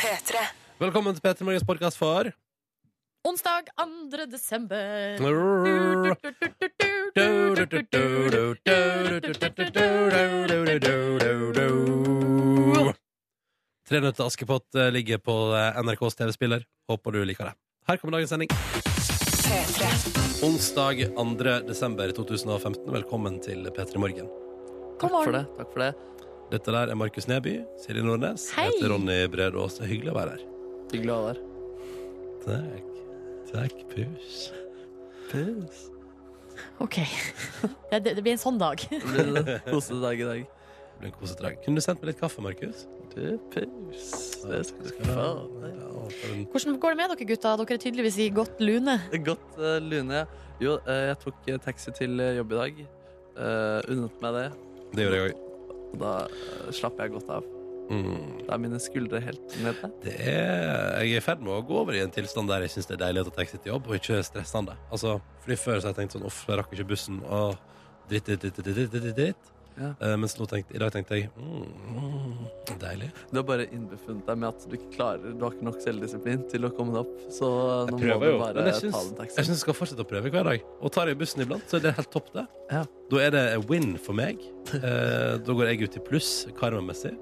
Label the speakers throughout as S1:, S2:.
S1: P3.
S2: Velkommen til Peter Morgens podkast for
S3: Onsdag 2. desember.
S2: Tre nøtter til Askepott eh, ligger på eh, NRKs TV-spiller. Håper du liker det. Her kommer dagens sending. Onsdag 2. desember 2015. Velkommen til P3 Morgen.
S3: God
S4: Takk for det.
S3: morgen.
S4: takk for det
S2: Dette der er Markus Neby, Silje Nordnes.
S3: Hei.
S2: Jeg heter Ronny Brede Aas. Det er Hyggelig å være her.
S4: Hyggelig å ha deg
S2: Takk. Takk, pus.
S4: Pils.
S3: OK. Det, det, det blir en sånn dag.
S4: Kosedag i dag.
S2: Det blir en kosedag. Kunne du sendt meg litt kaffe, Markus?
S4: Du, pils. Det skal du få.
S2: Ja, for en-
S3: Hvordan går det med dere, gutta? Dere er tydeligvis i godt lune.
S4: Godt eh, lune. Jo, eh, jeg tok eh, taxi til eh, jobb i dag. Eh, unnet meg det.
S2: Det gjør jeg òg.
S4: Og da eh, slapper jeg godt av.
S2: Mm.
S4: Da er mine skuldre helt nede.
S2: Det er, jeg er i ferd med å gå over i en tilstand der jeg syns det er deilig å ta taxi til jobb, og ikke stressende. Altså, fordi Før så har jeg tenkt sånn Uff, jeg rakk ikke bussen. Åh, dritt, dritt, dritt, dritt, dritt, dritt, dritt.
S4: Ja.
S2: Eh, mens nå tenkte, i dag tenkte jeg mm, mm, Deilig.
S4: Du har bare innbefunnet deg med at du ikke klarer Du har ikke nok selvdisiplin til å komme deg opp. Så eh, nå må
S2: prøver
S4: du
S2: jo, men
S4: bare
S2: jeg
S4: ta
S2: syns-
S4: en
S2: Jeg
S4: taxi.
S2: syns jeg skal fortsette å prøve hver dag. Og tar jeg bussen iblant, så er det helt topp, det.
S4: Ja.
S2: Da er det a win for meg. Eh, da går jeg ut i pluss karmamessig,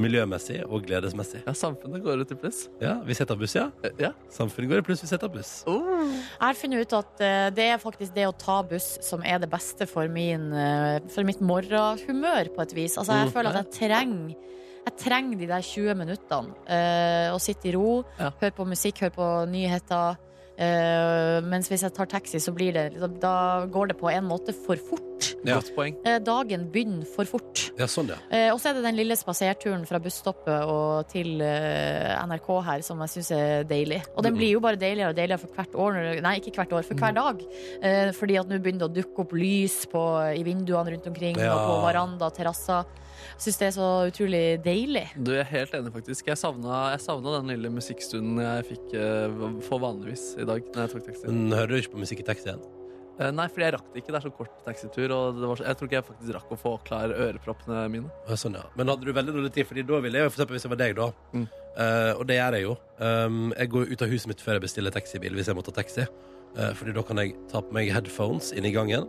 S2: miljømessig og gledesmessig.
S4: Ja, samfunnet går ut i pluss.
S2: Ja, vi setter buss, ja.
S4: Eh, Ja.
S2: Samfunnet går i pluss, vi setter buss.
S4: Oh.
S3: Jeg har funnet ut at eh, det er faktisk det å ta buss som er det beste for, min, eh, for mitt morgenhumør, på et vis. Altså, jeg
S2: Mm.
S3: føler at jeg trenger jeg trenger de der 20 minuttene. eh, å sitte i ro,
S4: Ja.
S3: høre på musikk, høre på nyheter. eh, mens hvis jeg tar taxi, så blir det, da går det på en måte for fort.
S2: Ja.
S4: Godt poeng.
S3: Eh, dagen begynner for fort.
S2: Ja, sånn, ja.
S3: Eh, og så er det den lille spaserturen fra busstoppet og til eh, NRK her som jeg syns er deilig. Og den blir jo bare deiligere og deiligere for hvert år, når- nei, ikke hvert år, for hver dag. Eh, fordi at nå begynner det å dukke opp lys på, i vinduene rundt omkring
S2: Ja.
S3: og på veranda og terrasser. Jeg syns det er så utrolig deilig.
S4: Du, jeg er helt enig, faktisk. Jeg savna, jeg savna den lille musikkstunden jeg fikk eh, for vanligvis i dag. Når jeg tok taxi.
S2: Men hører du ikke på musikk i taxien?
S4: Eh, nei, fordi jeg rakk det ikke. Det er så kort taxitur. Og det var så, jeg tror ikke jeg faktisk rakk å få klar øreproppene mine.
S2: Ja, sånn, ja. Men hadde du veldig dårlig tid, Fordi da ville jeg jo, for eksempel hvis jeg var deg, da.
S4: Mm.
S2: eh, og det gjør jeg jo. Um, jeg går ut av huset mitt før jeg bestiller taxibil, hvis jeg må ta taxi. Uh, fordi da kan jeg ta på meg headphones inn i gangen,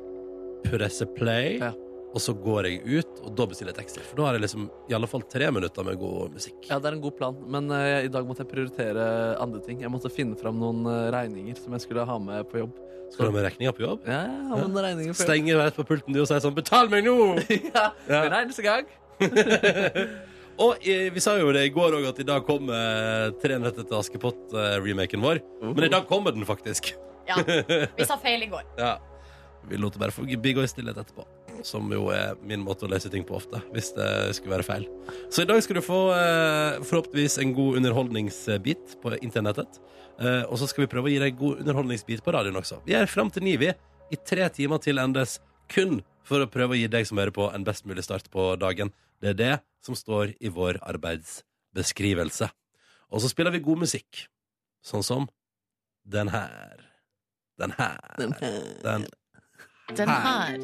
S2: presse play,
S4: Ja.
S2: og så går jeg ut, og da bestiller jeg taxi. For da har jeg liksom i alle fall tre minutter med god musikk.
S4: Ja, det er en god plan, men eh, i dag måtte jeg prioritere andre ting. Jeg måtte finne fram noen eh, regninger som jeg skulle ha med på jobb.
S2: Skal du ha med regninga på jobb?
S4: Ja, jeg har med noen regninger på jobb.
S2: Stenger rett på pulten du og sier sånn 'Betal meg nå!'
S4: ja,
S2: Ja.
S4: hver eneste gang.
S2: og eh, vi sa jo det i går òg, at i dag kommer eh, 'Tre nøtter til Askepott'-remaken vår. Men i dag kommer den faktisk.
S3: Ja, vi sa feil i går.
S2: Ja. Vi lot det bare få bigå i stillhet etterpå. Som jo er min måte å løse ting på ofte, hvis det skulle være feil. Så i dag skal du få eh, forhåpentligvis en god underholdningsbit på internettet. Eh, og så skal vi prøve å gi deg en god underholdningsbit på radioen også. Vi er fram til ni, vi. I tre timer til endes. Kun for å prøve å gi deg som hører på, en best mulig start på dagen. Det er det som står i vår arbeidsbeskrivelse. Og så spiller vi god musikk. Sånn som den her. Den her.
S4: Den-
S2: Den.
S3: Den her.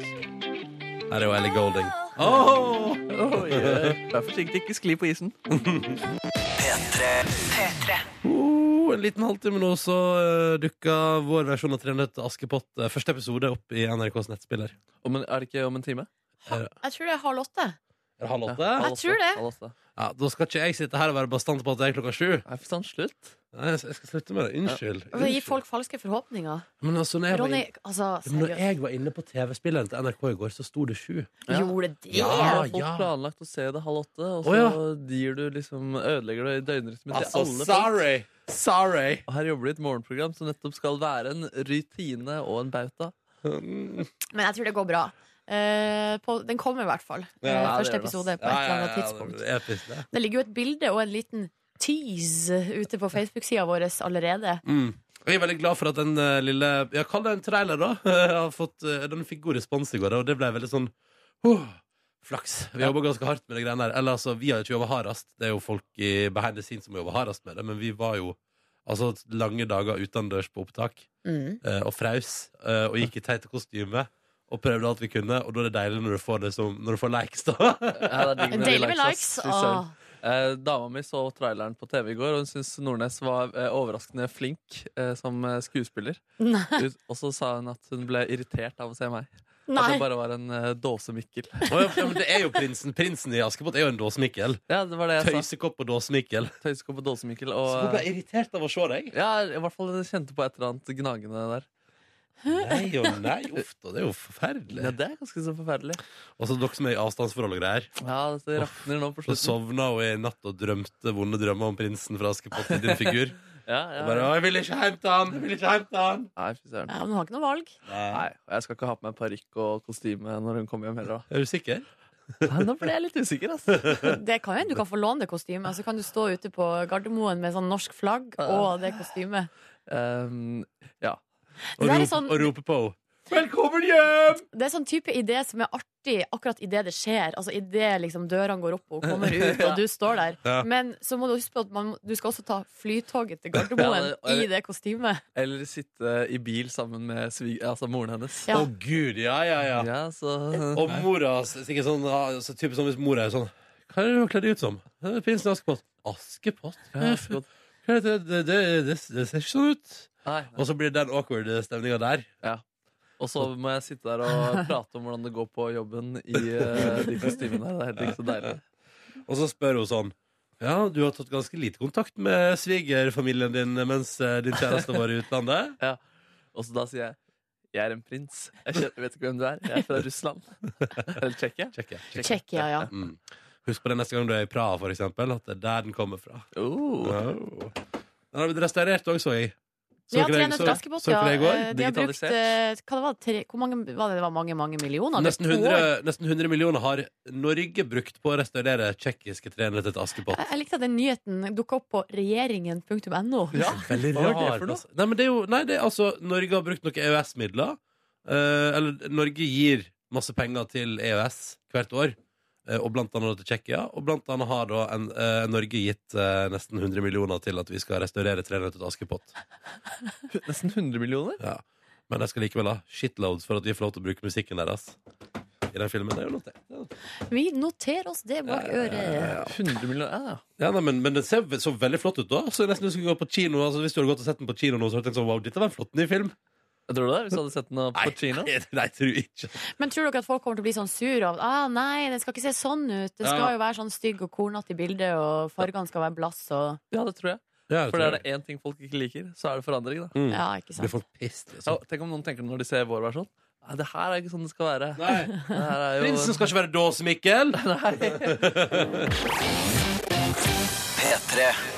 S2: Her er jo Ellie Golding.
S4: Oi, eh, Vær forsiktig, ikke skli på isen.
S2: Oh, en liten halvtime nå, så uh, dukka vår versjon av 300 til Askepott eh, første episode opp i NRKs nettspiller.
S4: Om en, er det ikke om en time?
S3: Jeg tror det er halv åtte.
S2: Er det halv åtte?
S4: Ja,
S2: Ja.
S3: Jeg
S4: halv åtte,
S3: tror det.
S4: halv åtte.
S2: Da skal ikke jeg sitte her og være bastant på at det er klokka sju.
S4: Er for sånn slutt?
S2: Nei, jeg skal slutte med det. Unnskyld.
S3: Og det gir
S2: Unnskyld.
S3: folk falske forhåpninger.
S2: Men altså, når jeg, var
S3: Ronny,
S2: inne,
S3: altså,
S2: men når
S3: seriøst.
S2: jeg var inne på TV-spilleren til NRK i går, så sto det sju.
S4: Ja.
S3: Gjorde det?
S4: Ah,
S2: Ja,
S4: Folk
S2: ja.
S4: planlagt å se det halv åtte, og så
S2: Å,
S4: gir du liksom, ødelegger du døgnrytmen til alle folk.
S2: Altså, sorry! Sorry!
S4: Og her jobber det i et morgenprogram som nettopp skal være en rutine og en bauta.
S3: Men jeg tror det går bra. Eh, på, den kommer i hvert fall.
S2: Ja,
S3: Eh,
S4: det
S3: første
S4: gjør den, ass.
S3: episode på et eller annet tidspunkt.
S2: det er episk, det.
S3: Det ligger jo et bilde og en liten tease ute på Facebook-sida vår allerede.
S2: Mm. Og Jeg er veldig glad for at den eh, lille Ja, kall det en trailer, da. Har fått, eh, den fikk god respons i går, og det ble veldig sånn «Åh, Flaks. Vi jobber ganske hardt med de greiene der. Eller altså, vi har ikke jobba hardest. Det er jo folk i behind the scenes som jobber hardest med det, men vi var jo altså lange dager utendørs på opptak
S3: Mm.
S2: eh, og fraus eh, og gikk i teite kostyme. Og prøvde alt vi kunne, og da er det deilig når du får det som Når du får likes, da.
S4: Ja, det er digg når de
S3: Deilig med
S4: likes,
S3: likes.
S4: ass. Fy søren.
S3: Åh.
S4: Eh, dama mi så traileren på TV i går, og hun syntes Nordnes var eh, overraskende flink eh, som eh, skuespiller.
S3: Nei.
S4: Ut- Og så sa hun at hun ble irritert av å se meg. At det
S3: Nei.
S4: bare var en eh, dåsemikkel.
S2: Å, ja, men det er jo prinsen. Prinsen i Askepott er jo en dåsemikkel.
S4: Ja, det var det jeg sa.
S2: Tøysekopp og dåsemikkel.
S4: Tøysekopp og dåsemikkel.
S2: Så hun
S4: Og, eh,
S2: ble irritert av å se deg.
S4: ja, i hvert fall kjente på et eller annet gnagende der.
S2: Nei og nei. Uff da, det er jo
S4: Ja,
S2: forferdelig.
S4: det er ganske så forferdelig.
S2: Og så dere som er i avstandsforhold og greier.
S4: Ja, det rakner nå på
S2: Så
S4: slutten.
S2: sovna hun i natt og drømte vonde drømmer om prinsen fra Askepott i din figur.
S4: Ja,
S2: Og
S4: ja.
S2: bare, å, 'Jeg vil ikke hente han! Jeg vil ikke hente han!'
S4: Nei, fy søren.
S3: Ja, men du har ikke noe valg.
S2: Nei.
S4: Nei, og jeg skal ikke ha på meg parykk og kostyme når hun kommer hjem heller.
S2: Er du sikker?
S4: da. Nei, nå ble jeg litt usikker, altså.
S3: Det kan hende du kan få låne det kostymet. Så kan du stå ute på Gardermoen med sånn norsk flagg og det kostymet.
S4: Um, ja.
S2: Og,
S3: Det der er
S2: rope,
S3: sånn-
S2: og rope på henne. 'Velkommen hjem!'
S3: Det er sånn type idé som er artig akkurat idet det skjer. Altså idet liksom dørene går opp og hun kommer ut, og du står der.
S2: Ja.
S3: Men så må du huske på at man, du skal også ta flytoget til
S4: Ja,
S3: Gardermoen
S4: det- og-
S3: i det kostymet.
S4: Eller sitte i bil sammen med svig... Altså moren hennes.
S3: Ja.
S2: Å, gud, ja, ja, ja.
S4: Ja, så
S2: Og mora sikkert sånn, ja, så typisk sånn Hvis mora er sånn Hva er det du kler deg ut som? Det er Prinsen i Askepott. Askepott?
S4: ja, så godt.
S2: Hva er det, det, det, det, det ser ikke sånn ut.
S4: Nei.
S2: Og så blir det den awkward stemninga der.
S4: Og så må jeg sitte der og prate om hvordan det går på jobben i eh, de kostymene. Det er helt ikke så deilig.
S2: Og så spør hun sånn Ja, du har tatt ganske lite kontakt med svigerfamilien din mens eh, din kjæreste var i utlandet.
S4: Og så da sier jeg jeg er en prins. Jeg kjen- vet ikke hvem du er. Jeg er fra Russland. Eller Tsjekkia.
S2: Check, ja, check.
S3: Tsjekkia, ja.
S2: Mm. Husk på det neste gang du er i Praha, for eksempel, at det er der den kommer fra.
S4: Oh.
S2: Ja. Den har blitt restaurert òg, så jeg.
S3: Ja,
S2: dere det-
S3: 300 Askepott,
S2: så dere
S3: ja.
S2: det i går?
S3: Eh, De har brukt
S4: Digitalisert.
S3: eh, hva det var, tre, Hvor mange var det? Det var mange, mange millioner? Det er
S2: Nesten
S3: to
S2: 100,
S3: år.
S2: nesten 100 millioner har Norge brukt på å restaurere tsjekkiske trenere til Askepott.
S3: Jeg, jeg likte at den nyheten dukka opp på regjeringen.no.
S4: Ja.
S2: Veldig
S4: Hva var det
S2: rar,
S4: for noe?
S2: altså. Nei, men det er jo Nei, det er altså Norge har brukt noen EØS-midler. eh, eller Norge gir masse penger til EØS hvert år. eh, og blant annet til Tsjekkia. Og blant annet har da en, eh, Norge gitt eh, nesten 100 millioner til at vi skal restaurere Trenøttet Askepott.
S4: Nesten 100 millioner?
S2: Ja. Men jeg skal likevel ha shitloads for at vi får lov til å bruke musikken deres. I den filmen. Det er jo noe til. Det er noe til.
S3: Vi noterer oss det bak øret.
S4: 100 millioner, ja.
S2: Ja, nei, men, men den ser ve- så veldig flott ut, da. Så jeg nesten du skulle gå på kino altså, Hvis du hadde gått og sett den på kino nå, så hadde du tenkt sånn Wow, dette var en flott ny film.
S4: Tror du det? Hvis du hadde sett den på Kina?
S2: nei, nei, tror jeg ikke.
S3: Men tror dere at folk kommer til å bli sånn sur av ah, Nei, den skal ikke se sånn ut. Den skal
S2: Ja.
S3: jo være sånn stygg og kornete i bildet, og fargene skal være blass og
S4: Ja, det tror jeg.
S2: Ja, jeg
S4: For
S2: tror
S4: er det én ting folk ikke liker, så er det forandring. da
S2: Mm.
S3: Ja, ikke
S2: Blir
S3: sant.
S2: folk pissed, liksom.
S4: Så, Tenk om noen tenker det når de ser vår versjon. Nei, det her er ikke sånn det skal være.
S2: Nei,
S4: Det her er jo
S2: Prinsen skal ikke være dås, Mikkel!
S4: Nei.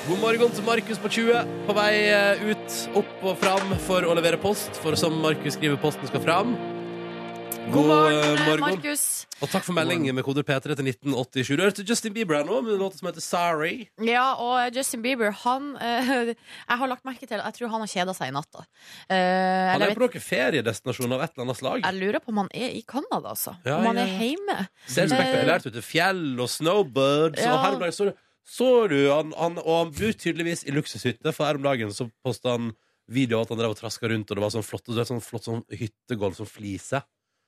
S2: God morgen til Markus på 20, på vei eh, ut, opp og fram for å levere post. For som Markus skriver, posten skal fram.
S3: God morgen,
S2: eh,
S3: Markus.
S2: Og takk for melding med koder P3 til 1987. Du hørte Justin Bieber her nå med en låt som heter Sorry.
S3: Ja, og eh, Justin Bieber, han eh, Jeg har lagt merke til Jeg tror han har kjeda seg i natt, da. Eh,
S2: Han
S3: eller
S2: er
S3: jeg,
S2: på noen feriedestinasjon av et eller annet slag.
S3: vet, jeg lurer på om han er i Canada, altså.
S2: Ja,
S3: om han
S2: ja,
S3: er
S2: ja.
S3: hjemme.
S2: Ser spektakulært ut. Fjell og snowbirds. Og
S3: Eh, Ja.
S2: her om dagen så, du- så du han, han, Og han bor tydeligvis i luksushytte, for her om dagen så posta han video av at han drev og traska rundt, og det var sånn flott, og det er sånn flott sånn hyttegulv som flise.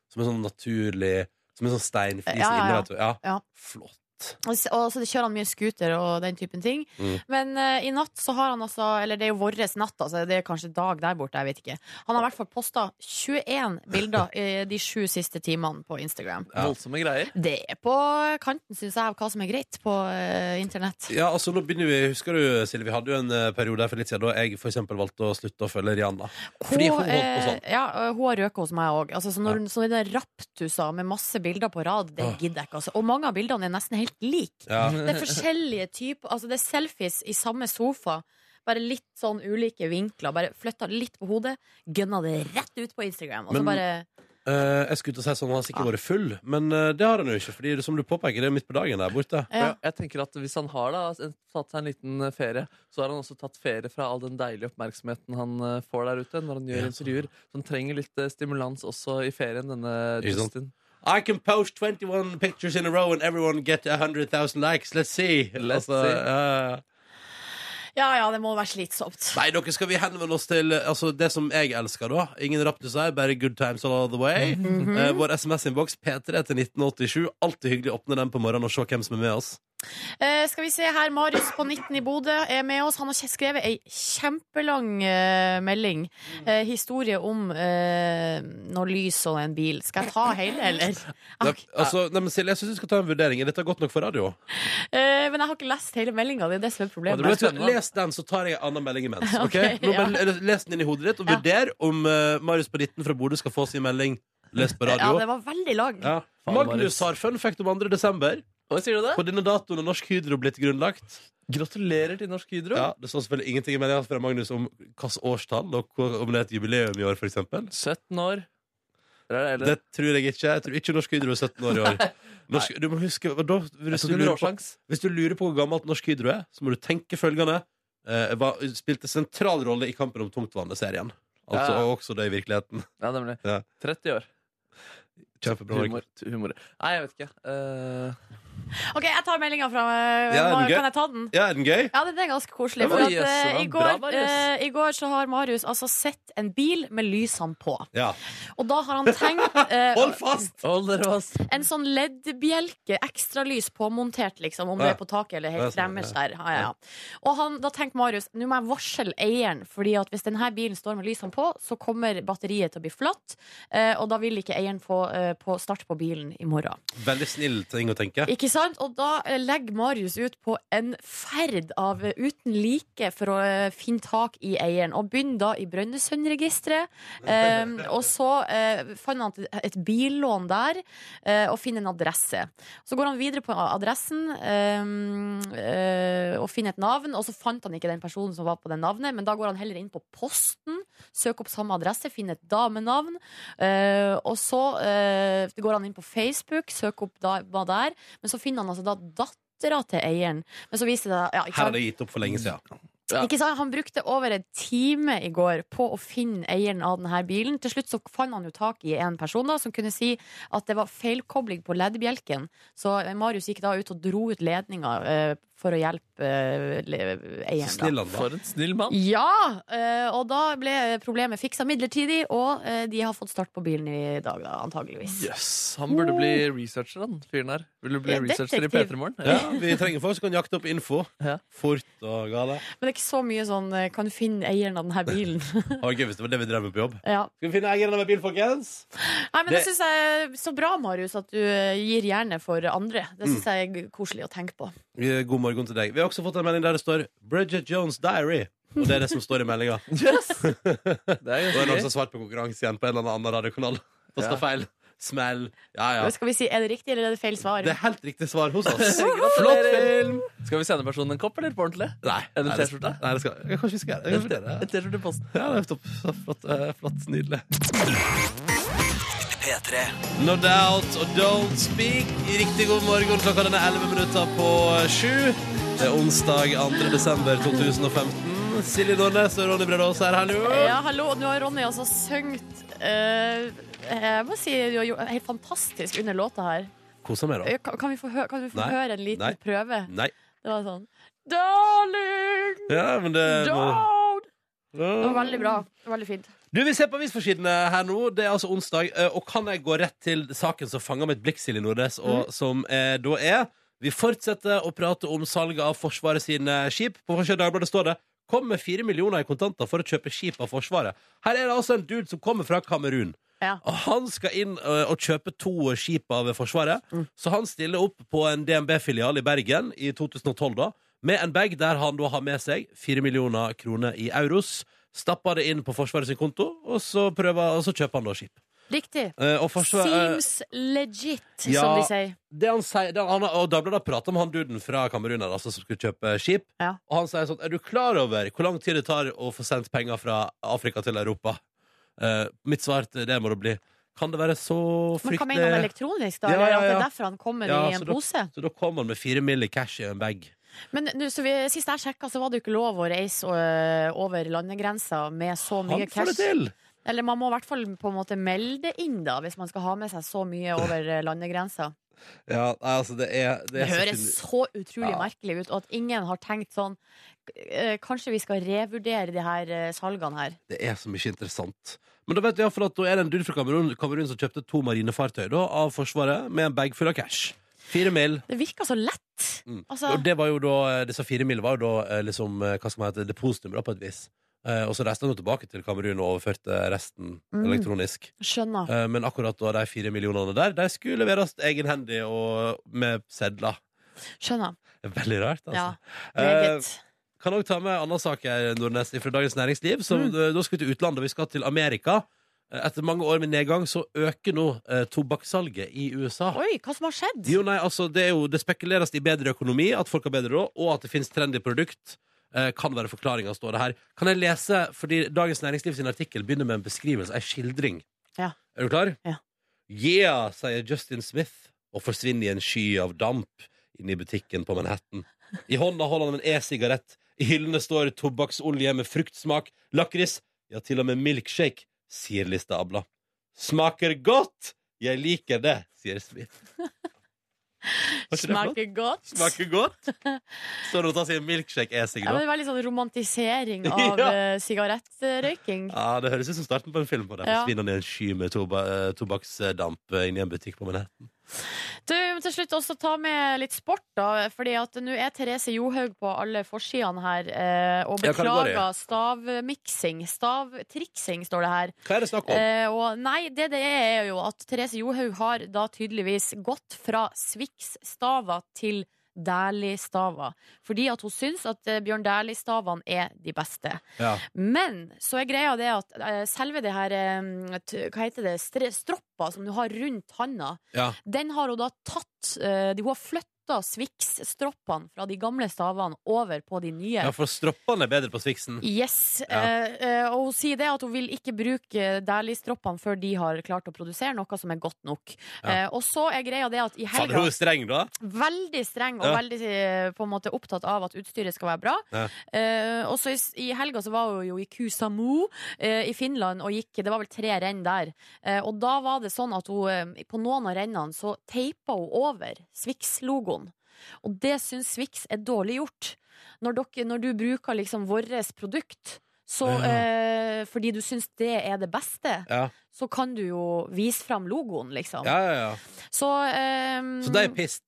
S2: Som en sånn naturlig Som en sånn steinflise
S3: Ja, ja,
S2: inne,
S3: ja.
S2: vet du. Ja.
S3: Ja.
S2: Flott.
S3: Og s- og så det kjører han mye scooter og den typen ting.
S2: Mm.
S3: Men eh, i natt så har han altså Eller det er jo vår natt, altså. Det er kanskje dag der borte, jeg vet ikke. Han har i hvert fall posta 21 bilder eh, de sju siste timene på Instagram.
S2: Ja.
S4: Voldsomme greier.
S3: Det er på kanten, syns jeg, av hva som er greit på eh, internett.
S2: Ja, altså nå begynner vi Husker du, Silje, vi hadde jo en eh, periode her for litt siden da jeg for eksempel valgte å slutte å følge Rihanna. Fordi hun holdt på sånn.
S3: eh, ja, og hun har røket hos meg òg. Altså, så når så den raptusa med masse bilder på rad, det
S2: Åh.
S3: gidder jeg ikke. Altså. Og mange av bildene er nesten helt like.
S2: Ja.
S3: Det er forskjellige typer Altså det er selfies i samme sofa Bare litt sånn ulike vinkler Bare flytta litt på hodet Gønna det rett ut på Instagram Og så
S2: Men-
S3: bare
S2: Eh, jeg skulle til å si sånn, han har sikkert vært full, men eh, det har han jo ikke. Fordi det- som du påpeker, det er midt på dagen der borte.
S3: ja.
S4: Og Jeg tenker at Hvis han har da en- tatt seg en liten eh, ferie, så har han også tatt ferie fra all den deilige oppmerksomheten han eh, får der ute når han gjør
S2: Ja.
S4: intervjuer. Så han trenger litt eh, stimulans også i ferien, denne
S2: Ikke sant?
S4: Justin.
S2: I can post 21 pictures in a row and everyone get 100,000 likes. Let's see.
S4: Let's
S2: Altså,
S4: see.
S2: ja, ja.
S3: ja, ja, det må være slitsomt
S2: nei, dere skal vi henvende oss til eh, altså, det som jeg elsker, da. Ingen raptus her, bare good times all the way.
S3: Mhm.
S2: Eh, vår SMS-innboks P3 til 1987. Alltid hyggelig å åpne den på morgenen og se hvem som er med oss.
S3: Eh, skal vi se her, Marius på 19 i Bodø er med oss. Han har skrevet ei kjempelang eh, melding.
S2: Mm.
S3: Eh, historie om eh, noe lys og en bil. Skal jeg ta hele, eller?
S2: Nei, altså, nei, men Silje, jeg syns du skal ta en vurdering. Er dette godt nok for radio?
S3: Eh, men jeg har ikke lest hele meldinga, det er det som er
S2: Ja,
S3: problemet.
S2: men vet du hva,
S4: spennende.
S2: Les den, så tar jeg en annen melding imens. ok?
S3: Ok,
S2: Nå
S3: ja.
S2: bare Les den inn i hodet ditt, og
S3: Ja.
S2: vurder om eh, Marius på 19 fra Bodø skal få sin melding lest på
S3: Ja,
S2: radio.
S3: det var veldig lang.
S2: Ja.
S4: Faen,
S2: Magnus
S4: Marius.
S2: har fun fact om 2. desember.
S4: Oi, sier du det?
S2: På denne datoen er Norsk Hydro blitt grunnlagt.
S4: Gratulerer til Norsk Hydro.
S2: Ja, det står selvfølgelig ingenting i meldinga fra Magnus om hvilket årstall og hvor- om det er et jubileum i år, f.eks.
S4: 17 år. Der er det, eller?
S2: Det tror jeg ikke. Jeg tror ikke Norsk Hydro er 17 år i år. Norsk, du må huske, og da,
S4: Jeg
S2: hvis,
S4: tok
S2: du
S4: en
S2: lurer på,
S4: råsjans.
S2: hvis du lurer på hvor gammelt Norsk Hydro er, så må du tenke følgende. Eh, var, spilte sentral rolle i kampen om tungtvannet-serien. Altså,
S4: Ja.
S2: Og også det i virkeligheten.
S4: Ja, nemlig.
S2: Ja.
S4: 30 år.
S2: Kjempebra. Markus.
S4: Humor. humor. Nei, jeg vet ikke. Eh,
S3: OK, jeg tar meldinga fra eh,
S2: Ja, er den
S3: Mar-
S2: gøy?
S3: Kan jeg ta den?
S2: Ja, er den gøy?
S3: Ja, det det er ganske koselig.
S4: Det var
S3: For at,
S4: Marius, det
S3: eh,
S4: var
S3: i,
S4: bra,
S3: går,
S4: Marius.
S3: eh, I går så har Marius altså sett en bil med lysene på.
S2: Ja.
S3: Og da har han tenkt eh,
S2: Hold fast!
S4: Hold dere fast.
S3: En sånn LED-bjelke, ekstralys påmontert, liksom, om
S2: Ja.
S3: det er på taket eller
S2: Ja,
S3: helt
S2: sånn,
S3: fremmest der. Ja, ja, ja. Og han, da tenkte Marius nå må jeg varsle eieren, Fordi at hvis denne bilen står med lysene på, så kommer batteriet til å bli flatt, eh, og da vil ikke eieren få eh, på start på bilen i morgen.
S2: Veldig snill ting å tenke.
S3: Ikke sant? Og da eh, legger Marius ut på en ferd av eh, uten like for å eh, finne tak i eieren, og begynner da i Brønnøysundregisteret. Um, og så eh, fant han et- et billån der, eh, og finner en adresse. Så går han videre på adressen eh, eh, og finner et navn, og så fant han ikke den personen som var på det navnet, men da går han heller inn på posten, søker opp samme adresse, finner et damenavn, eh, og så eh, går han inn på Facebook, søker opp dama der, men så finner han altså da dattera til eieren. Men så viser det ja, ikke
S2: Her har
S3: sant?
S2: jeg gitt opp for lenge siden.
S4: Ja.
S3: Ikke sant? Han brukte over en time i går på å finne eieren av denne bilen. Til slutt så fant han jo tak i en person da, som kunne si at det var feilkobling på leddbjelken. Så eh, Marius gikk da ut og dro ut ledninga eh, for å hjelpe eh, le-
S2: Så
S3: eieren. da.
S2: snill han var.
S4: For en snill mann.
S3: Ja! eh, Og da ble problemet fiksa midlertidig, og eh, de har fått start på bilen i dag, da, antageligvis.
S4: Yes. Han burde bli researcher, han fyren der. Vil du bli
S3: Ja,
S4: researcher i
S3: detektiv.
S4: P3 Morgen?
S2: Ja, vi trenger folk som kan jakte opp info.
S4: Ja.
S2: Fort og gale.
S3: Men det er ikke så mye sånn eh, 'kan du finne eieren av denne bilen'?
S2: Det var gøy hvis det var det vi drev med på jobb.
S3: ja.
S2: Skal vi finne eieren av en bil, folkens?
S3: Nei, men det,
S2: Det-
S3: synes jeg er Så bra, Marius, at du eh, gir jernet for andre. Det
S2: Mm.
S3: syns jeg er g- koselig å tenke på.
S2: Eh, God morgen til deg. Vi har også fått en melding der det står 'Bridget Jones Diary'. Og det er det som står i meldinga.
S4: Yes. Det er
S2: Det er
S4: jo
S2: noen som
S4: gøy.
S2: har svart på konkurranse igjen på en eller annen radiokanal. Posta
S4: Ja.
S2: feil. Smell. Ja, ja.
S3: Skal vi si, Er det riktig eller er det feil svar?
S2: Det er helt riktig svar hos oss. Flott
S4: Gratulerer.
S2: film!
S4: Skal vi sende personen en kopp, eller på ordentlig?
S2: Nei,
S4: Er det
S2: nei,
S4: T-skjorte?
S2: Nei, det skal jeg kanskje vi skal gjøre det. Jeg kan vurdere
S4: En
S2: det.
S4: T-skjorte i posten.
S2: Ja, det er topp. Så Flott, eh, flott nydelig. No doubt og don't speak. Riktig god morgen. Klokka den er 11 minutter på sju. Det er onsdag 2. desember 2015. Silje Nordnes og Ronny Brede Aase her, hallo.
S3: Ja, hallo. Nå har Ronny altså sunget eh, Jeg må si du har gjort helt fantastisk under låta her.
S2: Kosa meg, da.
S3: Eh, Kan, kan vi få, hø kan vi få
S2: Nei.
S3: høre en liten
S2: Nei. Mm.
S3: prøve?
S2: Nei.
S3: Det var sånn Darling,
S2: Ja, men det
S3: don't Det var
S2: Ja.
S3: veldig bra. Veldig fint.
S2: Du, Vi ser på avisforsidene her nå. Det er altså onsdag. eh, Og kan jeg gå rett til saken som fanger mitt blikk, Silje Nordnes, og som eh, da er Vi fortsetter å prate om salget av Forsvaret sine skip. På Forsida Dagbladet står det Kom med fire millioner i kontanter for å kjøpe skip av Forsvaret. Her er det altså en dude som kommer fra Kamerun.
S3: Ja.
S2: Og han skal inn eh, og kjøpe to skip av Forsvaret.
S3: Mm.
S2: Så han stiller opp på en DNB-filial i Bergen i 2012, da. Med en bag der han da har med seg fire millioner kroner i euros. Stapper det inn på Forsvaret sin konto, og så, prøver, og så kjøper han da skip.
S3: Riktig.
S2: Eh, og forsvar, eh,
S3: Seems legit,
S2: ja.
S3: som de sier.
S2: det han sier, det han, og Dagbladet prater om han duden fra Kamerun her, altså, som skulle kjøpe skip.
S3: Ja.
S2: Og han sier sånn Er du klar over hvor lang tid det tar å få sendt penger fra Afrika til Europa? Eh, mitt svar til det må da bli Kan det være så
S3: Men
S2: fryktelig
S3: hva mener han elektronisk, da?
S2: Ja,
S3: Eller
S2: ja,
S3: at det er
S2: ja.
S3: derfor han kommer
S2: Ja,
S3: i
S2: så
S3: en
S2: da-
S3: pose?
S2: Så da kom han med fire mill. i cash i en bag.
S3: Men nå, så vi, Sist jeg sjekka, så var det jo ikke lov å reise øh, over landegrensa med så mye
S2: Han får det
S3: cash.
S2: til!
S3: Eller man må i hvert fall på en måte melde det inn, da, hvis man skal ha med seg så mye over øh, landegrensa.
S2: Ja, nei, altså, det er
S3: Det
S2: er så
S3: høres
S2: fin-
S3: så utrolig
S2: Ja.
S3: merkelig ut, og at ingen har tenkt sånn øh, Kanskje vi skal revurdere de her øh, salgene her.
S2: Det er så mye interessant. Men da vet vi i hvert fall at da er det en dude fra Kamerun, Kamerun som kjøpte to marinefartøy da, av Forsvaret med en bag full av cash. Fire mil.
S3: Det virker så lett.
S2: Mm.
S3: Altså-
S2: Og det var jo da, eh, disse fire mil var jo da eh, liksom, eh, hva skal man hete, depositum, da, på et vis. Eh, og så reiste han jo tilbake til Kamerun og overførte resten
S1: Mm.
S2: elektronisk.
S1: Skjønner.
S2: Eh, men akkurat da, de fire millionene der, de skulle leveres egenhendig og med sedler.
S1: Skjønner.
S2: Veldig rart, altså.
S3: Ja,
S2: Eh,
S3: meget.
S2: kan òg ta med annen sak her, Nordnes, fra Dagens Næringsliv. Så,
S3: Mm.
S2: eh, Da skal vi til utlandet. Vi skal til Amerika. Eh, Etter mange år med nedgang så øker nå eh, tobakkssalget i USA.
S3: Oi, hva som har skjedd?
S2: Jo, nei, altså, det, er jo, det spekuleres i bedre økonomi, at folk har bedre råd, og at det finnes trendy produkt. Eh, kan være forklaringa, står det her. Kan jeg lese, fordi Dagens Næringsliv sin artikkel begynner med en beskrivelse, ei skildring.
S3: Ja.
S2: Er du klar?
S3: Ja.
S2: Yeah, sier Justin Smith, og forsvinner i en sky av damp inne i butikken på Manhattan. I hånda holder han en e-sigarett. I hyllene står tobakksolje med fruktsmak, lakris, ja, til og med milkshake, sier Lista Abla. Smaker godt! Jeg liker det, sier Smith. Var ikke det flott?
S3: Smaker godt.
S2: Smaker godt. Står og tar seg en milkshake e-sig
S3: Ja, men
S2: nå.
S3: det var litt sånn romantisering av
S2: Ja.
S3: eh, sigarettrøyking.
S2: Ja, det høres ut som starten på en film. på det
S3: Ja.
S2: Forsvinner ned en sky med toba eh, tobakksdamp eh, inni en butikk på Manhattan.
S3: Du, til slutt også ta med litt sport, da. Fordi at nå er Therese Johaug på alle forsidene her eh, og
S2: Ja, hva går det i?
S3: beklager stavmiksing. Stavtriksing, står det her.
S2: Hva er det snakk om?
S3: Eh, og nei, det det er, er jo at Therese Johaug har da tydeligvis gått fra Swix-stava til Dæhlie-stava. Fordi at hun syns at eh, Bjørn Dæhlie-stavene er de beste.
S2: Ja.
S3: Men så er greia det at eh, selve det her eh, t- Hva heter det? Stre stroppa som du har rundt handa,
S2: Ja.
S3: den har hun da tatt eh, Hun har flytta Swix-stroppene fra de gamle stavene over på de nye.
S2: ja, for stroppene er bedre på Swixen.
S3: Yes.
S2: Ja.
S3: eh, eh, og hun sier det at hun vil ikke bruke Dæhlie-stroppene før de har klart å produsere noe som er godt nok.
S2: Ja.
S3: Eh, og så er greia det at i
S2: Faen, hun
S3: helga
S2: er streng, da.
S3: Veldig streng og
S2: Ja.
S3: veldig eh, på en måte opptatt av at utstyret skal være bra.
S2: Ja.
S3: Eh, og så i, s- i helga så var hun jo i Kusamu eh, i Finland og gikk Det var vel tre renn der. Eh, og da var det sånn at hun eh, på noen av rennene så teipa hun over Swix-logoen. Og det syns Swix er dårlig gjort. Når, dere, når du bruker liksom vårt produkt, så
S2: Ja.
S3: eh, Fordi du syns det er det beste,
S2: Ja.
S3: så kan du jo vise fram logoen, liksom.
S2: Ja, ja, ja.
S3: Så eh,
S2: Så de er pissed.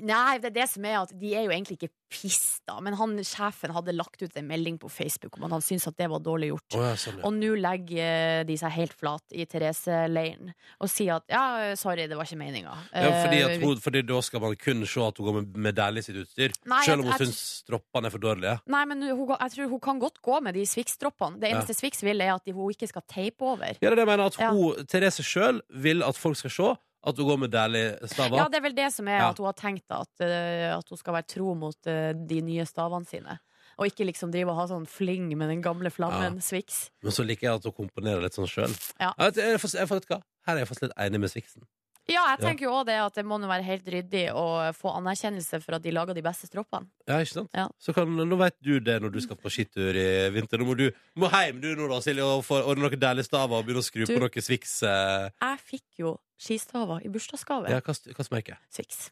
S3: Nei, det er det som er at de er jo egentlig ikke piss, da. Men han, sjefen hadde lagt ut en melding på Facebook om at han syntes at det var dårlig gjort.
S2: Å, ja, sånn, ja.
S3: Og nå legger eh, de seg helt flat i Therese-leiren og sier at ja, sorry, det var ikke Eh, meninga.
S2: Ja, fordi, at hun, fordi da skal man kun se at hun går med, med deilig sitt utstyr.
S3: Nei,
S2: selv om
S3: jeg-
S2: hun
S3: jeg-
S2: syns stroppene er for dårlige.
S3: Nei, men hun, jeg tror hun kan godt gå med de Swix-droppene. Det eneste Swix vil, er at de- hun ikke skal teipe over.
S2: Ja, det er det jeg mener at
S3: Ja.
S2: hun, Therese sjøl vil at folk skal se at hun går med deilig staver.
S3: Ja, det er vel det som er
S2: Ja.
S3: at hun har tenkt da, at, eh, at hun skal være tro mot eh, de nye stavene sine. Og ikke liksom drive og ha sånn fling med den gamle flammen Swix.
S2: Men så liker jeg at hun komponerer litt sånn sjøl.
S3: Ja.
S2: Jeg, vet- jeg, får- jeg, får- vet du hva? Her er jeg faktisk litt enig med Sviksen.
S3: Ja, jeg
S2: Ja.
S3: tenker jo også det at det må nå være helt ryddig å få anerkjennelse for at de lager de beste stroppene.
S2: Ja, ikke sant?
S3: Ja.
S2: Så kan, nå vet du det når du skal på skitur i vinter. Nå må du må hjem du nå, da, Silje, og få ordne noen deilige staver og begynne å skru
S3: Du-
S2: på noen Swix. Eh,
S3: Jeg fikk jo skistaver i bursdagsgave.
S2: ja, hva, hva merker jeg?
S3: Swix.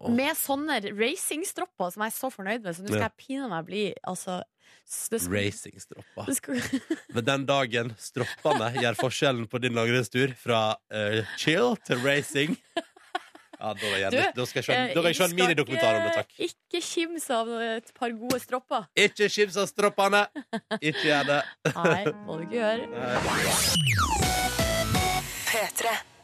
S2: Åh.
S3: Med sånne racingstropper som jeg er så fornøyd med, så nå skal
S2: Ja.
S3: jeg pinadø meg bli altså, s- det skal,
S2: Racingstropper.
S3: det skal,
S2: Men den dagen stroppene gjør forskjellen på din langrennstur fra eh, chill til racing Ja, da, er jeg,
S3: Du, eh,
S2: litt- da skal jeg se en- da vil jeg se en minidokumentar om det, takk.
S3: ikke, ikke kimse av et par gode stropper.
S2: Ikke skips av stroppene! Ikke gjør det.
S3: Nei, må du ikke gjøre.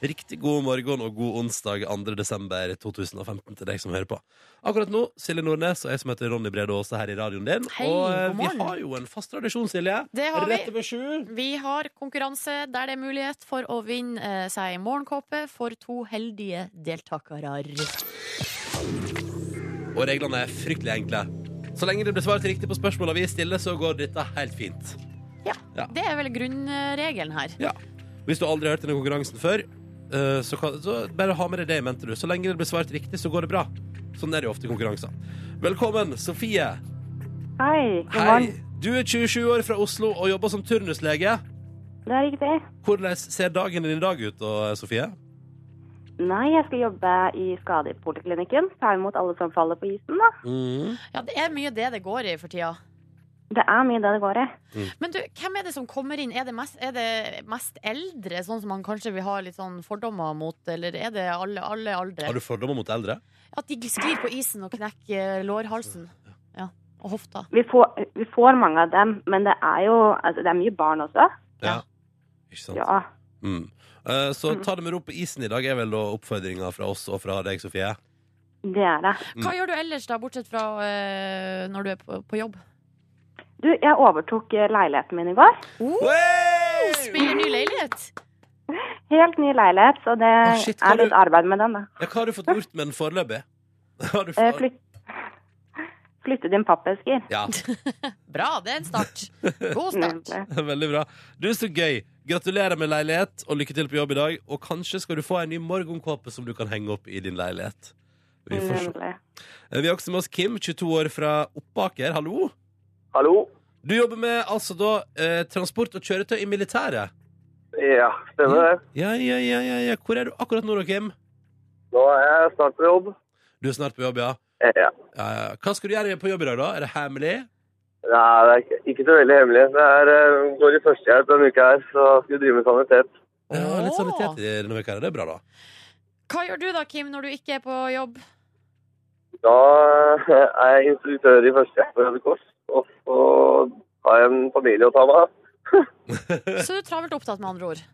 S2: Riktig god morgen og god onsdag 2. desember 2015 til deg som hører på. Akkurat nå, Silje Nordnes og jeg som heter Ronny Brede Aase her i radioen din.
S3: Hei,
S2: og eh,
S3: god
S2: vi
S3: morgen.
S2: har jo en fast tradisjon, Silje.
S3: Det har vi.
S2: Rett over sju.
S3: Vi har konkurranse der det er mulighet for å vinne eh, seg morgenkåpe for to heldige deltakere.
S2: Og reglene er fryktelig enkle. Så lenge det blir svart riktig på spørsmåla vi stiller, så går dette helt fint.
S3: Det er vel grunnregelen her.
S2: Ja. Hvis du aldri har hørt denne konkurransen før, eh, så, kan, så bare ha med deg det i mente, du. Så lenge det blir svart riktig, så går det bra. Sånn er det jo ofte i konkurranser. Velkommen, Sofie.
S5: Hei, god
S2: Hei.
S5: morgen.
S2: Du er 27 år fra Oslo og jobber som turnuslege.
S5: Det er riktig.
S2: Hvordan ser dagen din i dag ut, da, Sofie?
S5: Nei, jeg skal jobbe i skadepoliklinikken. Ta imot alle som faller på isen, da.
S3: Ja, det er mye det det går i for tida.
S5: Det er mye det det går i.
S3: Men du, hvem er det som kommer inn? Er det mest, er det mest eldre, sånn som man kanskje vil ha litt sånn fordommer mot, eller er det alle, alle aldre?
S2: Har du fordommer mot eldre?
S3: At de sklir på isen og knekker eh, lårhalsen. Ja. Og hofta.
S5: Vi får, vi får mange av dem, men det er jo altså, Det er mye barn også.
S3: Ja.
S2: Ikke sant?
S5: Ja.
S2: Mm. Eh, Så ta det med ro på isen i dag, er vel da oppfordringa fra oss og fra deg, Sofie.
S5: Det er det.
S2: Mm.
S3: Hva gjør du ellers, da, bortsett fra eh, når du er på, på jobb?
S5: Du, jeg overtok eh, leiligheten min i går.
S3: Oh,
S2: Hey!
S3: spiller ny leilighet!
S5: Helt ny leilighet, så det
S2: Å, shit, hva
S5: er litt
S2: du-
S5: arbeid med den, da.
S2: Ja, hva har du fått gjort med den foreløpig? Har du
S5: Eh,
S2: fått-
S5: Flytt, flytte din pappesker.
S2: Ja,
S3: Bra, det er en start. God start.
S5: Nemlig.
S2: veldig bra. Du, så gøy. Gratulerer med leilighet, og lykke til på jobb i dag. Og kanskje skal du få en ny morgenkåpe som du kan henge opp i din leilighet. Vi
S5: Mm.
S2: får se.
S5: Nemlig.
S2: Eh, Vi har også med oss Kim, 22 år fra Oppaker. Hallo.
S1: Hallo?
S2: Du jobber med altså da eh, transport og kjøretøy i militæret.
S1: Ja, stemmer
S5: Mm.
S1: det.
S2: Ja, ja, ja, ja, ja. Hvor er du akkurat nå da, Kim?
S1: Nå er jeg snart på jobb.
S2: Du er snart på jobb, ja.
S1: Ja.
S2: ja, ja. Hva skal du gjøre på jobb i dag, da? Er det hemmelig?
S1: Nei, det er ikke- ikke så veldig hemmelig. Det er, eh, går i førstehjelp denne uka her, så skal vi drive med sanitet.
S2: Ja, litt
S3: Åh.
S2: sanitet i denne uka. her. Det er bra, da.
S3: Hva gjør du da, Kim, når du ikke er på jobb?
S1: Da eh, er jeg instruktør i førstehjelp på Røde Kors, og så har jeg en familie å ta meg av.
S3: Så du er travelt opptatt, med andre ord.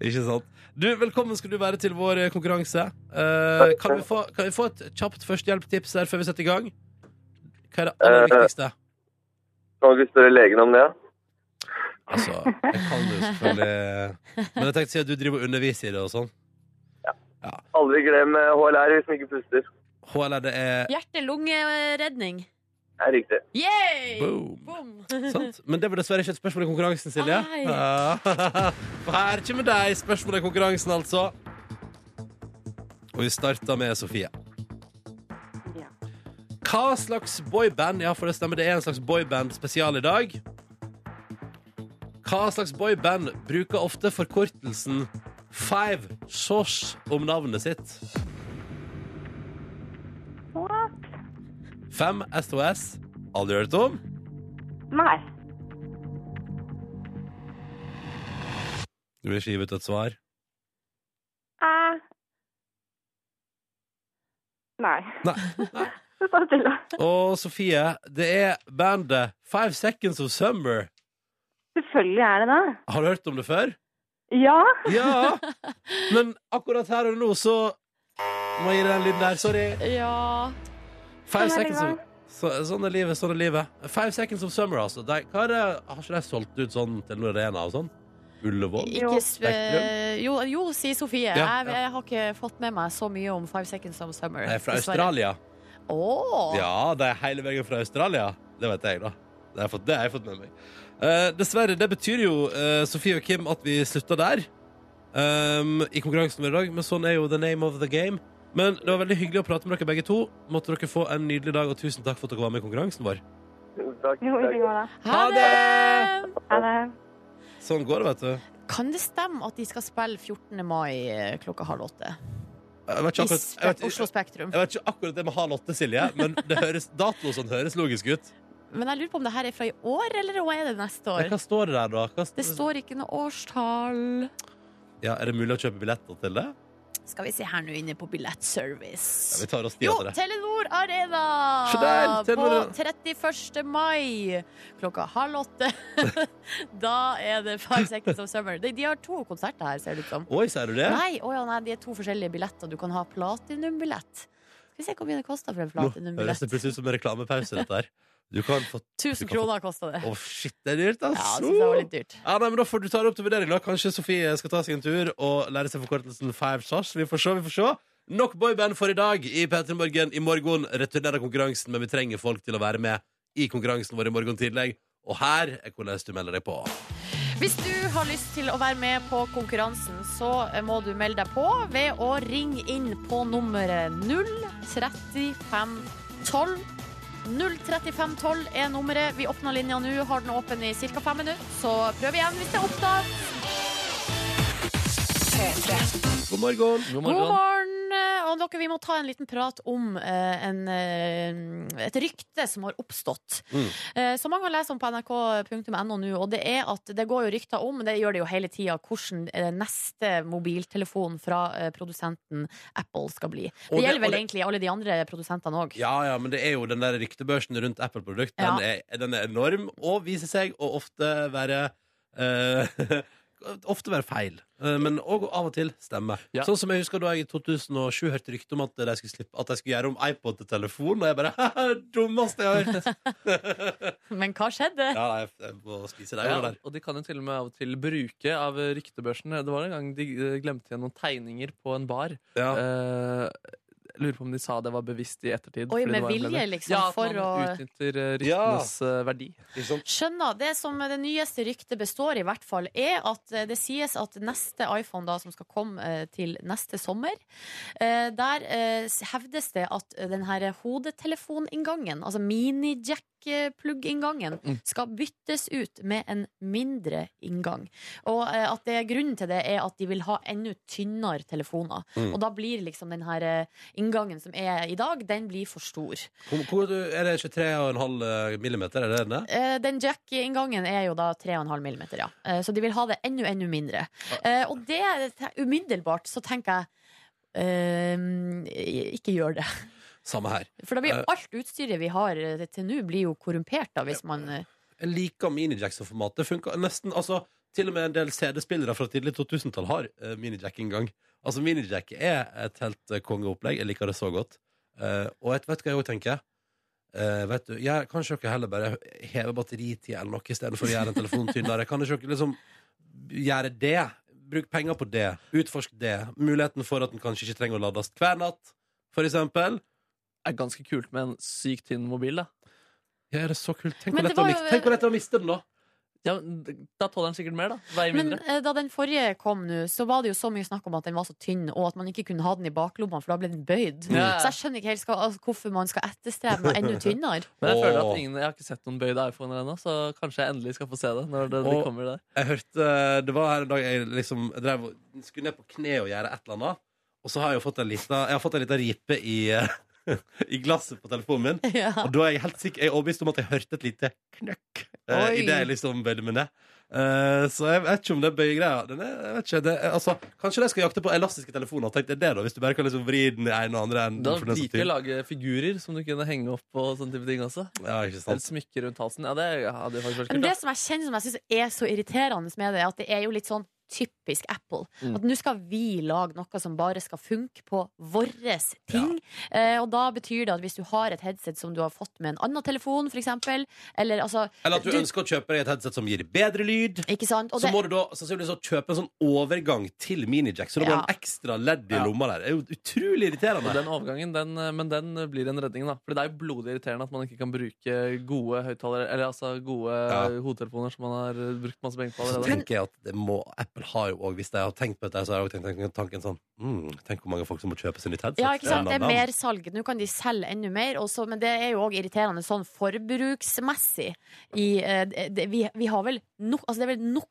S2: Ikke sant? Du, Velkommen skal du være til vår eh, konkurranse. Eh, kan, vi få, kan vi få et kjapt førstehjelptips her før vi setter i gang? Hva er det aller
S1: Eh,
S2: viktigste?
S1: Kan du ikke spørre legen om det?
S2: Altså, jeg kan jo selvfølgelig Men jeg tenkte å si at du driver og underviser i det og sånn.
S1: Aldri glem eh, HLR hvis man ikke puster.
S2: HLR, det er
S3: Hjerte-lunge-redning.
S1: Det er riktig.
S3: Yeah!
S2: boom.
S3: Boom!
S2: Sant? Men det var dessverre ikke et spørsmål i konkurransen, Silje.
S3: Nei.
S2: Ja. For her kommer deg, spørsmålet i konkurransen, altså. Og vi starter med Sofie.
S5: Ja.
S2: Hva slags boyband Ja, for det stemmer, det er en slags boyband-spesial i dag. Hva slags boyband bruker ofte forkortelsen Five Source om navnet sitt?
S5: What?
S2: Fem SOS. Aldri hørt om?
S5: Nei.
S2: Du vil skrive ut et svar.
S5: Eh. Nei.
S2: Nei.
S5: Det står stille.
S2: Og Sofie, det er bandet Five Seconds of Summer.
S5: Selvfølgelig er det det.
S2: Har du hørt om det før?
S5: Ja.
S2: Ja! Men akkurat her og nå så må jeg gi deg den lyden der. Sorry.
S3: Ja
S2: Five
S5: Sånn er det
S2: seconds of, så, sånn er livet, sånn er livet. Five seconds of summer, altså. De, hva er det, har ikke de solgt ut sånn Telenor Arena og sånn? Ullevål?
S3: ikke sp
S2: Spektrum.
S3: jo, jo, sier Sofie.
S2: Ja,
S3: Jeg, jeg har ikke fått med meg så mye om Five Seconds of Summer.
S2: De er fra
S3: dessverre.
S2: Australia.
S3: Åh.
S2: Ja, de er hele veien fra Australia. Det vet jeg, da. Det har jeg fått, det har jeg fått med meg. Eh, dessverre, det betyr jo, eh, Sofie og Kim, at vi slutter der ehm, i konkurransen vår i dag. Men sånn er jo the name of the game. Men det var veldig hyggelig å prate med dere begge to. Måtte dere få en nydelig dag, og tusen takk for at dere var med i konkurransen vår.
S1: Takk.
S5: Jo,
S1: takk.
S5: ikke går det.
S3: Ha
S2: Ha
S3: det!
S5: Er det.
S2: Sånn går det, vet du.
S3: Kan det stemme at de skal spille 14. mai eh, klokka halv åtte?
S2: Jeg vet
S3: I
S2: ikke akkurat,
S3: Spe-
S2: jeg vet,
S3: Oslo
S2: jeg,
S3: Spektrum.
S2: vet ikke akkurat det med halv åtte, Silje, men det høres, dato og sånn høres logisk ut.
S3: Men jeg lurer på om det her er fra i år, eller hva er det neste
S2: Men
S3: år?
S2: hva står det der, da? Hva,
S3: Det står ikke noe årstall.
S2: ja, er det mulig å kjøpe billetter til det?
S3: Skal vi se her nå inne på
S2: Ja,
S3: billettservice.
S2: vi tar oss tid
S3: Jo,
S2: etter det. Se
S3: Telenor
S2: der,
S3: Arena
S2: Telenor-
S3: på 31. mai klokka halv åtte. da er det Five Seconds of Summer. De, de har to konserter her, ser det ut som.
S2: Oi, sier du det?
S3: Nei, å ja, nei, de er to forskjellige billetter. Du kan ha platinumbillett. Skal vi se hvor mye det koster for en
S2: Nå høres
S3: platinumbillett.
S2: det plutselig ut som en reklamepause, dette her. Du kan få Å,
S3: 1000 kroner kosta det.
S2: shit, det er dyrt,
S3: Ja, jeg
S2: altså!
S3: synes det var litt dyrt.
S2: Ja, nei, men Da får du ta det opp til vurdering. da Kanskje Sofie skal ta seg en tur og lære seg forkortelsen Five Sash. Vi får se. vi får se Nok boyband for i dag i P3 Morgen. I morgen returnerer konkurransen, men vi trenger folk til å være med i konkurransen vår i morgen tidlig. Og her er hvordan du melder deg på.
S3: Hvis du har lyst til å være med på konkurransen, så må du melde deg på ved å ringe inn på nummeret 03512. 03512 er nummeret. Vi åpner linja nå, har den åpen i ca. fem minutter. Så prøv igjen hvis det er opptak.
S2: God morgen.
S4: God
S3: God
S4: morgen.
S3: morgen, Eh, og dere, vi må ta en liten prat om eh, en, eh, et rykte som har oppstått.
S2: Mm.
S3: Eh, som mange kan lese om på nrk.no nå, og det er at det går jo rykter om, det gjør det jo hele tida, hvordan eh, neste mobiltelefon fra eh, produsenten Apple skal bli. Det
S2: Og det- og
S3: gjelder vel
S2: det-
S3: egentlig alle de andre produsentene òg.
S2: Ja, ja, men det er jo den der ryktebørsen rundt Apple-produkt. Den, er- den er enorm og viser seg å ofte være eh, Ofte være feil, Eh, men òg av og til stemme.
S4: Ja.
S2: Sånn som jeg husker da jeg i 2007 hørte rykte om at de skulle, slippe, at de skulle gjøre om iPod til telefon, og jeg bare Dummeste jeg har hørt!
S3: Men hva skjedde?
S2: Ja, jeg, jeg må spise deg
S4: Ja,
S2: der.
S4: og de kan jo til og med av og til bruke av ryktebørsen. Det var en gang de eh, glemte igjen noen tegninger på en bar.
S2: Ja.
S4: Eh, jeg lurer på om de sa det var bevisst i ettertid.
S3: Oi,
S4: fordi
S3: med
S4: det var en
S3: vilje,
S4: blender.
S3: liksom,
S4: Ja, at
S3: for
S4: man
S3: å-
S4: utnytter eh,
S2: Ja.
S4: ryktenes eh, verdi.
S2: Ikke sant?
S3: Skjønner. Det som det nyeste ryktet består i, hvert fall, er at eh, det sies at neste iPhone, da, som skal komme eh, til neste sommer, eh, der eh, s- hevdes det at eh, den her hodetelefoninngangen, altså mini-jack-plugg-inngangen,
S4: Mm.
S3: skal byttes ut med en mindre inngang. Og eh, at det, grunnen til det er at de vil ha enda tynnere telefoner.
S2: Mm.
S3: Og da blir liksom den her eh, inngangen som er i dag, den blir for stor.
S2: Hvor, hvor, er det 23,5 millimeter? Er det denne?
S3: Eh, den jack-inngangen er jo da 3,5 millimeter, ja. Eh, så de vil ha det enda, enda mindre. Eh, og det te- umiddelbart så tenker jeg eh, ikke gjør det.
S2: Samme her.
S3: For da blir
S2: Eh.
S3: alt utstyret vi har eh, til nå, blir jo korrumpert da, hvis man eh,
S2: Jeg liker mini-jackson-formatet. Funker nesten, altså Til og med en del CD-spillere fra tidlig 2000-tall har uh, mini-jack-inngang. Altså, mini-jack er et helt eh, kongeopplegg. Jeg liker det så godt. Eh, og jeg, vet du hva jeg òg tenker? Eh, vet du, jeg, kanskje dere heller bare hever batteritid eller noe istedenfor å gjøre en telefon tynnere? Kan dere ikke liksom gjøre det? Bruk penger på det. Utforsk det. Muligheten for at den kanskje ikke trenger å lades hver natt, for eksempel.
S4: Det er ganske kult med en sykt tynn mobil, da.
S2: Ja, er det så kult? Tenk hvor
S3: Men det
S2: lett det
S3: var
S2: er å
S3: jo-
S2: miste- tenk hvor lett det er å miste den, da!
S4: Ja, men da tåler den sikkert mer, da. Veier
S3: Men
S4: mindre.
S3: eh, da den forrige kom nå, så var det jo så mye snakk om at den var så tynn, og at man ikke kunne ha den i baklommene, for da ble den bøyd.
S4: Ja.
S3: Så jeg skjønner ikke helt skal, altså, hvorfor man skal etterstrebe noe enda tynnere.
S4: Men jeg føler
S2: Åh.
S4: at ingen, jeg har ikke sett noen bøyde iPhoner ennå, så kanskje jeg endelig skal få se det. Når det, de
S2: Åh.
S4: kommer der
S2: Jeg hørte, det var her en dag jeg liksom jeg drev, og- skulle ned på kne og gjøre et eller annet. Og så har jeg jo fått en lita, jeg har fått en lita ripe i, eh, i glasset på telefonen min.
S3: Ja.
S2: Og da er jeg helt sikker, jeg er overbevist om at jeg hørte et lite knøkk uh,
S3: Oi.
S2: i det jeg liksom bøyde meg ned. Eh, så jeg vet ikke om det bøyegreia den er, jeg vet ikke, det, er- altså, Kanskje de skal jakte på elastiske telefoner. Tenk deg det, da, hvis du bare kan liksom vri den i ene og andre enden.
S4: Da
S2: for den er så
S4: liker jeg å
S2: tynn.
S4: lage figurer som du kunne henge opp og sånne type ting også.
S2: Ja, ikke sant?
S4: Eller smykker rundt halsen. Ja, det hadde jo faktisk vært
S3: Men
S4: kult.
S3: det
S4: Da.
S3: som jeg kjenner som jeg synes er så irriterende med det, er at det er jo litt sånn typisk Apple.
S4: Mm.
S3: At nå skal vi lage noe som bare skal funke på våre ting. Eh, og da betyr det at hvis du har et headset som du har fått med en annen telefon, for eksempel, eller altså
S2: Eller at du,
S3: Du-
S2: ønsker å kjøpe deg et headset som gir bedre lyd.
S3: Ikke sant? Og
S2: så
S3: det,
S2: må du da sannsynligvis også kjøpe en sånn overgang til minijack. Så det blir
S3: Ja.
S2: en ekstra ledd i lomma der. Det er jo utrolig
S4: Og
S2: irriterende.
S4: den overgangen, den, eh, men den blir en redning, da. For det er jo blodig irriterende at man ikke kan bruke gode høyttalere, eller altså gode
S2: Ja.
S4: hodetelefoner som man har eh, brukt masse penger på
S2: Så
S4: allerede.
S2: tenker jeg at det må, Apple har jo også, Hvis de har tenkt på dette, så har jeg også tenkt, tenkt tanken sånn mm, Tenk hvor mange folk som må kjøpe seg nytt headset.
S3: ja, ikke sant? Det er
S2: Nam, nam, nam.
S3: mersalg. Nå kan de selge enda mer, og så- men det er jo òg irriterende sånn forbruksmessig. I, eh, det, vi, vi har vel nok Altså, det er vel nok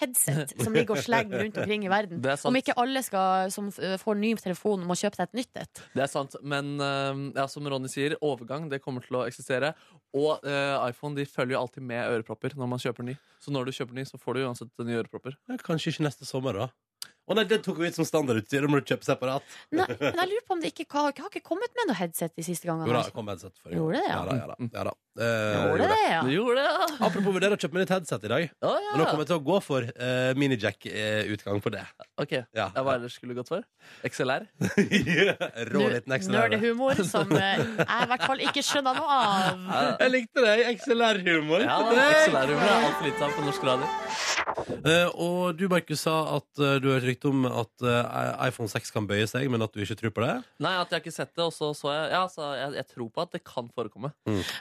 S3: headset som ligger og slenger rundt omkring i verden.
S4: Det er sant.
S3: Om ikke alle skal, som eh, får ny telefon, må kjøpe seg et nytt et.
S4: Det er sant, men eh, ja, som Ronny sier, overgang det kommer til å eksistere. Og eh, iPhone de følger jo alltid med ørepropper når man kjøper ny. Så når du kjøper ny, så får du uansett nye ørepropper.
S2: Ja, Kanskje ikke neste sommer, da. Å nei, det tok vi ut som standardutstyr. Det må du kjøpe separat.
S3: Nei, men jeg lurer på om det ikke har, har ikke kommet med noe headset de siste gangene.
S2: Jo da,
S3: altså.
S2: kom headset for
S3: Gjorde det, ja.
S2: Ja da, ja da. Ja, da. Eh,
S3: Gjorde det, ja.
S4: Du gjorde det, ja!
S2: Apropos vurdere å kjøpe meg nytt headset i dag.
S4: Å,
S2: Men nå
S4: ja.
S2: kommer jeg til å gå for eh, minijack-utgang på det.
S4: Ok,
S2: Ja.
S4: ja, Hva ellers skulle du gått for? XLR?
S2: Rå liten
S3: Nå-
S2: ekstra.
S3: Nerdehumor som eh, jeg i hvert fall ikke skjønner noe av.
S2: Jeg likte deg. XLR-humor.
S4: Ja, XLR-humor er altfor lite av på norsk radio.
S2: Eh, og du, Markus, sa at eh, du har et rykte om at eh, iPhone 6 kan bøye seg, men at du ikke tror på det.
S4: Nei, at jeg har ikke sett det, og så så jeg Ja, så jeg, jeg tror på at det kan forekomme.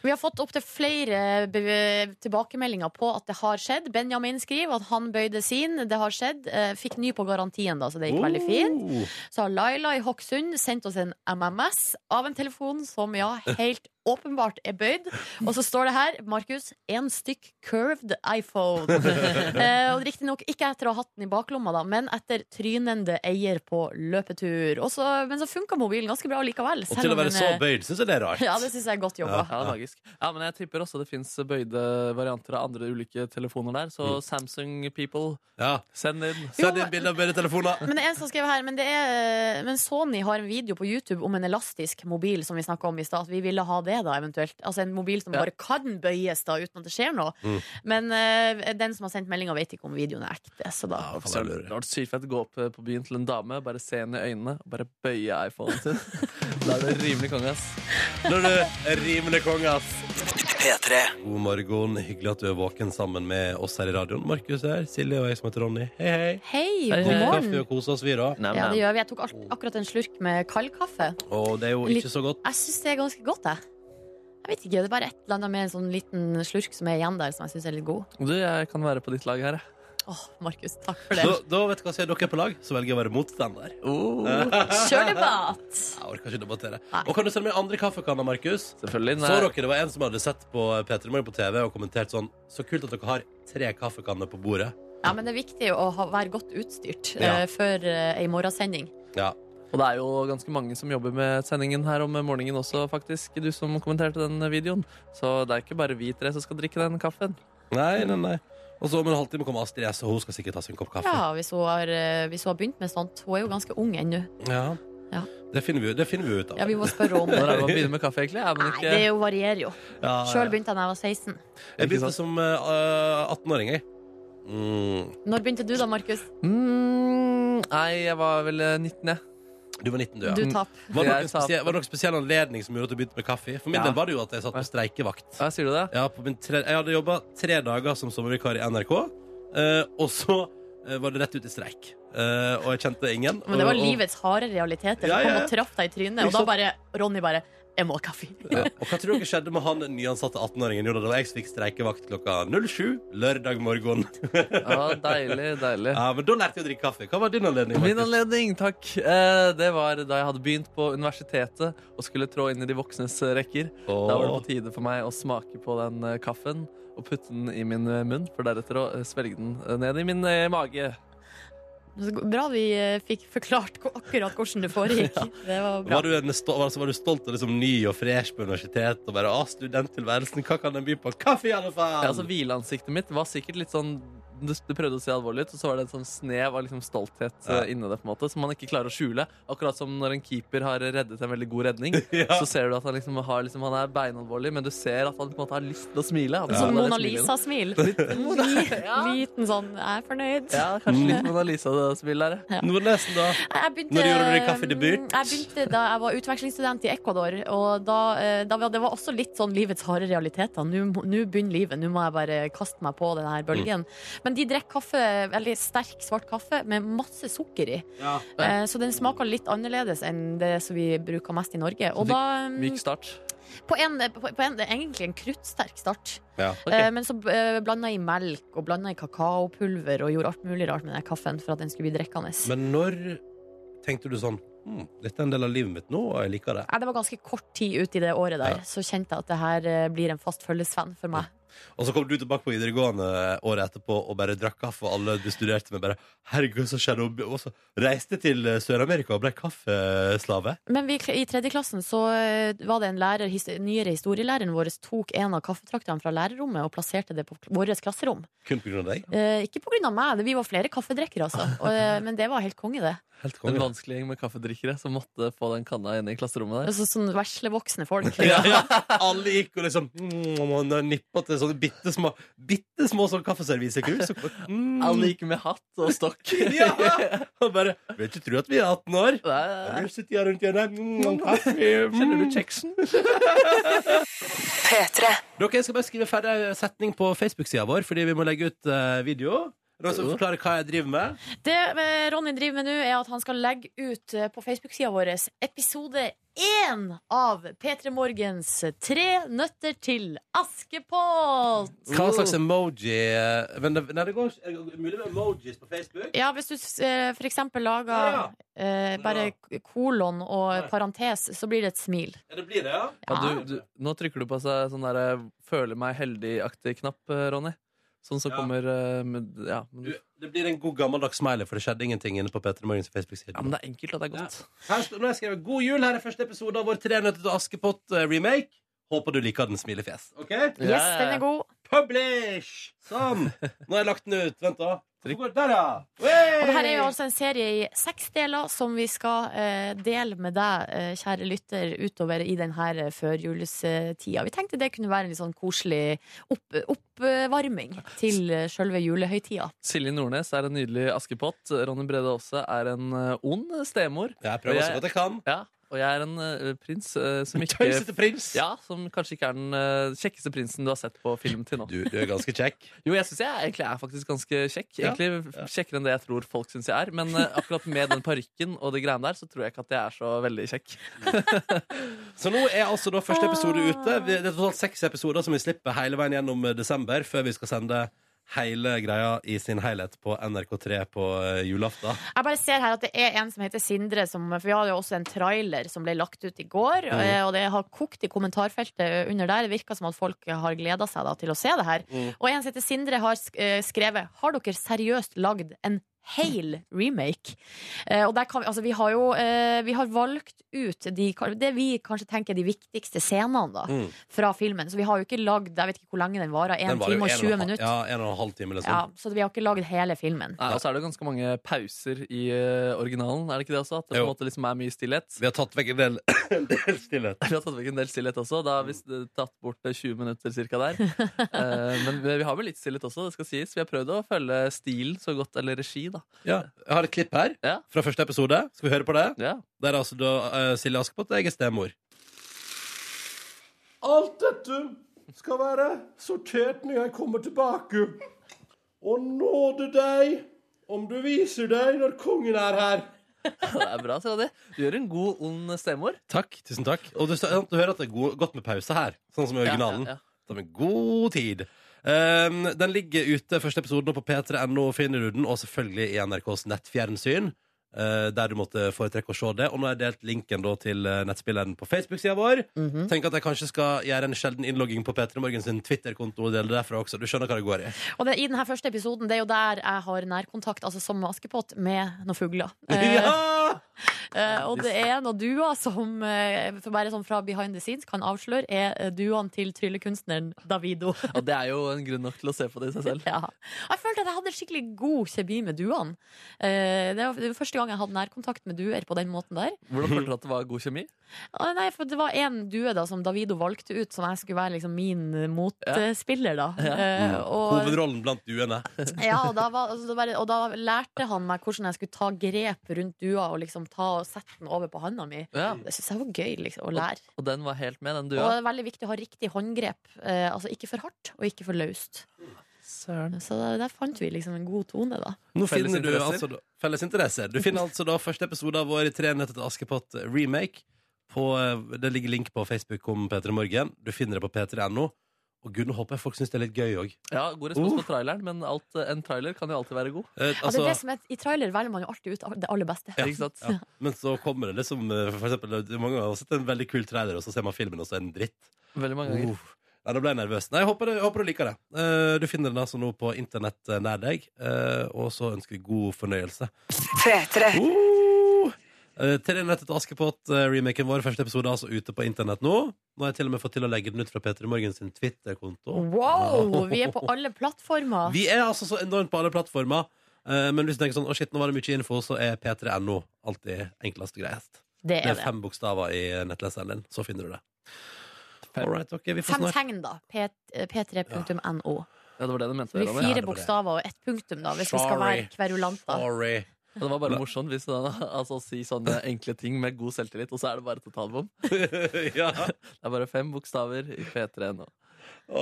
S3: Vi har fått opptil flere be- tilbakemeldinger på at det har skjedd. Benjamin skriver at han bøyde sin. Det har skjedd. Eh, Fikk ny på garantien, da, så det gikk veldig fint.
S2: Oh.
S3: Så har Laila i Hokksund sendt oss en MMS av en telefon som, ja, helt åpenbart er bøyd. Og så står det her, Markus, en stykk curved iPhone. eh, og Riktignok ikke etter å ha hatt den i baklomma, da, men etter trynende eier på løpetur. Og så- men så funka mobilen ganske bra likevel.
S2: Og til å være så
S3: er-
S2: bøyd syns jeg det er rart.
S3: eh, Ja, det syns jeg er godt jobba.
S4: Ja, det er magisk. Ja, men jeg tipper også det fins bøyde varianter av andre ulike telefoner der. Så Samsung-people,
S2: Ja.
S4: send inn.
S2: Send
S3: Jo,
S2: inn bilde av bedre telefoner.
S3: Men det er en som skriver her men, det er, men Sony har en video på YouTube om en elastisk mobil som vi snakka om i stad. at Vi ville ha det, da, eventuelt. Altså en mobil som
S4: Ja.
S3: bare kan bøyes da uten at det skjer noe.
S2: Mm.
S3: Men eh, den som har sendt meldinga, vet ikke om videoen er ekte. Så da
S2: Ja, faen,
S4: Så
S2: jeg
S4: det
S2: lurer.
S4: hadde vært sykt fett å gå opp eh, på byen til en dame, bare se henne i øynene og bare bøye iPhonen sin. Da er det rimelig konge, ass.
S2: Når du er rimelig konge, ass. God morgen. Hyggelig at du er våken sammen med oss her i radioen. Markus er her. Silje og jeg som heter Ronny. Hei, hei.
S3: Hei,
S4: Hei,
S3: god
S4: hei.
S2: Drikker kaffe
S3: morgen.
S2: og koser oss, vi, da.
S4: Nei,
S3: Ja,
S4: men-
S3: det gjør vi. Jeg tok alt, akkurat en slurk med kald kaffe.
S2: Og det er jo ikke så godt.
S3: Jeg syns det er ganske godt, jeg. Jeg vet ikke, Det er bare et eller annet med en sånn liten slurk som er igjen der, som jeg syns er litt god.
S4: Du, jeg kan være på ditt lag her, jeg.
S3: Åh, Markus, takk for det.
S2: Da, da vet du hva, sier dere er på lag, så velger jeg å være motstander.
S3: Kjør debatt!
S2: Jeg orker ikke debattere.
S3: Nei.
S2: Og kan du sende meg andre kaffekanner, Markus?
S4: Selvfølgelig.
S2: Så dere, det var en som hadde sett på P3 Morgen på TV og kommentert sånn Så kult at dere har tre kaffekanner på bordet.
S3: Ja, men det er viktig å ha, være godt utstyrt
S2: Ja.
S3: eh, før eh, ei morgensending.
S2: Ja.
S4: Og det er jo ganske mange som jobber med sendingen her om morgenen også, faktisk. Du som kommenterte den videoen. Så det er ikke bare vi tre som skal drikke den kaffen.
S2: Nei, nei, nei. Og så om en halvtime kommer Astrid S, og hun skal sikkert ta sin kopp kaffe.
S3: Ja, hvis hun, har, eh, hvis hun har begynt med sånt. Hun er jo ganske ung ennå.
S2: Ja.
S3: Ja.
S2: Det, finner vi, jo- det finner vi ut av.
S3: Ja, vi må spørre om
S4: Når
S3: det.
S4: er det man begynner med kaffe, egentlig? Er man
S3: Nei,
S4: ikke
S3: det jo varierer jo.
S2: Ja, ja.
S3: Sjøl begynte jeg da jeg var 16.
S2: Jeg
S4: Ikke
S2: begynte
S4: sant?
S2: som eh, 18-åring, jeg. Mm.
S3: Når begynte du da, Markus?
S4: Mm, nei, jeg var vel eh, 19, jeg.
S2: Du var 19, du, ja.
S3: Du tap.
S2: Var det, noen
S4: Jeg sa-
S2: spesiell, var det noen spesiell anledning som gjorde at du begynte med kaffe? For min
S4: Ja.
S2: del var det jo at jeg satt på streikevakt.
S4: Ja, sier du det?
S2: Ja, på min tre, jeg hadde jobba tre dager som sommervikar i NRK, eh, og så eh, var det rett ut i streik. Eh, og jeg kjente ingen.
S3: Men det var
S2: og, og,
S3: livets harde realiteter.
S2: Ja,
S3: Som kom
S2: ja, ja.
S3: og traff deg i trynet, og da bare Ronny bare Jeg må ha kaffe.
S2: Ja. Og hva tror dere skjedde med han nyansatte 18-åringen? Jo, da det var jeg som fikk streikevakt klokka 07 lørdag morgen.
S4: Ja, deilig, deilig.
S2: Ja, men da lærte jeg å drikke kaffe. Hva var din anledning?
S4: Min
S2: Markus?
S4: anledning, takk. Eh, Det var da jeg hadde begynt på universitetet og skulle trå inn i de voksnes eh, rekker. Da var det på tide for meg å smake på den eh, kaffen og putte den i min eh, munn, for deretter å eh, svelge den eh, ned i min eh, mage.
S3: Så Bra vi eh, fikk forklart ko- akkurat hvordan det foregikk. Det var bra.
S2: Var du, en, sto- altså, var du stolt og liksom ny og fresh på universitet og bare ah, studenttilværelsen, hva kan den by på? Kaffe, i alle fall!
S4: Ja, altså Hvileansiktet mitt var sikkert litt sånn du, du prøvde å se alvorlig ut, og så var det et sånn snev av liksom stolthet
S2: Ja.
S4: eh, inni det. på en måte Som man ikke klarer å skjule. Akkurat som når en keeper har reddet en veldig god redning.
S2: Ja.
S4: Så ser du at han liksom har liksom, Han er beinalvorlig, men du ser at han på en måte har lyst til å smile. Han,
S3: Sånn
S4: han har
S3: Mona
S4: et smil i den.
S3: Lisa-smil.
S4: Ja.
S3: Liten sånn Jeg er fornøyd.
S4: Ja, kanskje
S3: Mm.
S4: litt Mona Lisa-smil der. ja.
S2: Nordnesen, da?
S3: Jeg begynte,
S2: Når gjorde du din kaffedebut?
S3: Jeg begynte da jeg var utvekslingsstudent i Ecuador. Og da, eh, da var, det var også litt sånn livets harde realiteter. Nå må- nå begynner livet. Nå må jeg bare kaste meg på denne her
S2: Mm.
S3: bølgen. Men de drikker kaffe, veldig sterk svart kaffe med masse sukker i.
S2: Ja.
S3: Eh, Så den smaker litt annerledes enn det som vi bruker mest i Norge. Og
S4: Så
S3: da mm,
S4: Myk start.
S3: på en, på på en, det er egentlig en kruttsterk start.
S2: Ja.
S4: Ok.
S3: Eh, Men så eh, blanda jeg i melk og blanda i kakaopulver og gjorde alt mulig rart med den kaffen for at den skulle bli drikkende.
S2: Men når tenkte du sånn hm, Dette er en del av livet mitt nå, og jeg liker det.
S3: Nei, det var ganske kort tid ut i det året der,
S2: Ja.
S3: så kjente jeg at det her eh, blir en fast følgesvenn for meg.
S2: Og så kom du tilbake på videregående året etterpå og bare drakk kaffe, og alle du studerte med, bare Herregud, så skjedde hun Og så reiste til Sør-Amerika og ble kaffeslave.
S3: Men vi, i tredje klassen så eh, var det en lærer, his, nyere historielæreren vår tok en av kaffetraktene fra lærerrommet og plasserte det på vårt klasserom.
S2: Kun på grunn av deg.
S3: Eh, ikke på grunn av meg, vi var flere kaffedrekkere altså. Og, eh, men det var helt konge det.
S2: Helt
S4: En
S2: konge.
S4: vanskelig gjeng med kaffedrikkere som måtte få den kanna inne i klasserommet der.
S3: Altså, sånn veslevoksne folk.
S2: Ja, ja. Alle gikk og liksom mm, nippa til sånne bitte små, bitte små sånn kaffeservisekrus. Så, mm,
S4: Alle gikk med hatt og stokk.
S2: Ja! Og bare Vil ikke tro at vi er 18 år.
S4: Nei,
S2: Vi sitter her rundt hjørnet. Mm, kaffe, mm.
S4: Kjenner du kjeksen?
S2: Dere jeg skal bare skrive ferdig en setning på Facebook-sida vår, fordi vi må legge ut eh, video. Noen som forklarer hva jeg driver med?
S3: Det eh, Ronny driver med nå, er at han skal legge ut eh, på Facebook-sida vår episode én av P3 Morgens Tre nøtter til Askepott.
S2: Hva slags emoji eh, men det, Nei, det går ikke. er det Mulig med emojis på Facebook?
S3: Ja, hvis du eh, for eksempel lager
S2: Ja,
S3: eh, bare kolon og
S2: Ja.
S3: parentes, så blir det et smil.
S2: Ja, det blir det, ja?
S4: Ja,
S3: Ja.
S4: du, du, nå trykker du på seg sånn der 'føler meg heldig'-aktig knapp, eh, Ronny. Sånn som
S2: Ja.
S4: kommer eh, med, ja. men
S2: Du,
S4: du-
S2: det blir en god gammeldags smiley, for det skjedde ingenting inne på Peter Morgens Facebook-side.
S4: ja, men det er enkelt, og det er godt.
S2: Her står, nå har jeg skrevet 'God jul'. Her er første episode av vår Tre nøtter til Askepott-remake. Håper du liker den, smilefjes. OK?
S3: Yes, den
S4: Eh,
S3: er god.
S2: Publish! Sånn. Nå har jeg lagt den ut. Vent, da.
S4: Trykk.
S2: Hvor går- Der, ja.
S3: Og det her er jo
S2: Hey!
S3: altså en serie i seks deler som vi skal eh, dele med deg, eh, kjære lytter, utover i denne førjulstida. Vi tenkte det kunne være en litt sånn koselig opp, oppvarming til eh, sjølve julehøytida.
S4: Silje Nordnes er en nydelig askepott. Ronny Brede Aase er en eh, ond stemor.
S2: Jeg prøver så godt jeg kan.
S4: Ja, og jeg er en eh, prins eh, som ikke
S2: Tøysete prins.
S4: ja, som kanskje ikke er den eh, kjekkeste prinsen du har sett på film til nå.
S2: Du, du er ganske kjekk.
S4: Jo, jeg syns jeg egentlig er faktisk ganske kjekk.
S2: Ja,
S4: Egentlig Kjekkere enn det jeg tror folk syns jeg er. Men eh, akkurat med den parykken og de greiene der, så tror jeg ikke at jeg er så veldig kjekk.
S2: Så nå er altså da første episode ute. Vi- Det er totalt seks episoder som vi slipper hele veien gjennom eh, desember, før vi skal sende hele greia i sin helhet på NRK3 på eh, julaften.
S3: Jeg bare ser her at det er en som heter Sindre, som, for vi hadde jo også en trailer som ble lagt ut i går.
S2: Mm.
S3: Og, og det har kokt i kommentarfeltet under der. Det virker som at folk har gleda seg da, til å se det her.
S2: Mm.
S3: Og en som heter Sindre har sk- eh, skrevet Har dere seriøst lagd en hel remake? Eh, og der kan vi, altså, vi har jo eh, vi har valgt ut de, det vi kanskje tenker er de viktigste scenene da,
S2: Mm.
S3: fra filmen. Så vi har jo ikke lagd Jeg vet ikke hvor lenge den varer.
S2: Den
S3: 1
S2: varer jo
S3: time og
S2: en
S3: 20
S2: halv-
S3: minutter.
S2: Ja, en og en halv time eller
S3: Ja,
S2: sånn.
S3: så vi har ikke lagd hele filmen.
S4: Nei, Og så er det jo ganske mange pauser i eh, originalen. Er det ikke det også? At det på
S2: Jo.
S4: en måte liksom er mye stillhet.
S2: Vi har tatt vekk en del, en del stillhet.
S4: Vi har tatt vekk en del stillhet også. Da har vi s- tatt bort eh, 20 minutter cirka der. Eh, men vi vi har vel litt stillhet også, det skal sies. Vi har prøvd å følge stilen så godt, eller regi, da.
S2: Ja. Jeg har et klipp her
S4: Ja.
S2: fra første episode. Skal vi høre på det?
S4: Ja.
S2: Der er altså da eh, Silje Askepott og jeg er stemor.
S6: Alt dette skal være sortert når jeg kommer tilbake. Og nåde deg om du viser deg når kongen er her.
S4: Det er bra, Sradi. Du gjør en god, ond stemor.
S2: Takk, tusen takk. Og du, sant, du hører at det er god, godt med pause her, sånn som i originalen.
S4: Ja, ja, ja.
S2: Det er med god tid. Um, den ligger ute, første episoden, og på p3.no finner du den, og selvfølgelig i NRKs nettfjernsyn, eh, der du måtte foretrekke å se det. Og nå har jeg delt linken da, til eh, nettspilleren på Facebook-sida vår.
S3: Mhm.
S2: Tenk at jeg kanskje skal gjøre en sjelden innlogging på P3 Morgen sin Twitter-konto og dele det derfra også. Du skjønner hva det går i.
S3: Og det, I denne første episoden det er jo der jeg har nærkontakt altså som askepott med noen fugler. Eh,
S2: Ja!
S3: eh, og det er noen duer som eh, for bare sånn fra behind the scenes kan avsløre, er eh, duene til tryllekunstneren Davido.
S4: Og det er jo en grunn nok til å se på det i seg selv.
S3: ja. Jeg følte at jeg hadde skikkelig god kjemi med duene. Eh, det var første gang jeg hadde nærkontakt med duer på den måten der.
S4: Hvordan følte du at det var god kjemi?
S3: Ah, Nei, for Det var en due da som Davido valgte ut, som jeg skulle være liksom min eh, motspiller. da Eh, og-
S2: Mm. Hovedrollen blant duene.
S3: Ja, og da, var, altså, det var, og da lærte han meg hvordan jeg skulle ta grep rundt dua og liksom ta og sette den over på handa mi.
S4: Ja.
S3: Det syns jeg var gøy liksom, å lære.
S4: Og den var helt med, den
S3: Og
S4: dua.
S3: det er veldig viktig å ha riktig håndgrep. Eh, altså ikke for hardt og ikke for løst.
S4: Søren.
S3: Så der, der fant vi liksom en god tone, da.
S2: Nå
S4: Felles
S2: finner du
S4: interesser.
S2: altså da- Felles interesser. Du finner altså da første episode av vår Tre nøtter til Askepott remake. På, eh, det ligger link på Facebook om P3 Morgen. Du finner det på p3.no. Og gud, nå håper jeg folk syns det er litt gøy òg.
S4: Ja, god respons
S2: Oh.
S4: på traileren, men alt, en trailer kan jo alltid være god.
S2: Eh,
S3: Ja, det er
S2: altså,
S3: det som er, I trailer velger man jo alltid ut det aller beste.
S4: Ikke sant?
S2: ja. Men så kommer det liksom eh, for eksempel, det er Mange ganger har sett en veldig kul trailer, og så ser man filmen, og så er den dritt.
S4: Veldig mange ganger.
S2: Uff. Nei, da ble jeg nervøs. Nei, jeg håper, jeg håper du liker det. Eh, Du finner den altså nå på internett eh, nær deg, eh, og så ønsker vi god fornøyelse. Uh, eh, Til den nettet til Askepott, eh, remaken vår, første episode er altså ute på internett nå. Nå har jeg til og med fått til å legge den ut fra Peter Morgen sin Twitter-konto.
S3: Wow! Vi er på alle plattformer.
S2: Vi er altså så enormt på alle plattformer, eh, men hvis du tenker sånn, å shit, nå var det mye info, så er p3.no alltid enklest og greiest.
S3: det
S2: Det
S3: er
S2: er
S3: det.
S2: fem bokstaver i nettleseren din, så finner du det.
S4: Fem.
S2: All right, ok, vi får
S3: Fem
S2: snart.
S3: tegn, da. P- P3.no.
S4: Ja, det var det du mente.
S3: Det blir
S4: Ronny.
S2: det var
S3: fire
S2: det.
S3: bokstaver og ett punktum, da, hvis vi skal
S2: Sorry.
S3: være kverulanter.
S2: Sorry.
S4: Ja, Det var bare morsomt hvis han altså, si sånne enkle ting med god selvtillit, og så er det bare totalbom.
S2: ja.
S4: Det er bare fem bokstaver i P3 nå.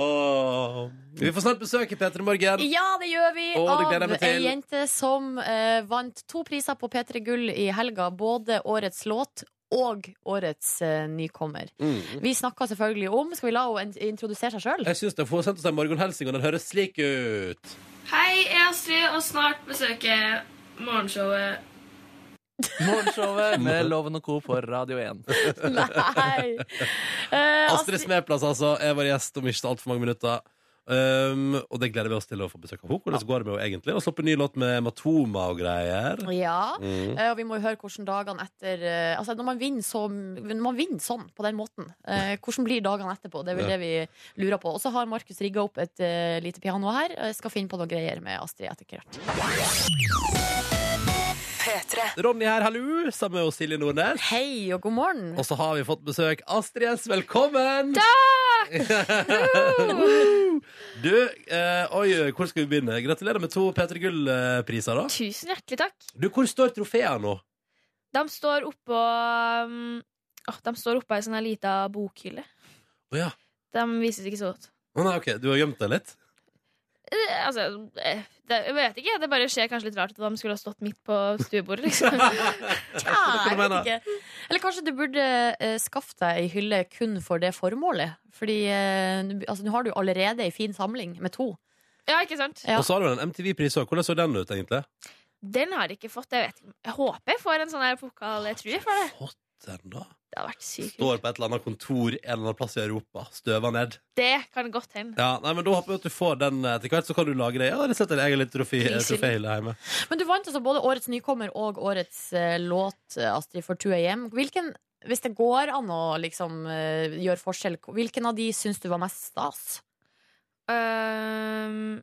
S2: Åh. Vi får snart besøk i P3 Morgen.
S3: Ja, det gjør vi!
S2: Å, det gleder jeg
S3: av
S2: meg
S3: ei
S2: til.
S3: jente som eh, vant to priser på P3 Gull i helga. Både årets låt og årets eh, nykommer.
S2: Mm.
S3: Vi snakka selvfølgelig om Skal vi la henne in- introdusere seg sjøl?
S2: Jeg syns det. Hun har sendt oss en morgenhelsing, og den høres slik ut.
S7: Hei, jeg er Astrid, og snart besøker morgenshowet
S4: Morgenshowet med Loven og Co. på Radio 1.
S3: Nei! Eh,
S2: Astrid Smeplass, altså, er vår gjest om ikke så altfor mange minutter. Um, og det gleder vi oss til å få besøk av henne. Hvordan går det med henne egentlig? Og sluppet ny låt med Matoma og greier.
S3: altså, Ja.
S2: Mm.
S3: Eh, Og vi må jo høre hvordan dagene etter eh, Altså Når man vinner, så, når man vinner sånn, på den måten, eh, hvordan blir dagene etterpå? Det er vel
S2: Ja.
S3: det vi lurer på. Og så har Markus rigga opp et eh, lite piano her. Jeg skal finne på noen greier med Astrid etter hvert.
S2: Ronny her, hallo, sammen med oss Silje Nordnes.
S3: Hei og god morgen.
S2: Og så har vi fått besøk. Astrid S, velkommen! du, eh, oi, hvor skal vi begynne? Gratulerer med to P3 Gull-priser, da.
S8: Tusen hjertelig takk.
S2: Du, hvor står trofeene nå?
S8: De står oppå um, åh, De står oppå ei sånn her lita bokhylle.
S2: Å ja.
S8: De vises ikke så godt.
S2: Å nei, ok, du har gjemt deg litt?
S8: Eh, Altså, eh, det, jeg vet ikke. Det bare ser kanskje litt rart ut at de skulle ha stått midt på stuebordet, liksom.
S3: Tja, jeg vet ikke. Eller kanskje du burde eh, skaffe deg ei hylle kun for det formålet. Fordi eh, nå- altså, nå har du allerede ei fin samling med to.
S8: Ja, ikke sant?
S3: Ja.
S2: Og så har du en MTV-pris òg. Hvordan så den ut, egentlig?
S8: Den har jeg ikke fått. Jeg, vet, ikke. jeg håper jeg får en sånn her pokal. Jeg tror jeg får det.
S2: Fått den, da?
S8: Det hadde vært sykt. kult.
S2: Står på et eller annet kontor en eller annen plass i Europa. Støver ned.
S8: Det kan godt hende.
S2: Ja, nei, men Da håper jeg at du får den etter hvert, så kan du lage deg ja, rett og slett en egen liten trofé-
S8: Prishylle.
S2: troféhylle hjemme.
S3: Men du vant altså både årets nykommer og årets eh, låt, eh, Astrid, for 2 AM. Hvilken, hvis det går an å liksom eh, gjøre forskjell, hvilken av de syns du var mest stas?
S8: Um,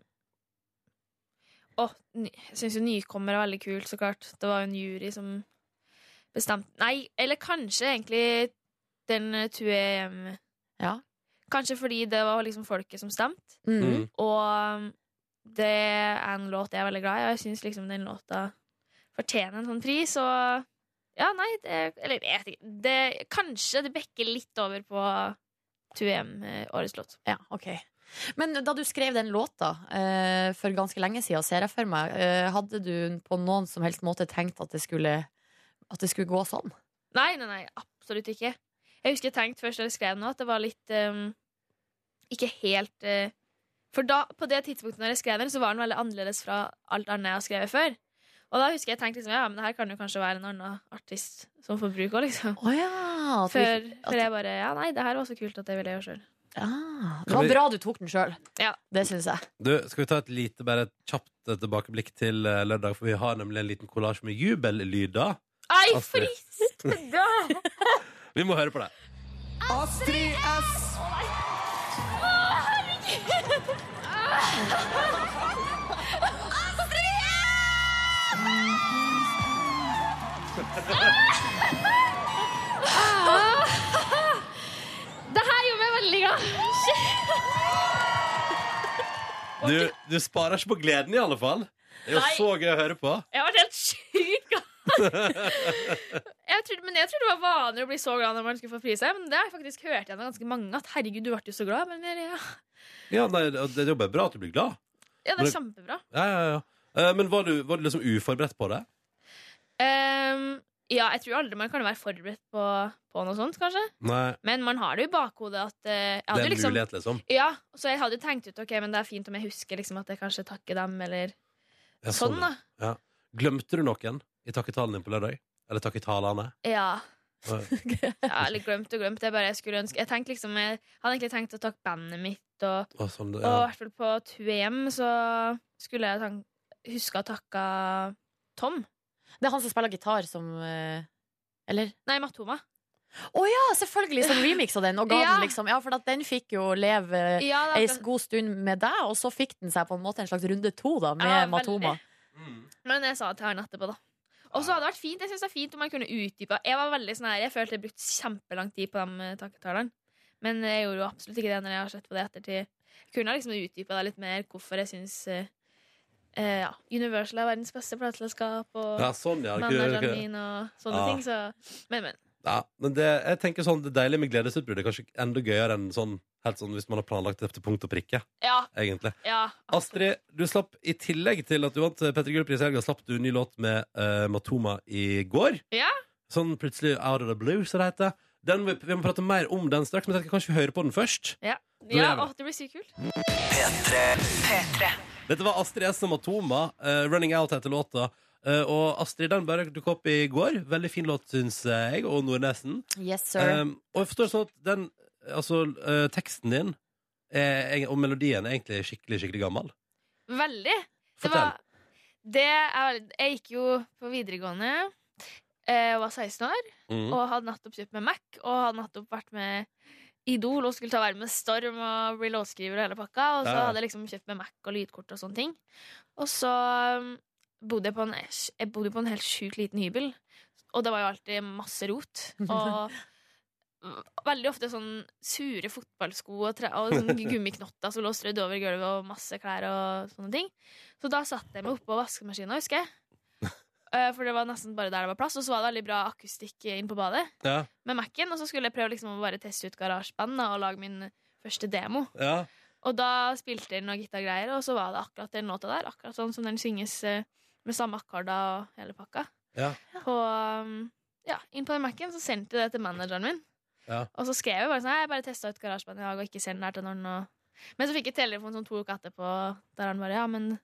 S8: å, ny- jeg syns jo nykommer er veldig kult, så klart. Det var jo en jury som bestemte Nei, eller kanskje egentlig den eh, 2EM.
S3: Ja.
S8: Kanskje fordi det var liksom folket som stemte.
S2: Mm.
S8: Og det er en låt jeg er veldig glad i, og jeg syns liksom den låta fortjener en sånn pris. Og ja, nei, det Eller jeg vet ikke. Det, kanskje det bekker litt over på 2EM, eh, årets låt.
S3: Ja, ok Men da du skrev den låta eh, for ganske lenge siden, ser jeg for meg, eh, hadde du på noen som helst måte tenkt at det skulle, at det skulle gå sånn?
S8: Nei, nei, nei, absolutt ikke. Jeg husker jeg tenkte først da jeg skrev den, at det var litt ehm, Ikke helt eh, For da, på det tidspunktet når jeg skrev den, så var den veldig annerledes fra alt annet jeg har skrevet før. Og da husker jeg tenkte liksom, ja, men det her kan jo kanskje være en annen artist som får bruk òg, liksom.
S3: Å ja! at du
S8: Før,
S3: ikke-
S8: før jeg bare Ja, nei, det her var så kult at det ville jeg gjøre sjøl.
S3: ah, Det
S2: Kan
S3: var
S2: vi-
S3: bra du tok den sjøl.
S8: Ja.
S3: Det syns jeg.
S2: Du, Skal vi ta et lite, bare et kjapt eh, tilbakeblikk til eh, lørdag? For vi har nemlig en liten kollasj med jubellyder.
S8: Ei,
S2: Astrid.
S8: fristende!
S2: Vi må høre på det.
S8: Det her gjorde meg veldig glad.
S2: Du, du sparer ikke på gleden, i alle fall. Det er jo
S8: Nei.
S2: så gøy å høre på.
S8: Jeg ble helt sykt glad. jeg trodde, men jeg trodde det var vanlig å bli så glad når man skulle få prise. Men det har jeg faktisk hørt igjen av ganske mange. At herregud, du ble jo så glad. Men jeg- ja,
S2: Ja, nei, Det det er jo bare bra at du blir glad.
S8: ja det er kjempebra.
S2: Ja, ja, ja. Eh, Men var du, var du liksom uforberedt på det?
S8: Ehm, ja, jeg tror aldri man kan være forberedt på, på noe sånt, kanskje.
S2: Nei,
S8: Men man har det jo i bakhodet at eh, jeg
S2: Det
S8: hadde
S2: er en
S8: jo liksom,
S2: mulighet, liksom.
S8: Ja, så jeg hadde jo tenkt ut Ok, men det er fint om jeg husker liksom, at jeg kanskje takker dem, eller
S2: Ja,
S8: sånn, da.
S2: Glemte du noen i takketalen din på lørdag? Eller takketalene?
S8: Ja.
S2: Eh,
S8: ja. Eller glemt og glemt. Det er bare jeg skulle ønske Jeg, tenkte liksom, jeg hadde egentlig tenkt å takke bandet mitt og
S2: og sånn,
S8: Og i
S2: ja.
S8: hvert fall på Tuem så skulle jeg tan- huske å takke Tom.
S3: Det er han som spiller gitar, som eh, Eller?
S8: Nei, Matoma.
S3: Ja, selvfølgelig, som remiksa den og ga
S8: Ja.
S3: den liksom Ja, for at den fikk jo leve
S8: Ja, det
S3: ei
S8: er akkurat-
S3: god stund med deg, og så fikk den seg på en måte en slags runde to da, med
S8: Ja, veldig.
S3: Matoma.
S8: Men jeg sa det til han etterpå, da. Og så hadde det vært fint. Jeg synes det er fint om man kunne utdype. Jeg var veldig sånn her, jeg følte jeg brukte kjempelang tid på de eh, takketalene. Men jeg gjorde jo absolutt ikke det når jeg har sett på det ettertid. Jeg kunne ha liksom utdypa det litt mer, hvorfor jeg syns eh, eh, ja, Universal er verdens beste plateselskap, og
S2: ja, Ah. sånn, ja.
S8: manageren min og sånne
S2: Ja.
S8: ting. Så. Men, men.
S2: Ja, men det, jeg tenker sånn, det deilige med gledesutbrudd er kanskje enda gøyere enn sånn, helt sånn hvis man har planlagt det til punkt og prikke.
S8: Ja,
S2: egentlig.
S8: ja.
S2: Astrid, du slapp i tillegg til at du vant eh, Petter Gull-pris i helga, slapp du en ny låt med eh, Matoma i går.
S8: Ja.
S2: Sånn plutselig Out of the Blue, som det heter. Den, vi, vi må prate mer om den straks, men jeg tenker kanskje vi hører på den først.
S8: Ja,
S2: er
S8: ja
S2: det.
S8: å, det blir sykt kult.
S2: Dette var Astrid S. og Matoma. eh, 'Running Out' heter låta. Eh, og Astrid, den bare dukket opp i går. Veldig fin låt, syns jeg, og Nordnesen.
S3: Yes, sir.
S2: Um, og jeg forstår sånn at den Altså, uh, teksten din er, og melodien er egentlig skikkelig, skikkelig gammel.
S8: Veldig. Det
S2: Fortell.
S8: var det er, Jeg gikk jo på videregående eh, og var 16 år.
S2: Mhm.
S8: Og hadde nettopp kjøpt meg Mac, og hadde nettopp vært med Idol og skulle ta verden med storm og bli låtskriver og hele pakka. Og så
S2: Ja, ja.
S8: hadde jeg liksom kjøpt meg Mac og lydkort og sånne ting. Og så um, bodde jeg på en, jeg bodde på en helt sjukt liten hybel, og det var jo alltid masse rot. Og veldig ofte sånn sure fotballsko og, tre, og sånn gummiknotter som lå strødd over gulvet, og masse klær og sånne ting. Så da satte jeg meg oppå vaskemaskina, husker jeg. Eh, For det var nesten bare der det var plass, og så var det veldig bra akustikk inn på badet
S2: Ja,
S8: med Mac-en, og så skulle jeg prøve liksom å bare teste ut GarageBand da, og lage min første demo.
S2: ja.
S8: Og da spilte jeg noen gitargreier, og så var det akkurat den låta der. Akkurat sånn som den synges eh, med samme akkorder og hele pakka.
S2: Ja.
S8: Og um, ja, inn på den Mac-en så sendte jeg det til manageren min.
S2: Ja.
S8: Og så skrev jeg bare sånn Nei, jeg bare testa ut GarageBand i dag, og ikke send den her til noen. Og... Men så fikk jeg telefon sånn to uker etterpå, der han bare Ja, men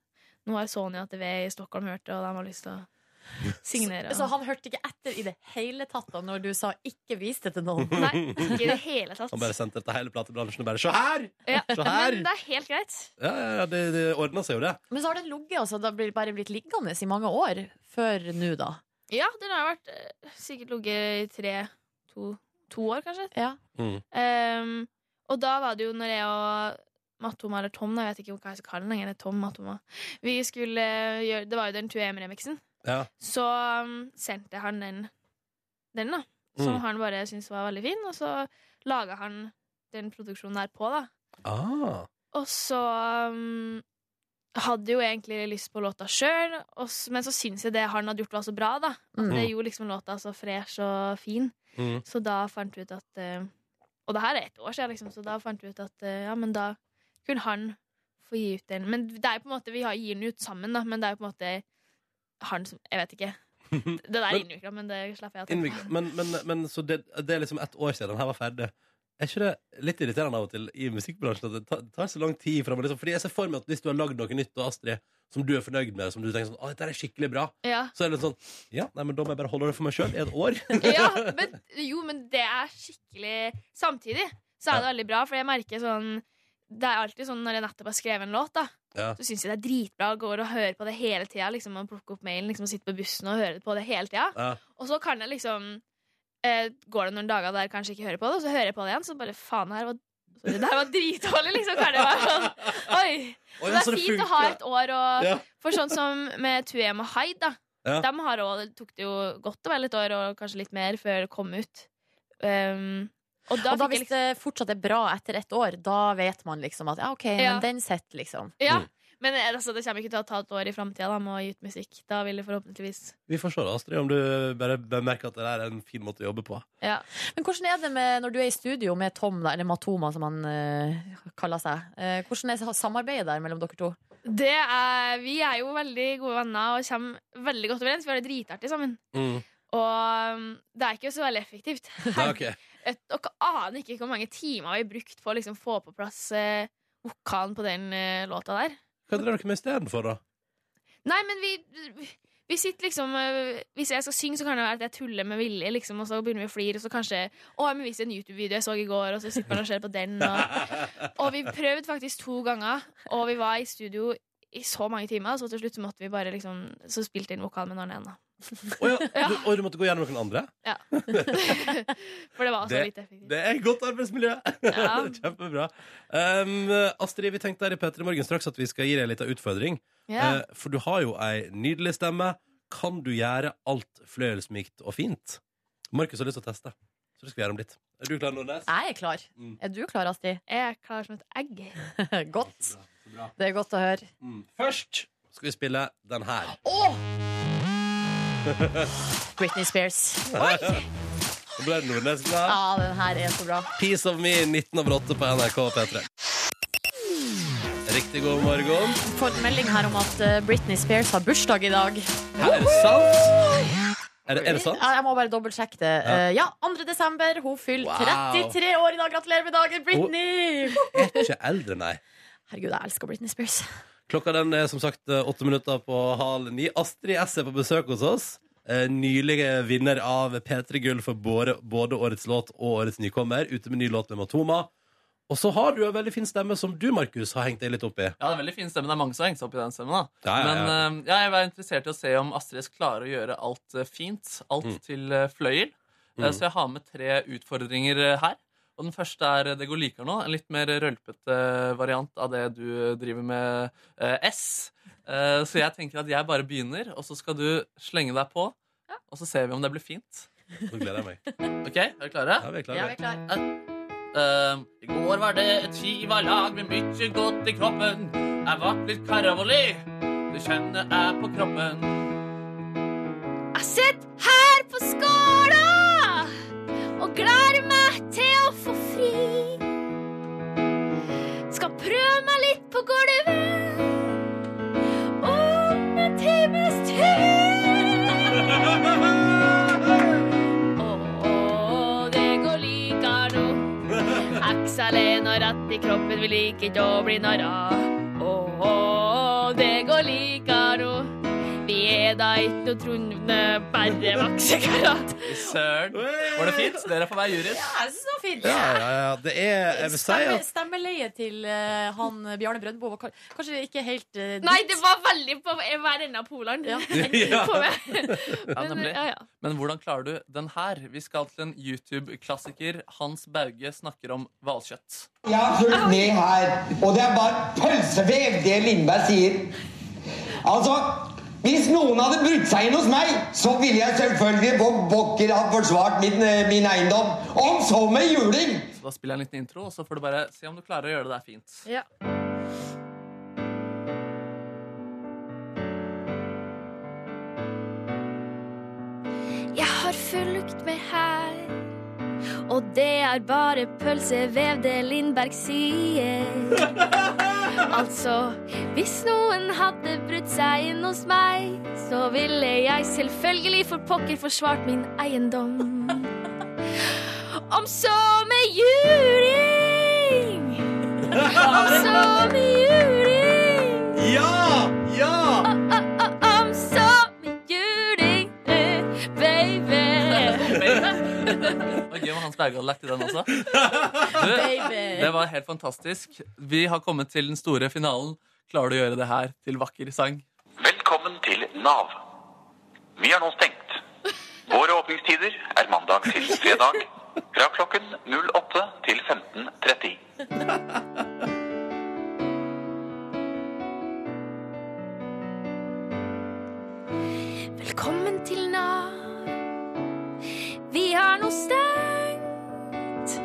S8: nå har Sony ATV i Stockholm hørt det, og de har lyst til å signere.
S3: Så han hørte ikke etter i det hele tatt da når du sa 'ikke vis det til noen'?
S8: Nei, ikke i det hele tatt.
S2: Han bare sendte dette hele platebransjen og bare Se her!
S8: Ja.
S2: Se her!
S8: Men det er helt greit.
S2: Ja, ja, ja det, det ordna seg jo, det.
S3: Men så har den ligget, altså. Det har blitt- bare blitt liggende i mange år før nå, da.
S8: Ja, den har vært eh, sikkert ligget i tre, to, to år, kanskje.
S3: Ja.
S2: Mm.
S8: Ehm, og da var det jo når jeg og Mattoma eller Tom, da, jeg vet ikke hva jeg skal kalle den lenger, det er Tom Mattoma Vi skulle eh, gjøre Det var jo den 2M-remixen.
S2: Ja.
S8: Så um, sendte han den, den da, som
S2: Mm.
S8: han bare syntes var veldig fin, og så laga han den produksjonen der på, da.
S2: Ah.
S8: Og så um, hadde jo egentlig lyst på låta sjøl, men så syns jeg det han hadde gjort, var så bra. da At
S3: Mm.
S8: Det gjorde liksom låta så fresh og fin.
S2: Mm.
S8: Så da fant vi ut at eh, Og det her er ett år siden, liksom, så da fant vi ut at eh, ja, men da kunne han få gi ut den. Men det er jo på en måte vi har gir den ut sammen, da, men det er jo på en måte han som Jeg vet ikke. Det der er
S2: Men-
S8: innvikla, men det slapper jeg av. til.
S2: Innvikla. Men, men, men så det, det er liksom ett år siden den her var ferdig. Er ikke det litt irriterende av og til i musikkbransjen at det tar, tar så lang tid? Fra, liksom, fordi jeg ser for meg at hvis du har lagd noe nytt, og Astrid, som du er fornøyd med, som du tenker sånn Å, dette her er skikkelig bra,
S8: Ja.
S2: så er det litt sånn Ja, nei, men da må jeg bare holde det for meg sjøl i et år.
S8: Ja, men, jo, men det er skikkelig Samtidig så er det veldig bra, for jeg merker sånn Det er alltid sånn når jeg nettopp har skrevet en låt, da,
S2: Ja.
S8: så syns jeg det er dritbra. og Går og hører på det hele tida. Liksom, man plukker opp mailen liksom, og sitter på bussen og hører på det hele tida.
S2: Ja.
S8: Og så kan jeg liksom eh, Går det noen dager der jeg kanskje ikke hører på det, og så hører jeg på det igjen, så bare faen, det her var sorry, det her var dritdårlig, liksom. Kan det være sånn? Oi.
S2: Å,
S8: Så
S2: ja,
S8: det
S2: så
S8: er
S2: det
S8: fint å
S2: funker.
S8: ha et år og
S2: Ja.
S8: For sånn som med 2M og Hyde, da.
S2: Ja.
S8: De har også, det tok det jo godt og vel et år, og kanskje litt mer, før det kom ut. Um, og da
S3: og da
S8: fikk jeg
S3: hvis
S8: liksom
S3: det fortsatt er bra etter ett år, da vet man liksom at ja, OK,
S8: Ja.
S3: men den sitter, liksom.
S8: Ja.
S2: Mm.
S8: Men eh, altså, det kommer ikke til å ta et år i framtida med å gi ut musikk. Da vil det forhåpentligvis
S2: Vi får se, da, Astrid, om du bare bemerker at det der er en fin måte å jobbe på.
S8: ja.
S3: Men hvordan er det med, når du er i studio med Tom, da, eller Matoma som han eh, kaller seg, eh, hvordan er samarbeidet der mellom dere to?
S8: det er, Vi er jo veldig gode venner og kommer veldig godt overens. Vi har det dritartig sammen.
S2: Mm.
S8: Og um, det er ikke så veldig effektivt.
S2: Nei, ok.
S8: Et, dere aner ikke hvor mange timer vi har brukt på å liksom få på plass eh, vokalen på den eh, låta der.
S2: Hva drev dere med istedenfor, da?
S8: Nei, men vi, vi sitter liksom øh, Hvis jeg skal synge, så kan det være at jeg tuller med vilje, liksom, og så begynner vi å flire, og så kanskje Å, jeg må vise en YouTube-video jeg så i går, og så sitter man og ser på den, og Og vi prøvde faktisk to ganger, og vi var i studio i så mange timer, så til slutt så måtte vi bare liksom Så spilte jeg inn vokal med en annen, da.
S2: Å ja, du, og du måtte gå gjennom noen andre?
S8: For det var så
S2: Det-
S8: litt effektivt.
S2: Det er et godt arbeidsmiljø!
S8: Ja.
S2: Kjempebra. Um, Astrid, vi tenkte her i Petter i morgen straks at vi skal gi deg en liten utfordring.
S8: Ja.
S2: Eh, for du har jo ei nydelig stemme. Kan du gjøre alt fløyelsmykt og fint? Markus har lyst til å teste, så det skal vi gjøre om litt. Er du klar, Nordnes?
S3: Jeg er klar.
S2: Mm.
S3: Er du klar, Astrid?
S8: Jeg er klar som et egg.
S3: godt.
S2: Så bra.
S3: Det er godt å høre.
S2: Mm. Først skal vi spille den her.
S3: Britney Spears.
S2: Så ble det Nordnes glad.
S3: Ja, den her er så bra.
S2: Piece of me 19 over 8 på NRK P3. Riktig god morgen.
S3: Får en melding her om at eh, Britney Spears har bursdag i dag.
S2: Her er det sant. Er det, er det sant?
S3: Ja, jeg må bare dobbeltsjekke det.
S2: Ja.
S3: Eh, Ja, 2. desember. Hun fyller
S2: Wow.
S3: 33 år i dag. Gratulerer med dagen, Britney!
S2: Jeg er ikke eldre, nei.
S3: Herregud, jeg elsker Britney Spears.
S2: Klokka den er som sagt eh, åtte minutter på halv ni. Astrid S er på besøk hos oss. Eh, Nylig vinner av P3 Gull for både, både årets låt og årets nykommer. Ute med ny låt med Matoma. Og så har du en veldig fin stemme som du, Markus, har hengt deg litt opp i.
S4: Ja, det er veldig fin stemme. Det er mange som har hengt seg opp i den stemmen. da.
S2: Ja, ja, ja.
S4: Men eh, ja, jeg var interessert i å se om Astrid S klarer å gjøre alt eh, fint. Alt
S2: Mm.
S4: til eh, fløyel. Eh,
S2: Mm.
S4: Så jeg har med tre utfordringer eh, her. Og den første er eh, det går likere nå. En litt mer rølpete variant av det du driver med eh, S. Eh, Så jeg tenker at jeg bare begynner, og så skal du slenge deg på. Og så ser vi om det blir fint.
S2: Nå gleder jeg meg.
S4: OK, er dere klare?
S2: Ja, vi er klare.
S3: Ja, vi er klar.
S4: Ehm, I går var det et skivalag med mye godt i kroppen. Jeg ble litt karavoli. Det kjenner jeg på kroppen.
S8: Jeg sitter her på skåla og gleder meg til å få fri. Skal prøve meg litt på gulvet om en times tid. Åh, det går likar nå. Excelen har rett i kroppen, vi liker ikke å bli narra. Åh, det går likar nå. Vi er da ikke noe trondende, bare vaksekarer.
S4: Fy Søren. Var det fint? Dere får være jurist.
S3: Ja, jeg synes det var fint.
S2: Ja, ja, ja. Det er Jeg vil si
S3: Stemme,
S2: at
S3: stemmeleie til eh, han eh, Bjarne Brøndbo var ka- kanskje ikke helt eh, dit.
S9: Nei, det var veldig på hver ende av polene.
S3: Ja.
S9: På
S2: ja.
S9: meg. Men,
S4: nemlig.
S9: ja, ja.
S4: Men hvordan klarer du den her? Vi skal til en YouTube-klassiker. Hans Bauge snakker om hvalkjøtt.
S10: Jeg har fulgt med her, og det er bare pølsevev, det Lindberg sier. Altså, hvis noen hadde brutt seg inn hos meg, så ville jeg selvfølgelig på bokker ha forsvart min, eh, min eiendom. Om så med juling!
S4: Så da spiller jeg en liten intro, og så får du bare se om du klarer å gjøre det der fint.
S3: Ja.
S8: Jeg har fulgt med her, og det er bare pølsevev det Lindberg sier. Altså, hvis noen hadde brutt seg inn hos meg, så ville jeg selvfølgelig for pokker forsvart min eiendom. Om så med juling! Om så med juling!
S2: Ja! Ja!
S8: I'm so juling, eh, baby.
S4: Det var gøy om Hans Berge hadde lagt i den også. Du,
S3: Baby.
S4: det var helt fantastisk. Vi har kommet til den store finalen. Klarer du å gjøre det her til vakker sang?
S11: Velkommen til NAV. Vi er nå stengt. Våre åpningstider er mandag til fredag fra klokken 08 til 15.30.
S8: Velkommen til Nav. Vi har nå stengt.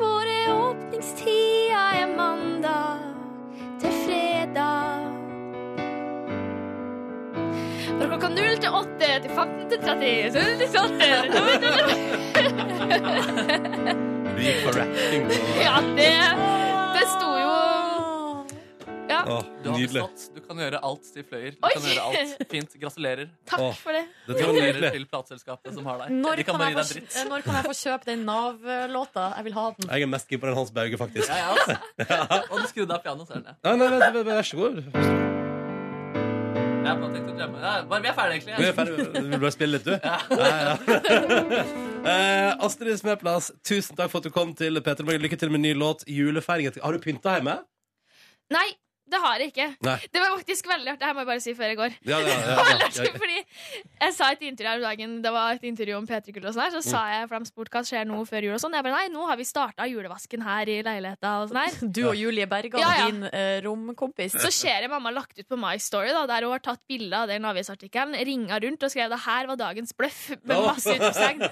S8: Våre åpningstida er mandag til fredag. Fra klokka 0 til 8 til 15 til 30. Så er det litt sånn. Da vet du det.
S2: Du gikk for rapping. og-
S8: Ja, det, det sto jo Ja,
S2: Å,
S4: Du har
S2: nydelig.
S4: bestått. Du kan gjøre alt, sier Fløyer. Du
S8: Oi!
S4: kan gjøre alt. Fint. Gratulerer.
S2: Åh.
S8: takk for det.
S2: Dette var
S4: Gratulerer
S2: nydelig.
S4: til plateselskapet som har deg.
S3: Når
S4: De kan
S3: kan,
S4: bare
S3: jeg
S4: gi
S3: få,
S4: deg dritt.
S3: når kan jeg få kjøpe den Nav-låta? Jeg vil ha den.
S2: Jeg er mest keen på den Hans Bauge, faktisk.
S4: Ja, ja, altså. Og du skrudde av pianoet, ser den, ja.
S2: Nei, nei, nei, vær- vær så god.
S4: Jeg har bare tenkt å drømme. Ja, bare, vi er ferdige,
S2: Vi er
S4: egentlig.
S2: ferdig. Du vil bare spille litt, du? Ja, ja. Eh, Astrid Smeplass, tusen takk for at du kom til Peter Morgen. Lykke til med ny låt. Julefeiring. Har du pynta hjemme?
S9: Nei, det har jeg ikke.
S2: Nei.
S9: Det var faktisk veldig artig. Det her må jeg bare si før jeg går.
S2: Ja, ja, ja,
S9: Det var
S2: ja,
S9: litt
S2: ja.
S9: artig, Fordi jeg sa et intervju her om dagen Det var et intervju om P3 Gull og sånn her Så
S2: Mm.
S9: sa jeg, for de spurte hva skjer nå før jul og sånn Jeg bare, nei, nå har vi startet julevasken her i leiligheta og sånn her
S3: Du og Julie Berga,
S9: Ja, ja.
S3: din eh, romkompis.
S9: Så ser jeg mamma lagt ut på My Story da, Der hun har tatt bilder av den avisartikkelen Ringet rundt og skrev Det her var dagens bløff Med
S2: Ja.
S9: masse utropstegn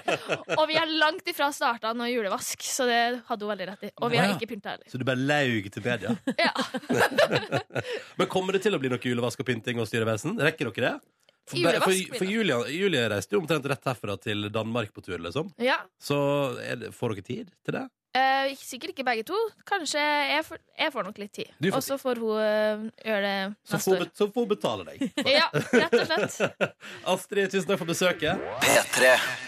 S9: Og vi er langt ifra startet noe julevask Så det hadde hun veldig rett i Og vi har
S2: Ja.
S9: ikke pyntet heller
S2: Så du bare laug til media?
S9: Ja.
S2: Men kommer det til å bli noe julevask og pynting og styrevesen? Rekker dere det? For,
S8: Julevask
S2: for,
S8: blir
S2: for
S8: det.
S2: Julia, Julia reiste jo omtrent rett herfra til Danmark på tur, liksom.
S8: Ja.
S2: Så er det, får dere tid til det?
S8: Eh, ikke- sikkert ikke begge to. Kanskje jeg får, jeg får nok litt tid.
S2: Du får
S8: Og så får hun eh, gjøre det
S2: Så
S8: neste
S2: får,
S8: år.
S2: be- så får hun betale deg.
S8: Ja, rett og slett.
S2: Astrid, tusen takk for besøket.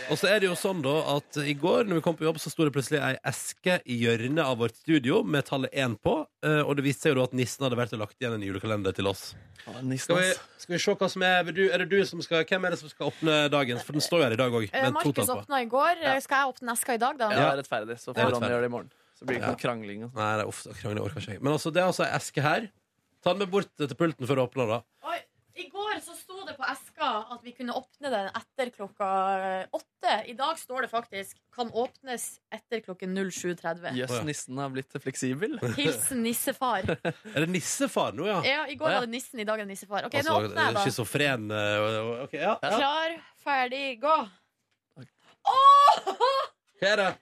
S2: Og så er det jo sånn da at i går når vi kom på jobb, så sto det plutselig ei eske i hjørnet av vårt studio med tallet 1 på. eh, Og det viste seg jo da at nissen hadde vært og lagt igjen en julekalender til oss. Skal vi, skal vi se hva som er vil du, Er det du som skal Hvem er det som skal åpne dagens? For den står jo her i dag òg.
S3: Eh, Markus åpna i går.
S2: Ja.
S3: Skal jeg åpne eska i dag, da?
S4: Ja, det er rettferdig. Så
S2: Det er
S4: får Ronny
S2: rettferdig.
S4: gjøre det i morgen. Så blir det ikke
S2: Ja.
S4: noe krangling. og sånn.
S2: Nei, det er ofte krangling orker ikke jeg. Men altså, det er altså ei eske her. Ta den med bort til pulten før du åpner, da.
S3: Oi, I går så sto det på eska at vi kunne åpne den etter klokka eh, åtte. I dag står det faktisk 'kan åpnes etter klokken 07.30'.
S4: Jøss, nissen har blitt fleksibel.
S3: Hilsen nissefar.
S2: Er det nissefar nå, ja?
S3: Ja, I går
S2: Å, ja.
S3: var det nissen, i dag er det nissefar. Eh, Ok,
S2: Altså,
S3: Nå åpner jeg, da.
S2: Schizofren eh, og- og- ok, ja, ja.
S3: Klar, ferdig, gå. Åh!
S2: Hva er det?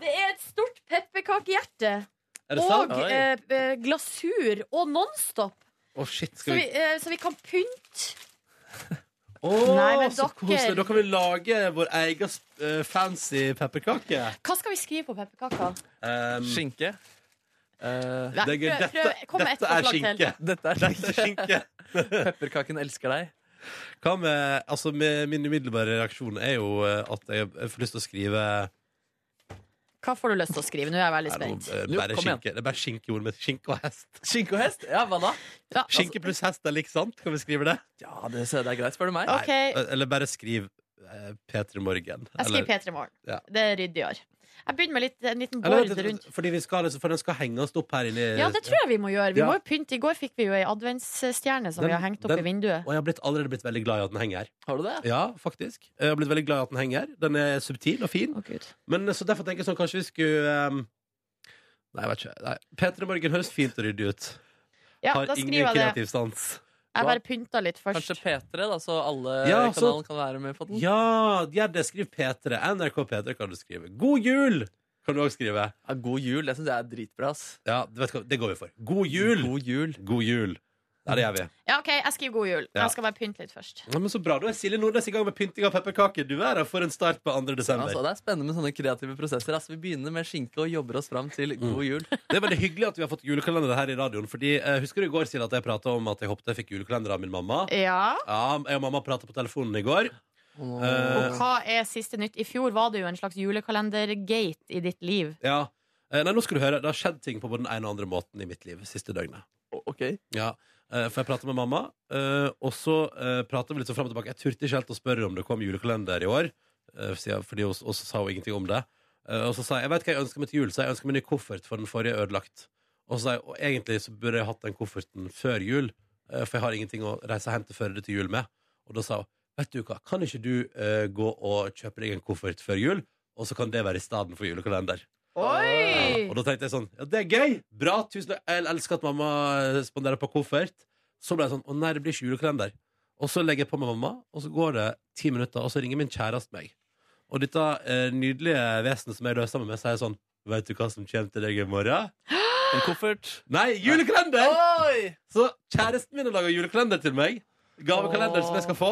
S3: Det er et stort pepperkakehjerte.
S2: Er det sant?
S3: Og
S2: Oi.
S3: eh, eh, glasur og Nonstop.
S2: Å, shit.
S3: Så
S2: Skal
S3: vi,
S2: vi
S3: eh, så vi kan pynte.
S2: Å,
S3: Nei, men
S2: så
S3: dere-
S2: koselig. Da kan vi lage vår egen eh, fancy pepperkake. Ehm,
S3: Hva skal vi skrive på pepperkaka?
S4: skinke. Eh,
S3: Nei,
S4: det er gøy.
S3: prøv- prøv- kom med ett forslag til.
S4: Dette er skinke. Pepperkaken elsker deg.
S2: Hva med Altså, med min umiddelbare reaksjon er jo eh, at jeg jeg får lyst til å skrive
S3: Hva får du lyst til å skrive? Nå er jeg veldig
S2: eh,
S3: spent.
S2: bare skinke. Det er bare skinke i ordet mitt. Skinke og hest.
S4: Skinke og hest? Ja, hva da?
S3: Ja, altså-
S2: Skinke pluss hest er lik sant? Kan vi skrive det?
S4: Ja, det, det er greit, spør du meg.
S3: Ok.
S2: Nei, Eller bare skriv eh, P3 Morgen.
S3: Jeg skriver
S2: Eller-
S3: P3 Morgen.
S2: Ja.
S3: Det er ryddigere. Jeg begynner med litt, eh, en liten
S2: Eller,
S3: bord rundt.
S2: fordi vi skal, liksom- for den skal henge oss opp her inne. i-
S3: Ja, det tror jeg vi må gjøre. Vi
S2: Ja.
S3: må jo pynte. I går fikk vi jo ei adventsstjerne som vi har hengt opp i vinduet.
S2: Og jeg har blitt, allerede blitt veldig glad i at den henger her.
S4: Har du det?
S2: Ja, faktisk. Jeg har blitt veldig glad i at den henger her. Den er subtil og fin. Men eh, så derfor tenker jeg sånn, kanskje vi skulle ehm, Nei, jeg vet ikke. Nei. P3 Morgen høres fint og ryddig ut.
S3: Ja,
S2: har
S3: da
S2: ingen
S3: skriver jeg det.
S2: kreativ sans.
S3: Jeg bare pynta litt først.
S4: Kanskje P3, da, så alle
S2: Ja,
S4: i
S2: så-
S4: kanalen kan være med på den?
S2: Ja, ja, det skriv P3. NRK P3 kan du skrive. God jul! Kan du òg skrive.
S4: Ja, god jul, det syns jeg er dritbra. ass.
S2: Ja, du vet hva, det går vi for. God jul!
S4: God jul.
S2: God jul. Ja, det gjør vi.
S3: Ja, OK, jeg skriver god jul.
S2: Ja.
S3: Jeg skal bare pynte litt først.
S2: Ja, men så bra. Da er Silje Nordnes i gang med pynting av pepperkaker. Du er her for en start på 2.
S4: Ja,
S2: desember.
S4: Altså, det er spennende med sånne kreative prosesser. ass. vi begynner med skinke og jobber oss fram til god jul.
S3: altså.
S2: Det er veldig hyggelig at vi har fått julekalender her i radioen. Fordi, eh, Husker du i går Silje, at jeg prata om at jeg håpet jeg fikk julekalender av min mamma?
S3: Ja.
S2: Ja, Jeg og mamma prata på telefonen i går.
S3: Og
S2: Eh,
S3: hva er siste nytt? I fjor var det jo en slags julekalendergate i ditt liv.
S2: ja. Eh, Nei, nå skal du høre. Det har skjedd ting på både den ene og andre måten i mitt liv siste døgnet.
S4: Ok.
S2: Ja, eh, for jeg pratet med mamma, eh, og så eh, pratet vi litt sånn frem og tilbake. Jeg turte ikke helt å spørre om det kom julekalender i år, eh, sier jeg, fordi hun, og så sa hun ingenting om det. Eh, og så sa jeg jeg vet hva jeg ønsker meg til jul, så jeg ønsker meg en ny koffert, for den forrige er ødelagt. Og så sa jeg og egentlig så burde jeg hatt den kofferten før jul, eh, for jeg har ingenting å reise hjem til Førde til jul med. Og da sa hun vet du hva, kan ikke du eh, gå og kjøpe deg en koffert før jul, og så kan det være i stedet for julekalender. Ja,
S3: Oi!
S2: og da tenkte jeg sånn Ja, det er gøy! Bra! Tusen takk. Jeg elsker at mamma eh, spanderer på koffert. Så ble jeg sånn Å nei, det blir ikke julekalender. Og så legger jeg på med mamma, og så går det ti minutter, og så ringer min kjæreste meg. Og dette eh, nydelige vesenet som jeg løser sammen med, sier sånn Veit du hva som kommer til deg i morgen?
S4: En koffert.
S2: Nei, julekalender!
S4: Oi!
S2: Så kjæresten min har laga julekalender til meg. Gavekalender som jeg skal få.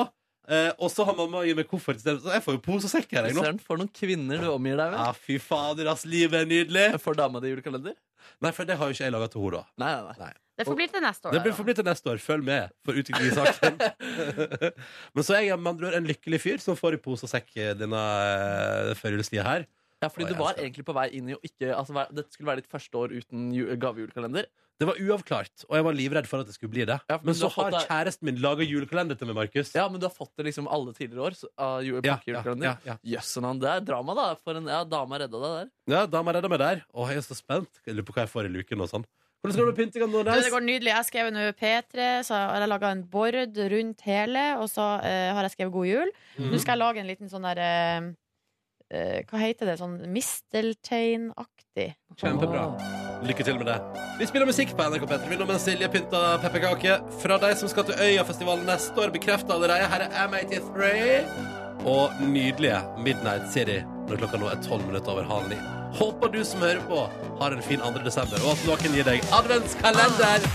S2: Eh, og så har mamma gitt meg koffert i stedet. Så jeg får jo pose og sekk her, jeg nå.
S4: Søren, for noen kvinner du omgir deg med.
S2: Ja, fy fader, ass. Livet er nydelig.
S4: Får dama di julekalender?
S2: Nei, for det har jo ikke jeg laga til henne, da.
S4: Nei, nei, nei.
S3: Det får bli til neste år.
S2: Det blir
S3: da.
S2: for til neste år. Følg med for utvikling i saken. Men så er jeg med andre ord en lykkelig fyr som får i pose og sekk eh, denne eh, førjulstida her.
S4: Ja, fordi
S2: Å,
S4: du
S2: jeg
S4: var
S2: skal-
S4: egentlig på vei inn i å ikke altså, vær- Dette skulle være ditt første år uten ju- gavejulekalender.
S2: Det var uavklart, og jeg var livredd for at det skulle bli det.
S4: Ja, for
S2: men
S4: du
S2: så
S4: har
S2: har
S4: fått deg-
S2: kjæresten min laga julekalender til meg, Markus.
S4: Ja, men du har fått det liksom alle tidligere år. Så, av ju-
S2: Ja,
S4: pakkejulekalender.
S2: ja, ja,
S4: Jøssen han, det er drama, da. For en ja, dama redda deg der.
S2: Ja, da må jeg redde meg der. Å, jeg er så spent. Jeg lurer på hva jeg får i luken og sånn. Hvordan skal du med pyntinga nå,
S3: Du,
S2: Nes?
S3: det går nydelig. Jeg skrev nå P3, så har jeg laga en bord rundt hele, og så eh, har jeg skrevet God jul.
S2: Mhm.
S3: Nå skal jeg lage en liten sånn der eh, eh, Hva heter det? Sånn mistelteinaktig.
S2: Kjempebra. Lykke til med det. Vi spiller musikk på NRK P3 Vil nå mens Silje pynta pepperkake. Fra de som skal til Øyafestivalen neste år, bekrefta allerede. Her er M83 og nydelige Midnight City når klokka nå er tolv minutter over halv ni. Håper du som hører på, har en fin 2. desember, og at noen gir deg adventskalender.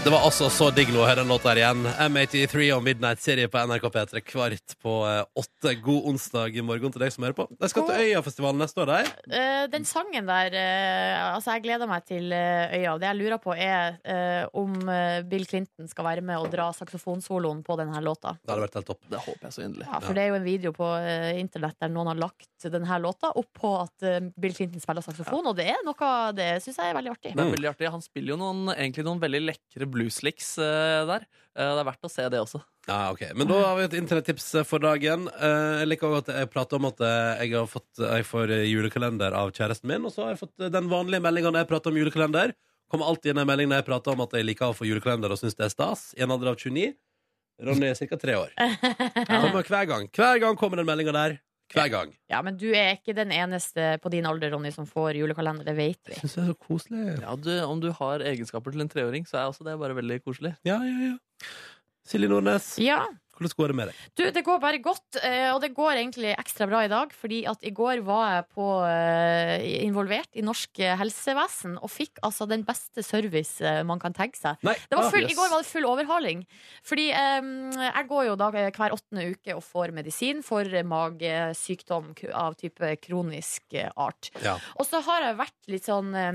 S2: Det var altså så digg å høre den låta her igjen. M83 og Midnight City på NRK P3 kvart på eh, åtte. God onsdag i morgen til deg som hører på. De skal til Øyafestivalen neste år, de.
S3: Eh, den sangen der eh, Altså, jeg gleder meg til eh, Øya. Det jeg lurer på, er eh, om eh, Bill Clinton skal være med og dra saksofonsoloen på denne låta.
S2: Det hadde vært helt topp.
S4: Det håper jeg så inderlig.
S3: Ja, for det er jo en video på eh, internett der noen har lagt denne låta opp på at eh, Bill Clinton spiller saksofon, og det er noe det syns jeg er veldig artig.
S2: Mm.
S4: Det er veldig artig. Han spiller jo noen, egentlig noen veldig lekre blueslicks eh, der. Eh, det er verdt å se det også.
S2: Ja, ok. Men da har vi et internettips for dagen. Eh, Jeg liker også at jeg prater om at eh, jeg, har fått, jeg får eh, julekalender av kjæresten min, og så har jeg fått eh, den vanlige meldinga når jeg prater om julekalender. Kommer alltid inn en melding når jeg prater om at jeg liker å få julekalender og syns det er stas. I en alder av 29. Ronny er ca. tre år. Kommer hver gang. Hver gang kommer den meldinga der. Hver gang.
S3: Ja, men du er ikke den eneste på din alder, Ronny, som får julekalender. Det vet vi.
S2: Syns det er så koselig.
S4: Ja, du, om du har egenskaper til en treåring, så er også det bare veldig koselig.
S2: Ja, ja, ja. Silje Nordnes,
S3: Ja.
S2: hvordan går det med deg?
S3: Du, det går bare godt, eh, og det går egentlig ekstra bra i dag, fordi at i går var jeg på, eh, involvert i norsk eh, helsevesen og fikk altså den beste service eh, man kan tenke seg.
S2: Nei,
S3: Det var
S2: ah,
S3: full,
S2: yes.
S3: I går var det full overhaling. Fordi eh, jeg går jo da hver åttende uke og får medisin for magesykdom av type kronisk eh, art.
S2: Ja.
S3: Og så har jeg vært litt sånn eh,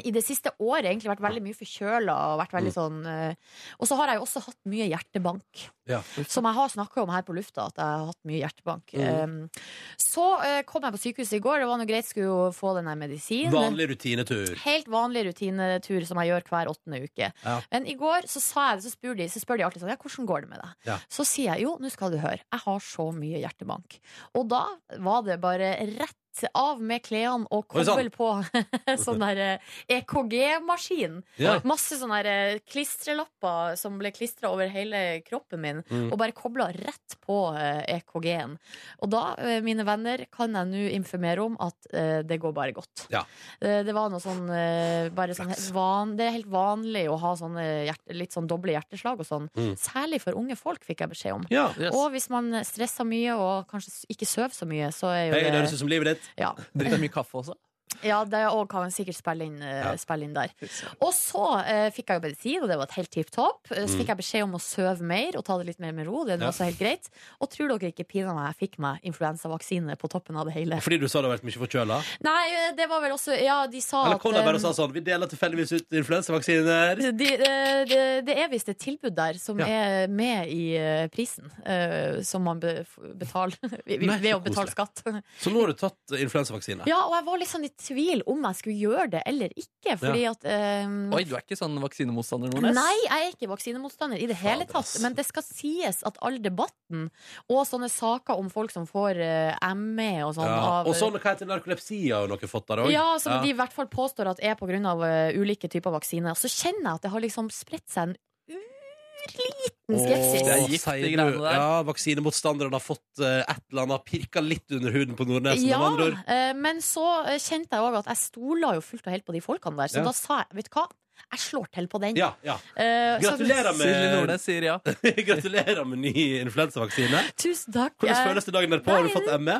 S3: i det siste året egentlig vært veldig mye forkjøla. Og vært
S2: Mm.
S3: veldig sånn eh, Og så har jeg jo også hatt mye hjertebank.
S2: Ja.
S3: Som jeg har snakka om her på lufta, at jeg har hatt mye hjertebank.
S2: Mm.
S3: Eh, så eh, kom jeg på sykehuset i går. Det var noe greit, skulle jo få den der medisinen.
S2: Vanlig rutinetur.
S3: Helt vanlig rutinetur som jeg gjør hver åttende uke.
S2: Ja.
S3: Men i går så sa jeg det, så spør de, så spør de alltid sånn Ja, hvordan går det med deg?
S2: Ja.
S3: Så sier jeg jo, nå skal du høre, jeg har så mye hjertebank. Og da var det bare rett av med klærne og
S2: Oi, sann.
S3: kobbel på sånn der eh, EKG-maskin.
S2: Ja.
S3: Masse sånne der, eh, klistrelapper som ble klistra over hele kroppen min,
S2: Mm.
S3: og bare kobla rett på eh, EKG-en. Og da, eh, mine venner, kan jeg nå informere om at eh, det går bare godt.
S2: Ja.
S3: Eh, Det var noe sånn, eh, bare sånn helt van, Det er helt vanlig å ha sånne hjerte, litt sånn doble hjerteslag og sånn.
S2: Mm.
S3: Særlig for unge folk, fikk jeg beskjed om.
S2: Ja.
S3: Og hvis man stresser mye og kanskje s- ikke sover så mye, så er jo
S2: Hei, det høres
S3: det
S2: ut som livet ditt.
S3: ja.
S4: Drikker mye kaffe også.
S3: ja, det òg kan man sikkert spille inn, eh, spille inn der. Og så eh, fikk jeg jo medisin, og det var et helt tipp topp. Eh, Så
S2: Mm.
S3: fikk jeg beskjed om å sove mer og ta det litt mer med ro. Det er nå
S2: Ja.
S3: også helt greit. Og tror dere ikke pinadø meg, jeg fikk meg influensavaksine på toppen av det hele.
S2: Fordi du sa du har vært mye forkjøla?
S3: Nei, eh, det var vel også Ja, de sa
S2: Eller kom de
S3: eh,
S2: bare og sa sånn Vi deler tilfeldigvis ut influensavaksiner?
S3: de, eh, det, det er visst et tilbud der som
S2: Ja.
S3: er med i eh, prisen, eh, som man be, f- betaler ved
S2: Nei, så
S3: ved å betale
S2: koselig.
S3: skatt.
S2: Så nå har du tatt influensavaksine?
S3: Ja, og jeg var litt sånn i tvil om jeg skulle gjøre det eller ikke, fordi at eh,
S4: Oi, du er ikke sånn vaksinemotstander, Nordnes?
S3: Nei, jeg er ikke vaksinemotstander i det hele tatt.
S4: ass.
S3: Men det skal sies at all debatten og sånne saker om folk som får eh, ME og sånn
S2: Ja,
S3: av
S2: Og sånn, hva heter narkolepsi har jo noen fått der òg?
S3: Ja, som de i hvert fall påstår at er pga. Uh, ulike typer vaksiner. Så kjenner jeg at det har liksom spredt seg en urliten skepsis.
S4: Det er gift, de greiene der.
S2: Ja, vaksinemotstanderen har fått eh, et eller annet pirka litt under huden på Nordnesen.
S3: Ja,
S2: med andre ord.
S3: eh, men så eh, kjente jeg òg at jeg stoler jo fullt og helt på de folkene der. Så
S2: Ja.
S3: da sa jeg, vet du hva, jeg slår til på den.
S2: ja, ja.
S3: Eh, så-
S2: Gratulerer
S4: Silje
S2: med,
S4: Nordnes sier ja.
S2: gratulerer med ny influensavaksine.
S3: Tusen takk.
S2: Hvordan
S3: Jeg-
S2: føles det dagen derpå? Har du
S3: Nei.
S2: fått E? ME?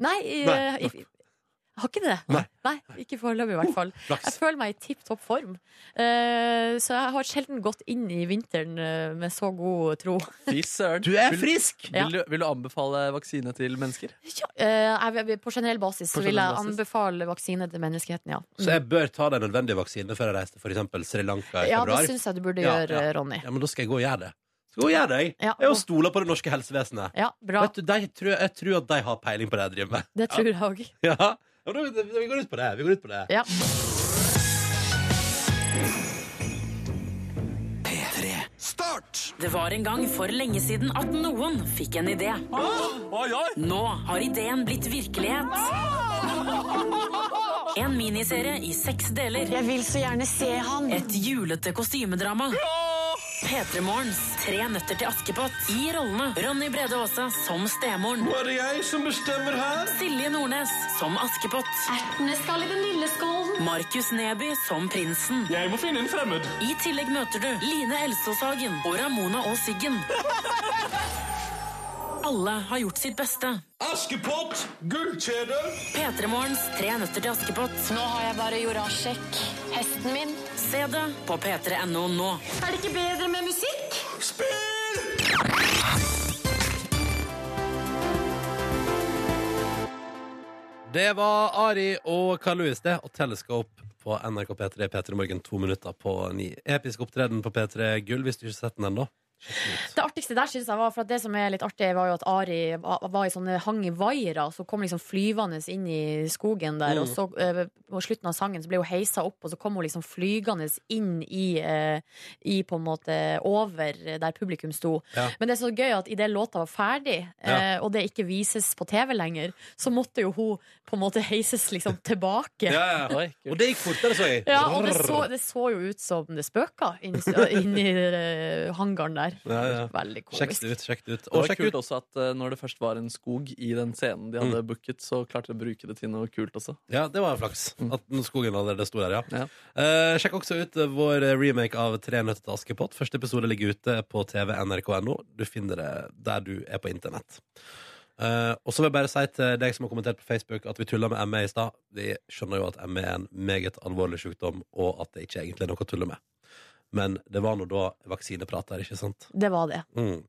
S3: Nei, eh,
S2: Nei.
S3: i- i- har ikke det.
S2: Nei.
S3: ikke foreløpig i hvert fall. Jeg
S2: Flaks.
S3: føler meg i tipp topp form. Eh, så jeg har sjelden gått inn i vinteren eh, med så god tro.
S4: Fy søren.
S2: Du er
S4: Vil-
S2: frisk!
S3: Ja.
S4: Vil, du, vil du anbefale vaksine til mennesker?
S3: Ja, eh, jeg, vil- på generell basis
S4: På
S3: så vil jeg
S4: generell basis.
S3: anbefale vaksine til menneskeheten, ja.
S2: Så jeg bør ta de nødvendige vaksinene før jeg reiser til f.eks. Sri Lanka i
S3: Mm. Ja,
S2: februar?
S3: det syns jeg du burde
S2: Ja,
S3: gjøre,
S2: ja.
S3: Ronny.
S2: Ja, men da skal jeg gå og gjøre det. Skal gå og gjøre det, jeg.
S3: Ja,
S2: Jeg har
S3: og-
S2: stola på det norske helsevesenet.
S3: ja bra.
S2: Vet du, de tror, jeg tror at de har peiling på det jeg driver med.
S3: Det tror jeg òg.
S2: Ja, Ja, men da- Vi går ut på det. Vi går ut på det.
S3: Ja.
S11: Det var en gang for lenge siden at noen fikk en idé. Nå har ideen blitt virkelighet. En miniserie i seks deler.
S3: Jeg vil så gjerne se han.
S11: Et julete kostymedrama. P3 Morgens Tre nøtter til Askepott i rollene Ronny Brede Aase som stemoren.
S6: Nå er det jeg som bestemmer her.
S11: Silje Nordnes som Askepott.
S7: Ertene skal i den lille skålen.
S11: Markus Neby som prinsen.
S12: Jeg må finne en fremmed.
S11: I tillegg møter du Line Elsåshagen og Ramona og Siggen. alle har gjort sitt beste. Askepott! Gullkjede! P3morgens Tre nøtter til Askepott. Nå har jeg bare Jorasjek, hesten min. Se det på p3.no nå.
S12: Er det ikke bedre med musikk? Spill!
S2: Det var Ari og Carl Louis, det, og Telescope på NRK P3 P3 Morgen to minutter på ni. Episk opptreden på P3 Gull, hvis du ikke har sett den ennå.
S3: Det artigste der synes jeg var, for at det som er litt artig, var jo at Ari va- var i sånne hang i vaiere, så kom liksom flyvende inn i skogen der,
S13: Mm.
S3: og så eh, på slutten av sangen så ble hun heisa opp, og så kom hun liksom flygende inn i, eh, i på en måte over der publikum sto.
S13: Ja.
S3: Men det er så gøy at idet låta var ferdig, eh,
S13: Ja.
S3: og det ikke vises på TV lenger, så måtte jo hun på en måte heises liksom tilbake.
S2: Ja, ja. Og det gikk fortere, så jeg.
S3: Ja, og det så, det så jo ut som det spøka inni inn i eh, hangaren der.
S2: Ja, ja.
S3: Veldig komisk.
S2: Sjekk det ut. sjekk det ut.
S4: Det
S2: Og
S4: var
S2: sjekk
S4: kult
S2: ut Mm.
S4: også at eh, når det først var en skog i den scenen de hadde booket, så klarte de å bruke det til noe kult også.
S2: Ja, det var flaks. At skogen allerede sto der, ja. Eh, sjekk også ut eh, vår remake av Tre nøtter til Askepott. Første episode ligger ute på TV nrk.no. Du finner det der du er på internett. Eh, og så vil jeg bare si til deg som har kommentert på Facebook at vi tulla med ME i stad. Vi skjønner jo at ME er en meget alvorlig sykdom, og at det ikke egentlig er noe å tulle med. Men det var nå da vaksineprat der, ikke sant?
S3: Det var det.
S2: Mm.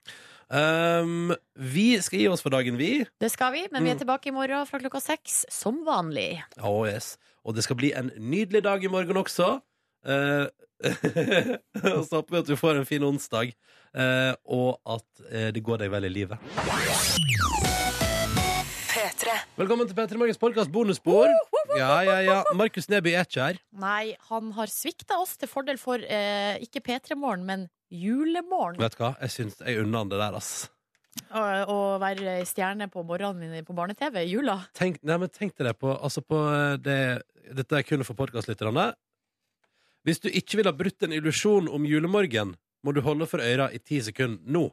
S2: Ehm, vi skal gi oss for dagen, vi.
S3: Det skal vi, men vi er
S2: Mm.
S3: tilbake i morgen fra klokka seks, som vanlig.
S2: Oh, yes. Og det skal bli en nydelig dag i morgen også. Eh, Og så håper vi at du får en fin onsdag, eh, og at eh, det går deg vel i livet.
S12: P3.
S2: Velkommen til P3 Morgens podkast bonusspor. Ja, ja, ja. Markus Neby er ikke her.
S3: Nei, han har svikta oss til fordel for eh, ikke P3-morgen, men julemorgen.
S2: Vet du hva? Jeg syns jeg unner han det der, ass.
S3: Å å være stjerne på morgenen min på barne-TV i jula.
S2: Tenk, nei, men tenk deg det på, altså på eh, det, Dette er kun for podkastlytterne. Hvis du ikke vil ha brutt en illusjon om julemorgen, må du holde for øra i ti sekunder nå.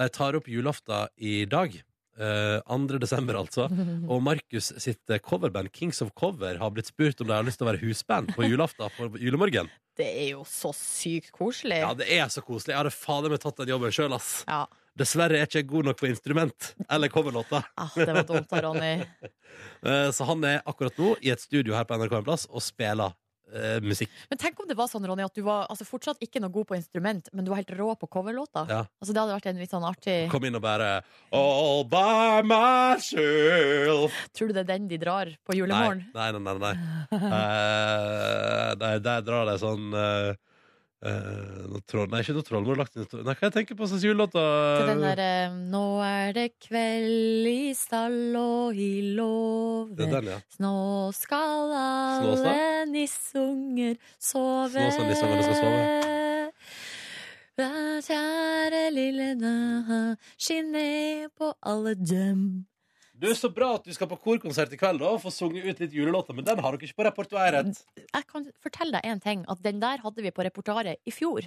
S2: De tar opp julaften i dag. eh, 2. desember, altså. Og Markus sitt eh, coverband Kings of Cover har blitt spurt om de har lyst til å være husband på julaften på julemorgen.
S3: Det er jo så sykt koselig.
S2: Ja, det er så koselig. Jeg hadde fader meg tatt den jobben sjøl, ass.
S3: Ja.
S2: Dessverre er ikke jeg god nok på instrument eller coverlåter.
S3: Ah, det var dumt av Ronny.
S2: Eh, Så han er akkurat nå i et studio her på NRK en plass og spiller eh, musikk.
S3: Men tenk om det var sånn, Ronny, at du var altså, fortsatt ikke noe god på instrument, men du var helt rå på coverlåta.
S2: Ja.
S3: Altså, det hadde vært en litt sånn artig
S2: Kom inn og bare All by myself.
S3: Tror du det er den de drar på
S2: Nei,
S3: julemorgen?
S2: nei, nei. nei, nei. Eh, nei der drar de sånn eh, eh, noe troll, Nei, ikke noe trollmor lagt inn i troll- Nei, hva jeg tenker på slags julelåta?
S3: Til den derre Nå er det kveld i stall og i låve.
S2: Det er den, ja.
S3: Nå skal
S2: Snå snart.
S3: alle nissunger sove.
S2: Snå snart nissunger skal sove.
S3: Da, Kjære lille næ, skinn ned på alle dem.
S2: Du, Så bra at du skal på korkonsert i kveld da og få sunget ut litt julelåter, men den har dere ikke på repertoaret.
S3: Jeg kan fortelle deg en ting, at den der hadde vi på reportaret i fjor.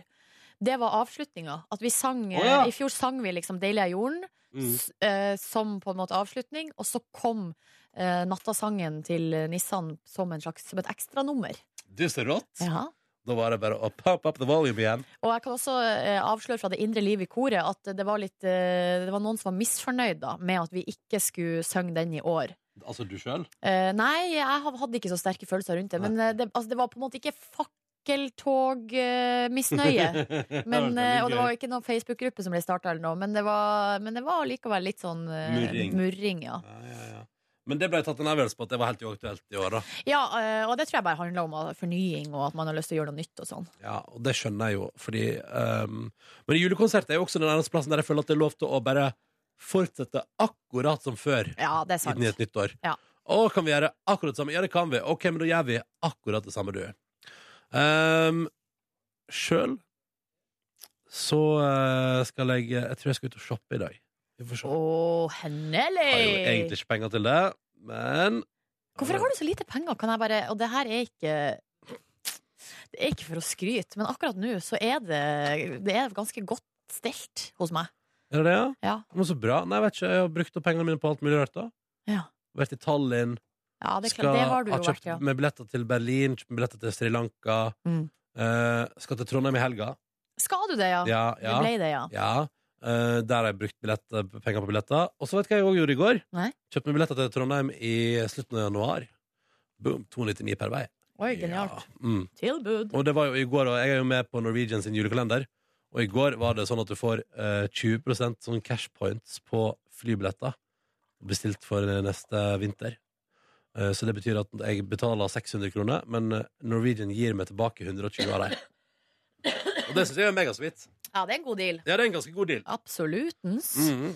S3: Det var avslutninga. At vi sang eh,
S13: Å, ja.
S3: I fjor sang vi liksom 'Deilig er jorden'
S13: Mm.
S3: s- eh, som på en måte avslutning, og så kom eh, nattasangen til Nissan som, en slags, som et ekstranummer.
S2: Du, så rått.
S3: Ja.
S2: Da var det bare å pump up the volume igjen.
S3: Og jeg kan også eh, avsløre fra det indre liv i koret at det var, litt, eh, det var noen som var misfornøyd da, med at vi ikke skulle synge den i år.
S2: Altså du sjøl?
S3: Eh, nei, jeg hav- hadde ikke så sterke følelser rundt det. Men eh, det, altså, det var på en måte ikke eh, fakkeltog-misnøye. Men, eh, og det var jo ikke noen Facebook-gruppe som ble starta, eller noe. Men det, var, men det var likevel litt sånn eh,
S2: Murring.
S3: murring ja.
S2: Men det ble tatt en avgjørelse på at det var helt uaktuelt i år, da.
S3: ja, eh, og det tror jeg bare handler om eh, fornying, og at man har lyst til å gjøre noe nytt og sånn.
S2: Ja, og det skjønner jeg jo, fordi ehm, Men julekonsert er jo også den eneste plassen der jeg føler at det er lov til å bare fortsette akkurat som før.
S3: Ja, det er sant.
S2: Inn i et nytt år.
S3: Ja.
S2: Å, kan vi gjøre akkurat det samme? Ja, det kan vi. Ok, men da gjør vi akkurat det samme, du. Um, Sjøl så eh, skal jeg Jeg tror jeg skal ut og shoppe i dag. Vi får se.
S3: Å, hennelig!
S2: Har jo egentlig ikke penger til det, men
S3: Hvorfor har du så lite penger? Kan jeg bare, og det her er ikke Det er ikke for å skryte, men akkurat nå så er det, det er ganske godt stelt hos meg.
S2: Er det det, ja?
S3: Ja.
S2: Men så bra. Nei, jeg vet ikke. Jeg har brukt opp pengene mine på alt mulig rart, da.
S3: Ja.
S2: Vært i Tallinn.
S3: Ja, det er klart. Det har du jo vært,
S2: kjøpt
S3: ja.
S2: med billetter til Berlin, kjøpt med billetter til Sri Lanka.
S3: Mm.
S2: eh, skal til Trondheim i helga.
S3: Skal du det, ja?
S2: Ja, ja.
S3: Du ble det, ja.
S2: Ja. Eh, der har jeg brukt billetter, penger på billetter. Og så vet du hva jeg òg gjorde i går?
S3: Nei.
S2: Kjøpte meg billetter til Trondheim i slutten av januar. Boom, 299 per vei.
S3: Oi, genialt.
S2: Mm.
S3: Tilbud.
S2: Og det var jo i går, og jeg er jo med på Norwegian sin julekalender. Og i går var det sånn at du får eh, 20 sånn cash points på flybilletter bestilt for eh, neste vinter. Eh, så det betyr at jeg betaler 600 kroner, men eh, Norwegian gir meg tilbake 120 av dem. Og det syns jeg er megasvitt.
S3: Ja, det er en god deal.
S2: Ja, det er en ganske god deal.
S3: Absolutens.
S2: Mhm.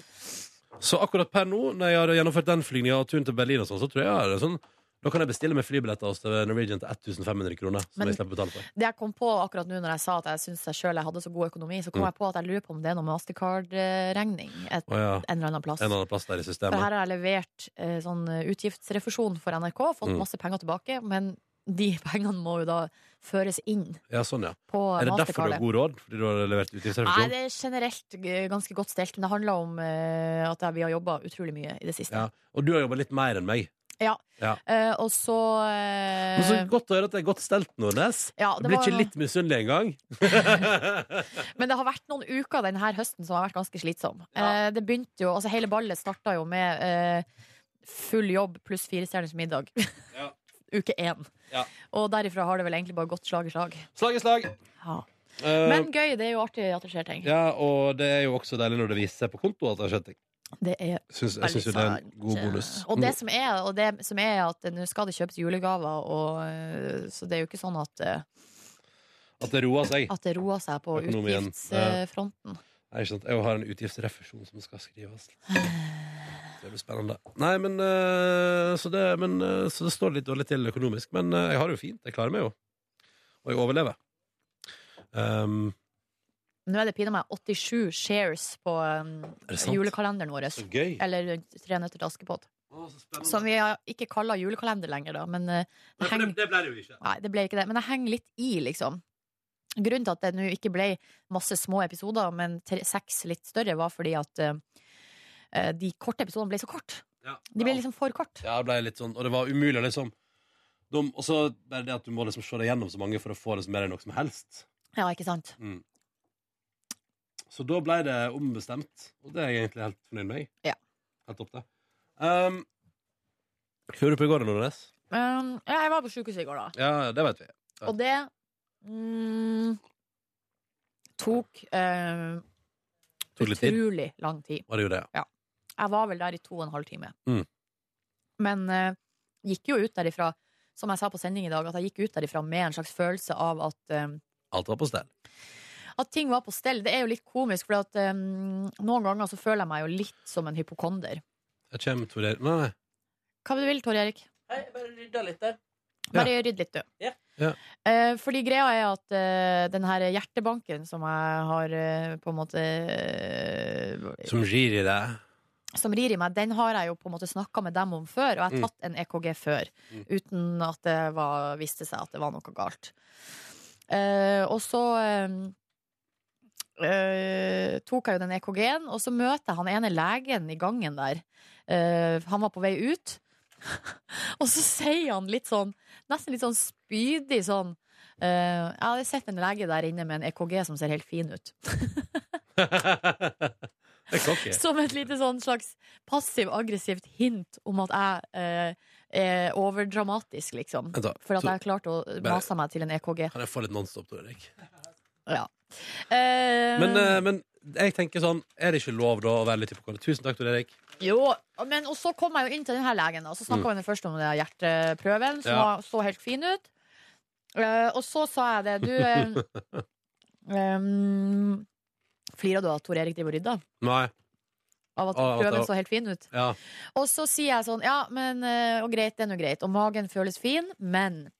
S2: Så akkurat per nå, når jeg har gjennomført den flygninga og turen til Berlin og sånn, så tror jeg jeg har det sånn Da kan jeg bestille meg flybilletter hos eh, Norwegian til 1500 kroner, som
S3: Men-
S2: jeg slipper å betale for.
S3: Det jeg kom på akkurat nå når jeg sa at jeg syns jeg sjøl hadde så god økonomi, så kom
S2: Mm.
S3: jeg på at jeg lurer på om det er noe Mastercard-regning et,
S2: Å ja.
S3: en eller annen plass.
S2: En eller annen plass der i
S3: For her
S2: systemet.
S3: har jeg levert eh, sånn utgiftsrefusjon for NRK, fått
S2: Mm.
S3: masse penger tilbake, men de pengene må jo da føres inn
S2: Ja, sånn, ja.
S3: på
S2: Er det derfor du
S3: Mastercardet.
S2: har god råd? Fordi du har levert
S3: Nei,
S2: utgiftsrefusjon?
S3: det er generelt g- ganske godt stelt, men det handler om eh, at jeg- vi har jobba utrolig mye i det siste.
S2: Ja. Og du har jobba litt mer enn meg.
S3: Ja.
S2: Ja.
S3: Eh, og så
S2: Men
S3: eh,
S2: så godt å høre at det er godt stelt, Nordnes.
S3: Ja,
S2: Jeg
S3: det
S2: blir
S3: var-
S2: ikke litt misunnelig engang.
S3: Men det har vært noen uker denne her høsten som har vært ganske slitsom. Eh, det begynte jo, altså Hele ballet starta jo med eh, full jobb pluss firestjerners middag. Uke én.
S2: Ja.
S3: Og derifra har det vel egentlig bare gått slag i slag.
S2: Slag i slag.
S3: Ja.
S2: Eh,
S3: Men gøy, det er jo artig at det skjer ting.
S2: ja, og det er jo også deilig når det viser seg på konto at det har skjedd ting.
S3: Det er
S2: Syns- jeg syns jo det er en god bonus.
S3: Og det som er, og det som er at nå skal det kjøpes julegaver, og, eh, så det er jo ikke sånn at, eh,
S2: At det roer seg.
S3: at det roer seg på
S2: Økonomien. Ja.
S3: utgiftsfronten.
S2: Nei, ikke sant? Jeg har en utgiftsrefusjon som skal skrives. Det blir spennende. Nei, men, eh, så, det, men eh, så det står litt dårlig til økonomisk. Men eh, jeg har det jo fint. Jeg klarer meg jo. Og jeg overlever. Um,
S3: Nå er det pinadø meg 87 shares på um,
S2: Er det sant?
S3: julekalenderen vår.
S2: Så gøy.
S3: Eller Tre nøtter til Askepott. Eh, Som vi har ikke kaller julekalender lenger, da. Men eh, det,
S2: men
S3: henger-
S2: det ble det jo ikke.
S3: Nei, det ble ikke det. Men det henger litt i, liksom. Grunnen til at det nå ikke ble masse små episoder, men tre, seks litt større, var fordi at eh, eh, de korte episodene ble så kort.
S2: Ja.
S3: De ble liksom for kort.
S2: Ja, det ble litt sånn, og det var umulig, liksom. De, og så bare det at du må liksom se deg gjennom så mange for å få liksom mer enn noe som helst.
S3: Ja, ikke sant?
S2: Mm. Så da ble det ombestemt, og det er jeg egentlig helt fornøyd med. jeg.
S3: Ja.
S2: Helt topp, det. Um, Hva gjorde du på i går, Nordnes?
S3: Um, ja, jeg var på sjukehuset i går, da.
S2: Ja, det vet vi.
S3: Og det mm, tok eh,
S2: Tok litt tid.
S3: utrolig lang tid.
S2: Var det jo det?
S3: Ja. Jeg var vel der i to og en halv time.
S2: Mm.
S3: Men eh, gikk jo ut derifra, som jeg sa på sending i dag, at jeg gikk ut derifra med en slags følelse av at, eh,
S2: Alt var på stell.
S3: at ting var på stell. Det er jo litt komisk, for at, eh, noen ganger så føler jeg meg jo litt som en hypokonder.
S2: Jeg kommer, Tor Erik Nei, nei.
S3: Hva vil du vil, Tor Erik?
S13: Hei, bare rydda litt der.
S3: Bare rydd litt, du.
S2: Ja.
S3: Eh, fordi greia er at eh, den her hjertebanken som jeg har eh, på en måte eh,
S2: Som rir i deg.
S3: som rir i meg, den har jeg jo på en måte snakka med dem om før, og jeg har
S2: Mm.
S3: tatt en EKG før.
S2: Mm.
S3: Uten at det var, viste seg at det var noe galt. Eh, og så eh, eh, tok jeg jo den EKG-en, og så møter jeg han ene legen i gangen der. Eh, han var på vei ut, og så sier han litt sånn, nesten litt sånn spydig sånn eh, Jeg hadde sett en lege der inne med en EKG som ser helt fin ut.
S2: Det er cocky.
S3: Som et lite sånn slags passiv-aggressivt hint om at jeg eh, er overdramatisk, liksom.
S2: Vent da,
S3: For at
S2: så-
S3: jeg klarte å
S2: Bare-
S3: mase meg til en E EKG.
S2: Kan jeg få litt nonstop, Tor Erik?
S3: Ja. Eh,
S2: Men, eh, men jeg tenker sånn, er det ikke lov da å være litt hypokonder? Tusen takk, Tor Erik.
S3: Jo, men og så kom jeg jo inn til denne legen, og så snakka
S2: Mm.
S3: vi først om den der hjerteprøven, som
S2: Ja.
S3: var, så helt fin ut. Eh, og så sa jeg det. Du eh, em, Flirer du av at Tor Erik driver og rydder?
S2: Nei.
S3: Av at
S2: Av at
S3: prøven
S2: det-
S3: så helt fin ut?
S2: Ja.
S3: Og så sier jeg sånn, ja, men eh, og greit, det er nå greit. Og magen føles fin, men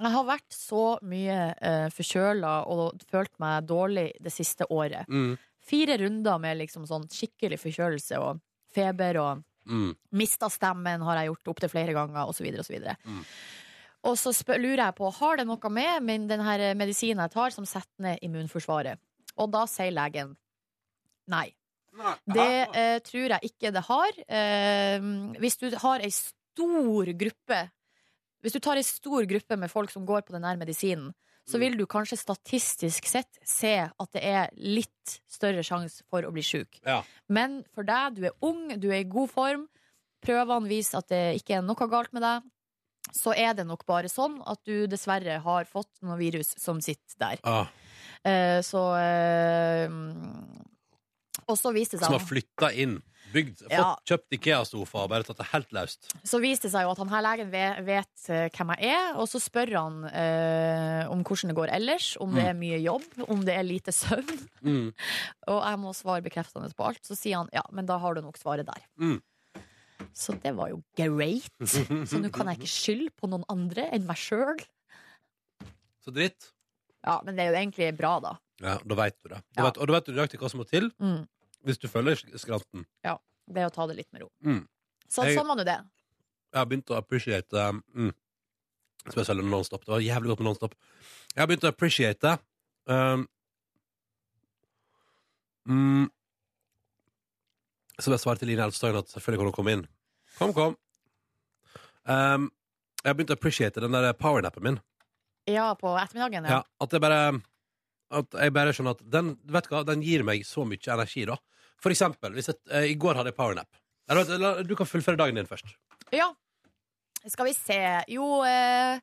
S3: jeg har vært så mye uh, forkjøla og følt meg dårlig det siste året.
S2: Mm.
S3: Fire runder med liksom sånn skikkelig forkjølelse og feber og
S2: Mm.
S3: mista stemmen, har jeg gjort opptil flere ganger, osv. osv. Og så spør, lurer jeg på har det noe med min, den her medisinen jeg tar, som setter ned immunforsvaret. Og da sier legen nei. Det eh, tror jeg ikke det har. Eh, hvis du har ei stor gruppe Hvis du tar ei stor gruppe med folk som går på den her medisinen, så vil du kanskje statistisk sett se at det er litt større sjanse for å bli sjuk.
S2: Ja.
S3: Men for deg, du er ung, du er i god form, prøvene viser at det ikke er noe galt med deg, så er det nok bare sånn at du dessverre har fått noe virus som sitter der.
S2: Ah,
S3: Eh, så eh, Og så viste det
S2: som har
S3: seg
S2: flytta inn. Bygd, fått,
S3: Ja.
S2: Kjøpt Ikea-sofa og bare tatt det helt løst.
S3: så viste det seg jo at han her legen vet, vet eh, hvem jeg er, og så spør han eh, om hvordan det går ellers, om det
S2: Mm.
S3: er mye jobb, om det er lite søvn.
S2: Mm.
S3: Og jeg må svare bekreftende på alt. Så sier han ja, men da har du nok svaret der.
S2: Mm.
S3: Så det var jo great. Så nå kan jeg ikke skylde på noen andre enn meg sjøl.
S2: Så dritt.
S3: Ja, men det er jo egentlig bra, da.
S2: Ja, da veit du det. Da vet, og da vet du nøyaktig hva som må til
S3: Mm.
S2: hvis du følger sk- skranten.
S3: Ja, det er å ta det litt med ro.
S2: Mm.
S3: Så
S2: Jeg-
S3: sånn var nå det.
S2: Jeg har begynt å appreciate um, mm, Spesielt nonstop. Det var jævlig godt med nonstop. Jeg har begynt å appreciate um, mm, Som jeg svarte til Line Elvstøyen, at selvfølgelig kan hun komme inn. Kom, kom. Um, jeg har begynt å appreciate den der powernappen min.
S3: Ja, på ettermiddagen.
S2: Ja, at jeg bare At jeg bare skjønner at den, vet du hva, den gir meg så mye energi da For eksempel, hvis jeg, eh, i går hadde jeg powernap Eller vet du, la- du kan fullføre dagen din først
S3: Ja. Skal vi se. Jo, eh,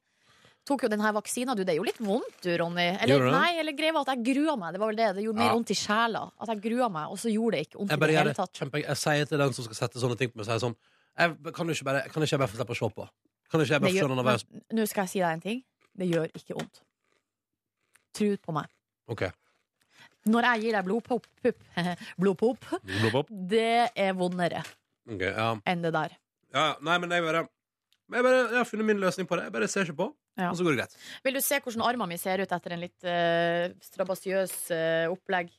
S3: tok jo den her vaksina, du. Det er jo litt vondt, du, Ronny.
S2: Gjorde
S3: Eller,
S2: det?
S3: nei, eller greia var at jeg grua meg. Det var vel det. Det gjorde mer
S2: Ja.
S3: vondt i sjela. At jeg grua meg, og så gjorde det ikke vondt
S2: Jeg
S3: i
S2: bare
S3: det
S2: gjør
S3: hele
S2: det
S3: tatt.
S2: kjempe Jeg sier til den som skal sette sånne ting på meg sier jeg sånn jeg, Kan du ikke bare, kan ikke jeg bare få slippe å se på? Kan ikke jeg
S3: Det
S2: bare få
S3: gjør-
S2: se noen av oss?
S3: men Nå skal jeg si deg en ting. Det gjør ikke vondt. Tru på meg.
S2: Ok,
S3: Når jeg gir deg blodpop, pup, blodpop
S2: Blub, blub.
S3: det er vondere
S2: Ok, ja.
S3: enn det der.
S2: ja ja. Nei, men jeg bare men jeg, bare, jeg har funnet min løsning på det Jeg bare ser ikke på,
S3: Ja.
S2: og så går det greit
S3: Vil du se hvordan armene mine ser ut etter en litt eh, strabasiøs eh, opplegg?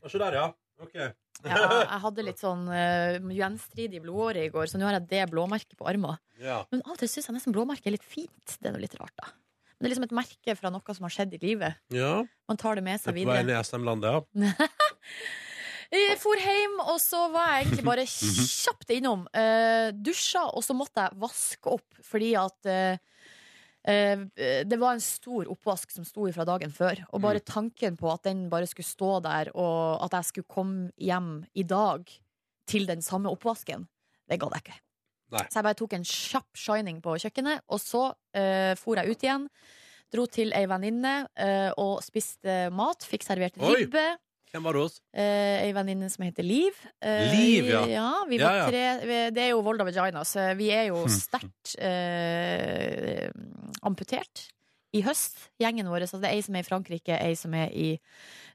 S2: Og så der, ja Ok
S3: Ja, jeg hadde litt sånn eh, gjenstridig blodåre i går, så nå har jeg det blåmerket på armen.
S2: Ja.
S3: Men av og til syns jeg nesten blåmerket er litt fint. Det er noe litt rart, da. Men det er liksom et merke fra noe som har skjedd i livet.
S2: Ja,
S3: Man tar det med
S2: det er
S3: seg
S2: på vei ned
S3: videre.
S2: i SM-landet, ja
S3: Jeg for hjem, og så var jeg egentlig bare kjapt innom. eh, dusja, og så måtte jeg vaske opp fordi at eh, eh, det var en stor oppvask som sto fra dagen før. Og bare
S2: Mm.
S3: tanken på at den bare skulle stå der, og at jeg skulle komme hjem i dag til den samme oppvasken, det gadd jeg ikke.
S2: Nei.
S3: Så jeg bare tok en kjapp shining på kjøkkenet, og så eh, for jeg ut igjen. Dro til ei venninne eh, og spiste mat. Fikk servert
S2: Oi.
S3: ribbe.
S2: Hvem var det hos?
S3: Eh, Ei venninne som heter Liv. Eh,
S2: Liv, ja.
S3: vi
S2: Ja,
S3: var
S2: ja.
S3: Tre, vi, det er jo Volda Vagina, så vi er jo
S2: Hmm.
S3: sterkt eh, amputert i høst, gjengen vår. Så det er ei som er i Frankrike, ei som er i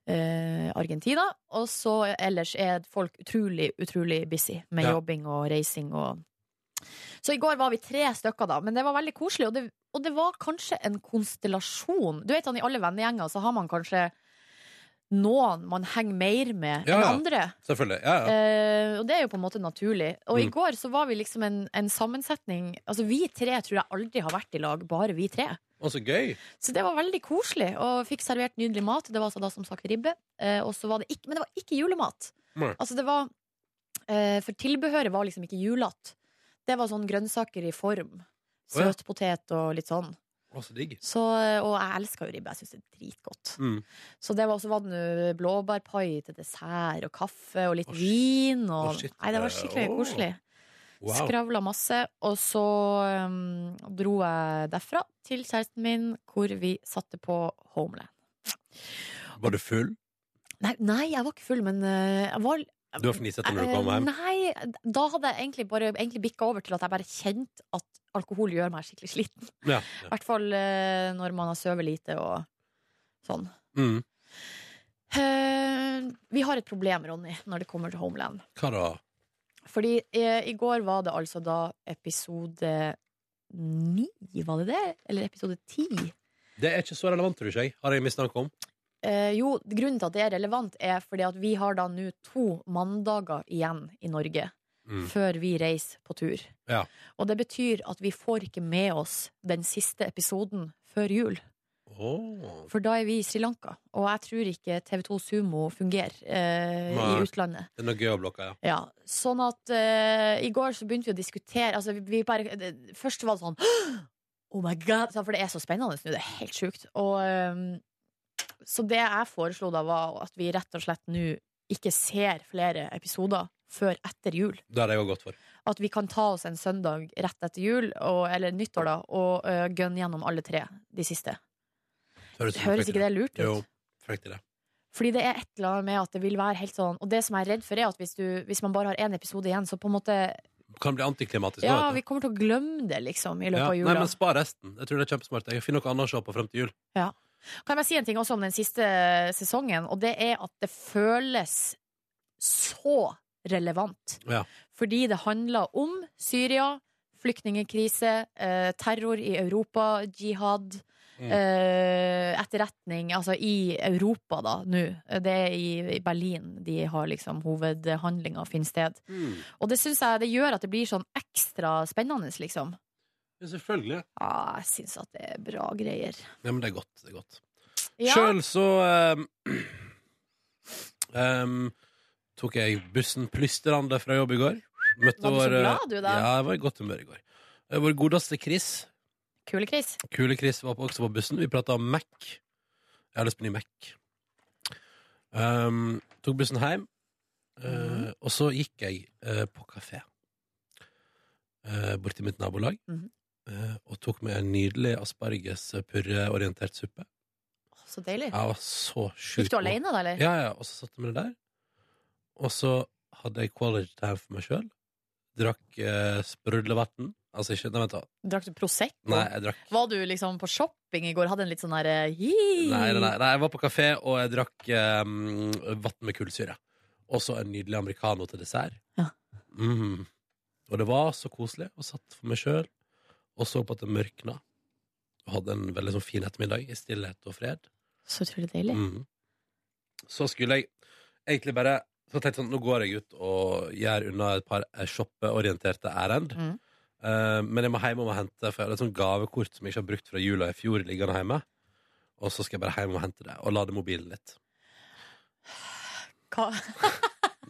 S3: eh, Argentina. Og så ellers er folk utrolig, utrolig busy med
S13: Ja.
S3: jobbing og reising og Så i går var vi tre stykker, da, men det var veldig koselig. Og det, og det var kanskje en konstellasjon. Du vet han I alle vennegjenger så har man kanskje noen man henger mer med
S2: Ja,
S3: enn
S2: ja.
S3: andre.
S2: Selvfølgelig, ja, ja
S3: Eh, og det er jo på en måte naturlig. Og i
S2: Mm.
S3: går så var vi liksom en, en sammensetning Altså vi tre tror jeg aldri har vært i lag, bare vi tre.
S2: Å, så gøy
S3: Så det var veldig koselig, og fikk servert nydelig mat. Det var altså da som sagt ribbe, eh, og så var det ikke, men det var ikke julemat.
S2: Nei.
S3: Altså det var eh, For tilbehøret var liksom ikke julete. Det var sånn grønnsaker i form.
S2: Å, ja.
S3: Søtpotet og litt sånn.
S2: Å, så digg
S3: Så, eh, og jeg elsker jo ribbe. Jeg syns det er dritgodt.
S2: Mm.
S3: Så det var også var det nå blåbærpai til dessert og kaffe og litt vin. Og,
S2: Å, shit.
S3: nei, det var skikkelig
S2: Åh.
S3: koselig.
S2: Wow.
S3: Skravla masse. Og så um, dro jeg derfra til kjæresten min, hvor vi satte på Homeland.
S2: Var du full?
S3: Nei, nei jeg var ikke full, men eh, jeg var
S2: Du var fnisete når du kom
S3: Eh,
S2: hjem?
S3: Nei, da hadde jeg egentlig bare egentlig bikka over til at jeg bare kjente at alkohol gjør meg skikkelig sliten.
S2: Ja.
S3: I hvert fall eh, når man har sovet lite og sånn.
S2: Mm.
S3: Eh, vi har et problem, Ronny, når det kommer til Homeland.
S2: Hva da?
S3: Fordi eh, i går var det altså da episode ni, var det det? Eller episode ti?
S2: Det er ikke så relevant, tror ikke jeg. Har jeg mistanke om?
S3: Eh, jo, grunnen til at det er relevant, er fordi at vi har da nå to mandager igjen i Norge
S2: Mm.
S3: før vi reiser på tur.
S2: Ja.
S3: Og det betyr at vi får ikke med oss den siste episoden før jul. For da er vi i Sri Lanka, og jeg tror ikke TV2 Sumo fungerer eh, i
S2: Nei.
S3: utlandet.
S2: Det er noe gøy å blokke, ja.
S3: Ja, sånn at eh, i går så begynte vi å diskutere altså, vi, vi bare, det, Først var det sånn «Hå! Oh my god! Så, for det er så spennende nå, det er helt sjukt. Og, øhm, så det jeg foreslo da, var at vi rett og slett nå ikke ser flere episoder før etter jul.
S2: Det hadde jeg òg gått for.
S3: At vi kan ta oss en søndag rett etter jul, og, eller nyttår, da, og øh, gønne gjennom alle tre de siste.
S2: ut som
S3: Høres
S2: frekt
S3: ikke det
S2: idé.
S3: lurt ut?
S2: Jo, frekt idé.
S3: Fordi det er et eller annet med at det vil være helt sånn Og det som jeg er redd for, er at hvis, du, hvis man bare har én episode igjen, så på en måte
S2: Kan bli antiklimatisk. nå,
S3: Ja,
S2: vet du.
S3: vi kommer til å glemme det, liksom, i løpet av
S2: Ja,
S3: jula.
S2: Nei, men spar resten. Jeg tror det er kjempesmart. Jeg finner noe annet å se på frem til jul.
S3: Ja. Kan jeg bare si en ting også om den siste sesongen, og det er at det føles så relevant.
S2: Ja.
S3: Fordi det handler om Syria, flyktningkrise, eh, terror i Europa, jihad.
S13: Mm.
S3: eh, etterretning, altså i Europa da, nå. Det er i, i Berlin de har liksom hovedhandlinga finner sted.
S2: Mm.
S3: Og det syns jeg det gjør at det blir sånn ekstra spennende, liksom.
S2: Ja, selvfølgelig.
S3: Ja, jeg syns at det er bra greier.
S2: Ja, men det er godt. Det er godt.
S3: Ja.
S2: Sjøl så eh, em, tok jeg bussen plystrende fra jobb i går. Møtte
S3: Var du så
S2: vår, eh,
S3: glad, du, da?
S2: Ja, jeg var i godt humør i går. Eh, Vår godeste Chris,
S3: Kule, Chris.
S2: Kule-Chris, var på- også på bussen. Vi prata om Mac. Jeg har lyst på ny Mac. Em, tok bussen hjem, eh,
S3: Mhm.
S2: og så gikk jeg eh, på kafé eh, borti mitt nabolag.
S3: Mhm.
S2: eh, og tok med en nydelig aspargespurreorientert suppe.
S3: Så deilig.
S2: Jeg var så sjukt
S3: Gikk du
S2: god.
S3: alene, da, eller?
S2: Ja, ja, og så satt jeg med det der. Og så hadde jeg quality time for meg sjøl. Drakk eh, sprudlevann. Altså ikke Nei, vent, da.
S3: Drakk du Prosecco?
S2: Nei, jeg drakk
S3: Var du liksom på shopping i går? Hadde en litt sånn derre
S2: nei, nei, nei, nei, jeg var på kafé, og jeg drakk eh, vann med kullsyre. Og så en nydelig americano til dessert. Mm. Og det var så koselig. Og satt for meg sjøl og så på at det mørkna. Og hadde en veldig sånn fin ettermiddag i stillhet og fred.
S3: Så utrolig deilig.
S2: Mm. Så skulle jeg egentlig bare Så tenkte jeg sånn, nå går jeg ut og gjør unna et par eh, shoppeorienterte ærend. Eh, men jeg må hjem og må hente, for jeg har et sånt gavekort som jeg ikke har brukt fra jula i fjor, liggende hjemme. Og så skal jeg bare hjem og hente det, og lade mobilen litt.
S3: Hva?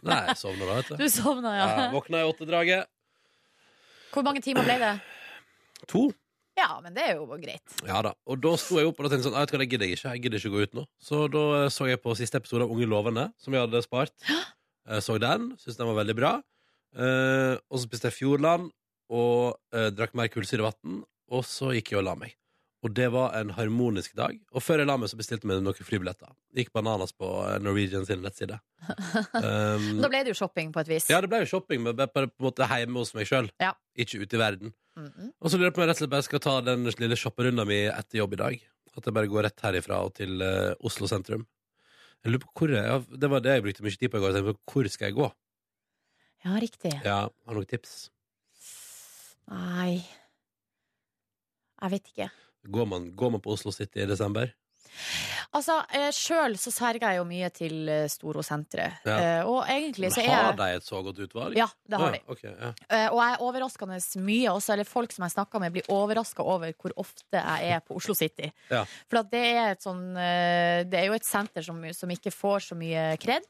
S2: Nei, jeg sovna da, vet du.
S3: Du sovna, ja.
S2: våkna i åttedraget.
S3: Hvor mange timer ble det?
S2: To.
S3: Ja, men det er jo greit.
S2: Ja da. Og da sto jeg opp og da tenkte jeg sånn, «Nei, vet du hva, det gidder jeg ikke. Jeg gidder ikke å gå ut nå. Så da eh, så jeg på siste episode av Unge lovende, som jeg hadde spart. Jeg så den, syntes den var veldig bra. Eh, og så spiste jeg Fjordland og eh, drakk mer kullsyrevann. Og så gikk jeg og la meg. Og det var en harmonisk dag. Og før jeg la meg, så bestilte vi noen flybilletter. Gikk bananas på eh, Norwegian sin nettside. Um,
S3: Men da ble det jo shopping på et vis.
S2: ja, det ble jo shopping, men bare på en måte hjemme hos meg sjøl.
S3: Ja.
S2: Ikke ute i verden.
S3: Mhm.
S2: Og så lurer jeg på om jeg rett og slett bare skal ta den lille shopperunda mi etter jobb i dag. At jeg bare går rett herifra og til eh, Oslo sentrum. Jeg lurer på hvor jeg, ja, Det var det jeg brukte mye tid på i går. Jeg tenkte på, hvor skal jeg gå?
S3: Ja, riktig.
S2: Ja, Har du noen tips?
S3: Nei Jeg vet ikke.
S2: Går man, går man på Oslo City i desember?
S3: Altså, eh, sjøl så serger jeg jo mye til eh, Storosenteret.
S2: Ja.
S3: Eh, og egentlig så
S2: Men
S3: er
S2: har
S3: jeg
S2: de et så godt utvalg?
S3: Ja, det har
S2: Å,
S3: de.
S2: ok, ja.
S3: Eh, Og jeg er overraskende mye også, eller folk som jeg snakker med, blir overraska over hvor ofte jeg er på Oslo City.
S2: Ja.
S3: For at det, er et sånn, eh, det er jo et senter som, som ikke får så mye kred.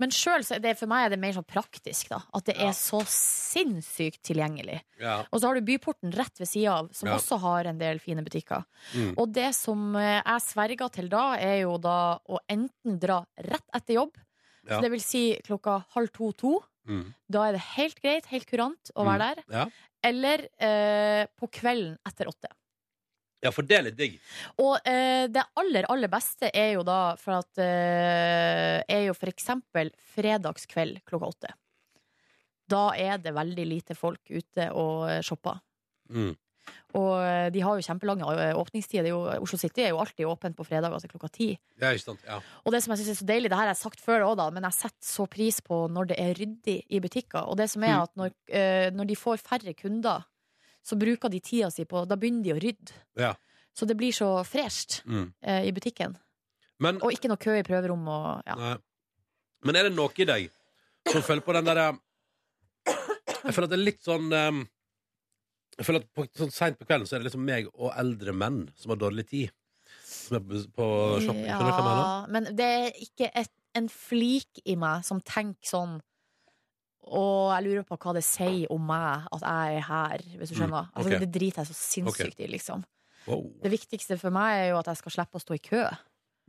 S3: Men selv, så er det, for meg er det mer sånn praktisk. da At det er så sinnssykt tilgjengelig.
S2: Ja.
S3: Og så har du Byporten rett ved sida av, som
S2: Ja.
S3: også har en del fine butikker.
S2: Mm.
S3: Og det som eh, jeg sverger til da, er jo da å enten dra rett etter jobb,
S2: Ja.
S3: så det vil si klokka halv to-to.
S2: Mm.
S3: Da er det helt greit, helt kurant å være der.
S2: Ja.
S3: Eller eh, på kvelden etter åtte.
S2: ja, for det er litt digg.
S3: Og eh, det aller, aller beste er jo da for at eh, Er jo for eksempel fredagskveld klokka åtte. Da er det veldig lite folk ute og eh, shopper.
S2: Mm.
S3: Og eh, de har jo kjempelange eh, åpningstider. Det er jo- Oslo City er jo alltid åpen på fredager altså klokka ti.
S2: Ja, ikke sant? Ja.
S3: Og det som jeg synes er så deilig, det her har jeg sagt før også da, men jeg setter så pris på når det er ryddig i butikker. Og det som er
S2: Mm.
S3: at når, eh, når de får færre kunder, så bruker de tida si på Da begynner de å rydde.
S2: ja.
S3: Så det blir så fresht
S2: Mm.
S3: eh, i butikken.
S2: Men,
S3: Og ikke noe kø i prøverom og ja.
S2: Nei. Men er det noe i deg som føler på den derre Jeg føler at det er litt sånn um, Jeg føler at på, sånn Seint på kvelden så er det liksom meg og eldre menn som har dårlig tid. Som er på, på shopping. Skjønner du hva jeg mener?
S3: Ja, Men det er ikke et, en flik i meg som tenker sånn Og jeg lurer på hva det sier om meg at jeg er her, hvis du skjønner.
S2: Mm, ok.
S3: altså, det driter jeg så sinnssykt
S2: Ok.
S3: i, liksom.
S2: Wow.
S3: Det viktigste for meg er jo at jeg skal slippe å stå i kø.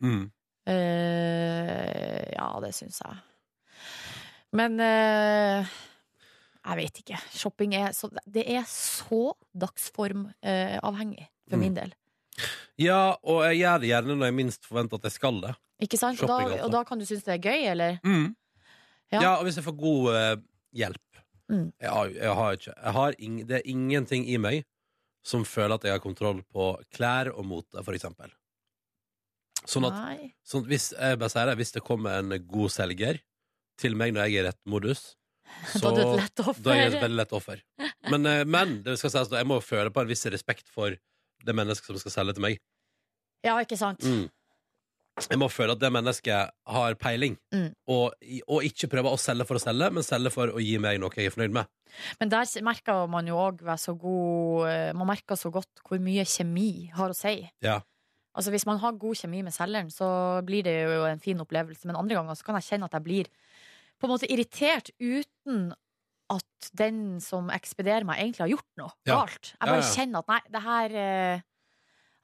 S2: Mm.
S3: Eh, ja, det syns jeg. Men eh, jeg vet ikke. Shopping er så, det er så dagsformavhengig for
S2: Mm.
S3: min del.
S2: Ja, og jeg gjør det gjerne når jeg minst forventer at jeg skal det.
S3: Ikke sant? Og
S2: Shopping,
S3: da,
S2: altså.
S3: og da kan du synes det er gøy, eller?
S2: Ja.
S3: Ja.
S2: og hvis jeg får god eh, hjelp.
S3: Mm.
S2: Jeg, har, jeg har ikke jeg har ing, Det er ingenting i meg som føler at jeg har kontroll på klær og mote, for eksempel. Sånn at,
S3: Nei.
S2: sånn at hvis, jeg bare sier det, hvis det kommer en god selger til meg når jeg er i rett modus, så
S3: Da er du et lett offer.
S2: da er jeg et veldig lett offer. Men, eh, men det skal sies, da, jeg må jo føle på en viss respekt for det mennesket som skal selge til meg.
S3: Ja, ikke sant?
S2: Mm. Jeg må føle at det mennesket har peiling,
S3: Mm.
S2: og, og ikke prøve å selge for å selge, men selge for å gi meg noe jeg er fornøyd med.
S3: Men der s- merker man jo òg så god eh, Man merker så godt hvor mye kjemi har å si.
S2: Ja.
S3: Altså Hvis man har god kjemi med selgeren, så blir det jo en fin opplevelse. Men andre ganger så kan jeg kjenne at jeg blir på en måte irritert uten at den som ekspederer meg, egentlig har gjort noe
S2: Ja.
S3: galt.
S2: Ja,
S3: Jeg bare
S2: ja.
S3: kjenner at nei, det her eh,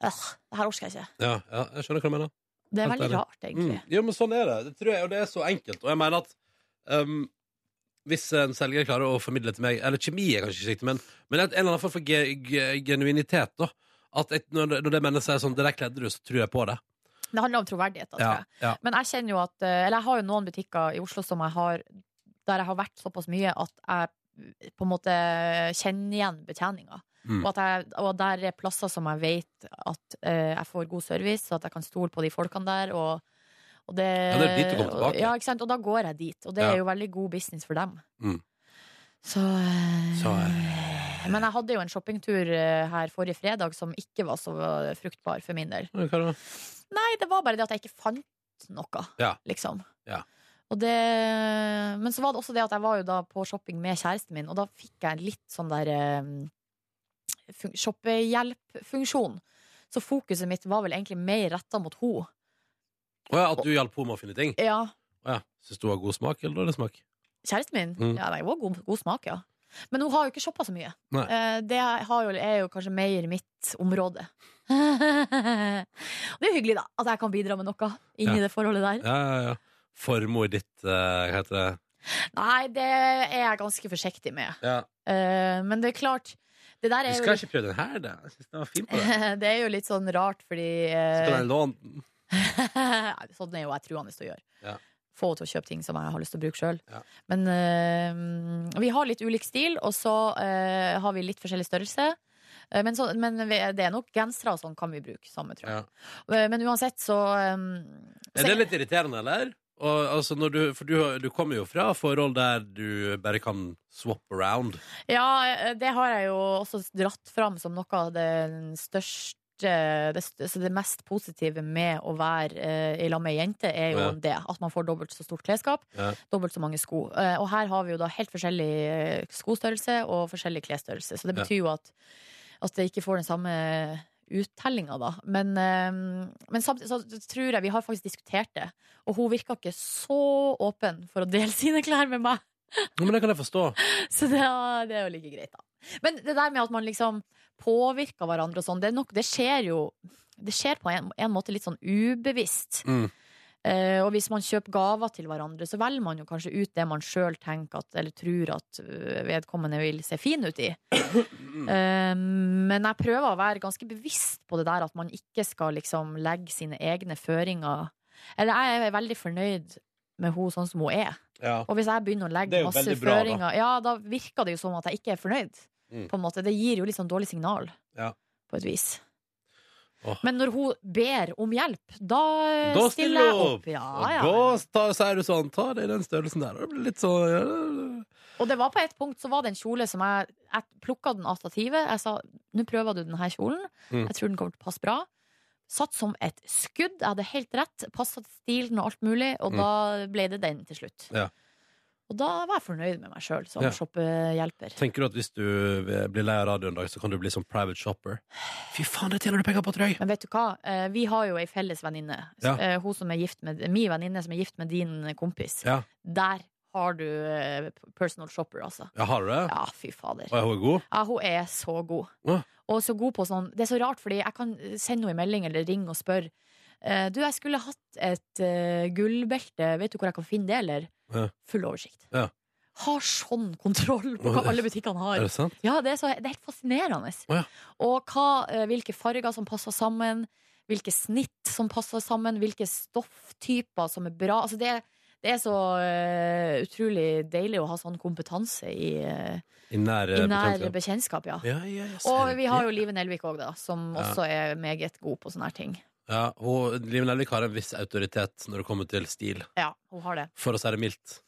S3: øh, Det her orker jeg ikke.
S2: Ja, ja, jeg skjønner hva du mener.
S3: Det er
S2: Helt
S3: veldig
S2: ærlig.
S3: rart, egentlig.
S2: Mm. Jo, men sånn er det. Det tror jeg, og det er så enkelt. Og jeg mener at um, hvis en selger klarer å formidle til meg Eller kjemi er kanskje ikke riktig, men, men en eller annen form for ge ge genuinitet, da. At et, når, det- når det mennesket er sånn 'Det der kledde du', så tror jeg på det.
S3: Det handler om troverdighet, altså. da, tror jeg.
S2: ja.
S3: Men jeg kjenner jo at eh, Eller jeg har jo noen butikker i Oslo som jeg har der jeg har vært såpass mye at jeg eh, på en måte kjenner igjen betjeninga.
S12: Mm.
S3: Og, at jeg, og der er plasser som jeg vet at eh, jeg får god service, og at jeg kan stole på de folkene der. Og, og det,
S2: Ja, det er dit du kommer tilbake.
S3: Ja, ikke sant? Og da går jeg dit. Og det
S2: Ja.
S3: er jo veldig god business for dem.
S2: Mm.
S3: Så, eh,
S2: Så eh,
S3: Men jeg hadde jo en shoppingtur eh, her forrige fredag som ikke var så fruktbar for min del.
S2: Hva da?
S3: Nei, det var bare det at jeg ikke fant noe.
S2: Ja.
S3: Liksom.
S2: Ja.
S3: Og det, men så var det også det at jeg var jo da på shopping med kjæresten min, og da fikk jeg litt sånn der eh, fun- shoppehjelpfunksjon. Så fokuset mitt var vel egentlig mer retta mot henne.
S2: Å ja, at du hjalp henne med å finne ting?
S3: Ja,
S2: Å ja. Syns du har god smak eller dårlig smak?
S3: kjæresten min?
S2: Mm.
S3: Ja, det var god, god smak, ja. Men hun har jo ikke shoppa så mye.
S2: Nei.
S3: Eh, Det har jo, er jo kanskje mer mitt område. Og det er jo hyggelig, da, at jeg kan bidra med noe inn
S2: Ja.
S3: i det forholdet der.
S2: Ja, ja, ja. Formord ditt, eh, hva heter det?
S3: Nei, det er jeg ganske forsiktig med.
S2: Ja.
S3: Eh, men det er klart Det
S2: Du
S3: der er jo
S2: skal ikke prøve den her, da? Jeg syns den var fin på deg.
S3: litt, det er jo litt sånn rart, fordi
S2: Skal
S3: eh,
S2: den låne den?
S3: Nei, Sånn er jo jeg truende til å gjøre.
S2: Ja.
S3: Få henne til å kjøpe ting som jeg har lyst til å bruke sjøl.
S2: Ja.
S3: Men eh, vi har litt ulik stil, og så eh, har vi litt forskjellig størrelse. Eh, Men, så, men vi- det er nok gensere og sånn kan vi bruke samme, tror jeg. Eh, Men uansett, så eh,
S2: Er det litt irriterende, eller? Og, altså, når du, for du, du kommer jo fra forhold der du bare kan swap around.
S3: Ja, eh, det har jeg jo også dratt fram som noe av den største det, st- altså det mest positive med å være eh, i lag med ei jente, er jo
S12: Ja.
S3: det. At man får dobbelt så stort klesskap,
S12: Ja.
S3: dobbelt så mange sko. Eh, og her har vi jo da helt forskjellig eh, skostørrelse og forskjellig klesstørrelse. Så det
S12: Ja.
S3: betyr jo at, at det ikke får den samme uttellinga, da. Men, eh, men samtidig så tror jeg vi har faktisk diskutert det. Og hun virka ikke så åpen for å dele sine klær med meg.
S2: Ja, men det kan jeg forstå.
S3: Så det, er- det er jo like greit, da. Men det der med at man liksom påvirker hverandre og sånn, det, er nok- det skjer jo Det skjer på en, en måte litt sånn ubevisst.
S2: Mm.
S3: Eh, og hvis man kjøper gaver til hverandre, så velger man jo kanskje ut det man sjøl tenker at, eller tror at øh, vedkommende vil se fin ut i. Eh, men jeg prøver å være ganske bevisst på det der at man ikke skal liksom legge sine egne føringer. Eller jeg er veldig fornøyd med henne sånn som hun er.
S2: Ja.
S3: Og hvis jeg begynner
S2: Det
S3: å
S2: er
S3: legge
S2: jo
S3: masse
S2: veldig bra, da.
S3: føringer, ja, da virker det jo som at jeg ikke er fornøyd.
S2: Mm.
S3: På en måte. Det gir jo litt sånn dårlig signal,
S2: Ja.
S3: på et vis.
S2: Åh.
S3: Men når hun ber om hjelp, da, eh,
S2: Da
S3: stiller jeg opp. Ja, Ah, ja.
S2: Og da ta- sier du sånn Ta det i den størrelsen der. Og det blir litt sånn ja, det-
S3: Og det var på et punkt så var det en kjole som jeg Jeg plukka den av stativet. Jeg sa nå prøver du denne kjolen.
S12: Mm.
S3: Jeg tror den kommer til å passe bra. Satt som et skudd. Jeg hadde helt rett. Passa til stilen og alt mulig. Og
S12: Mm.
S3: da ble det den til slutt.
S2: Ja.
S3: Og da var jeg fornøyd med meg sjøl som
S2: Ja.
S3: shoppehjelper.
S2: Tenker du at hvis du blir lei av radio en dag, så kan du bli sånn private shopper? Fy faen, det tjener du penger på, tror jeg!
S3: Men vet du hva? Eh, Vi har jo ei felles venninne.
S2: Ja.
S3: Eh, Hun som er gift med Min venninne som er gift med din kompis.
S2: Ja.
S3: Der har du eh, personal shopper, altså.
S2: Ja, har du det?
S3: Ja, fy fader.
S2: Og er hun god?
S3: Ja, hun er så god.
S2: Åh.
S3: Og så god på sånn Det er så rart, fordi jeg kan sende henne en melding eller ringe og spørre. eh, Du, jeg skulle hatt et eh, gullbelte. Vet du hvor jeg kan finne det, eller?
S2: Ja.
S3: Full oversikt.
S2: Ja.
S3: Har sånn kontroll på hva alle butikkene har.
S2: Er det sant?
S3: Ja, det er, så, det er helt fascinerende. Og hva, eh, hvilke farger som passer sammen, hvilke snitt som passer sammen, hvilke stofftyper som er bra. Altså det, det er så eh, utrolig deilig å ha sånn kompetanse i, eh,
S2: I nær
S3: i nær
S2: bekjentskap.
S3: bekjentskap. Ja.
S2: Ja, ja, ja,
S3: Og
S2: ser
S3: vi
S2: det.
S3: har jo Live Nelvik òg, da, som
S2: Ja.
S3: også er meget god på sånne her ting.
S2: Ja, og Liv Nelvik har en viss autoritet når det kommer til stil,
S3: Ja, hun har det.
S2: for å si det mildt.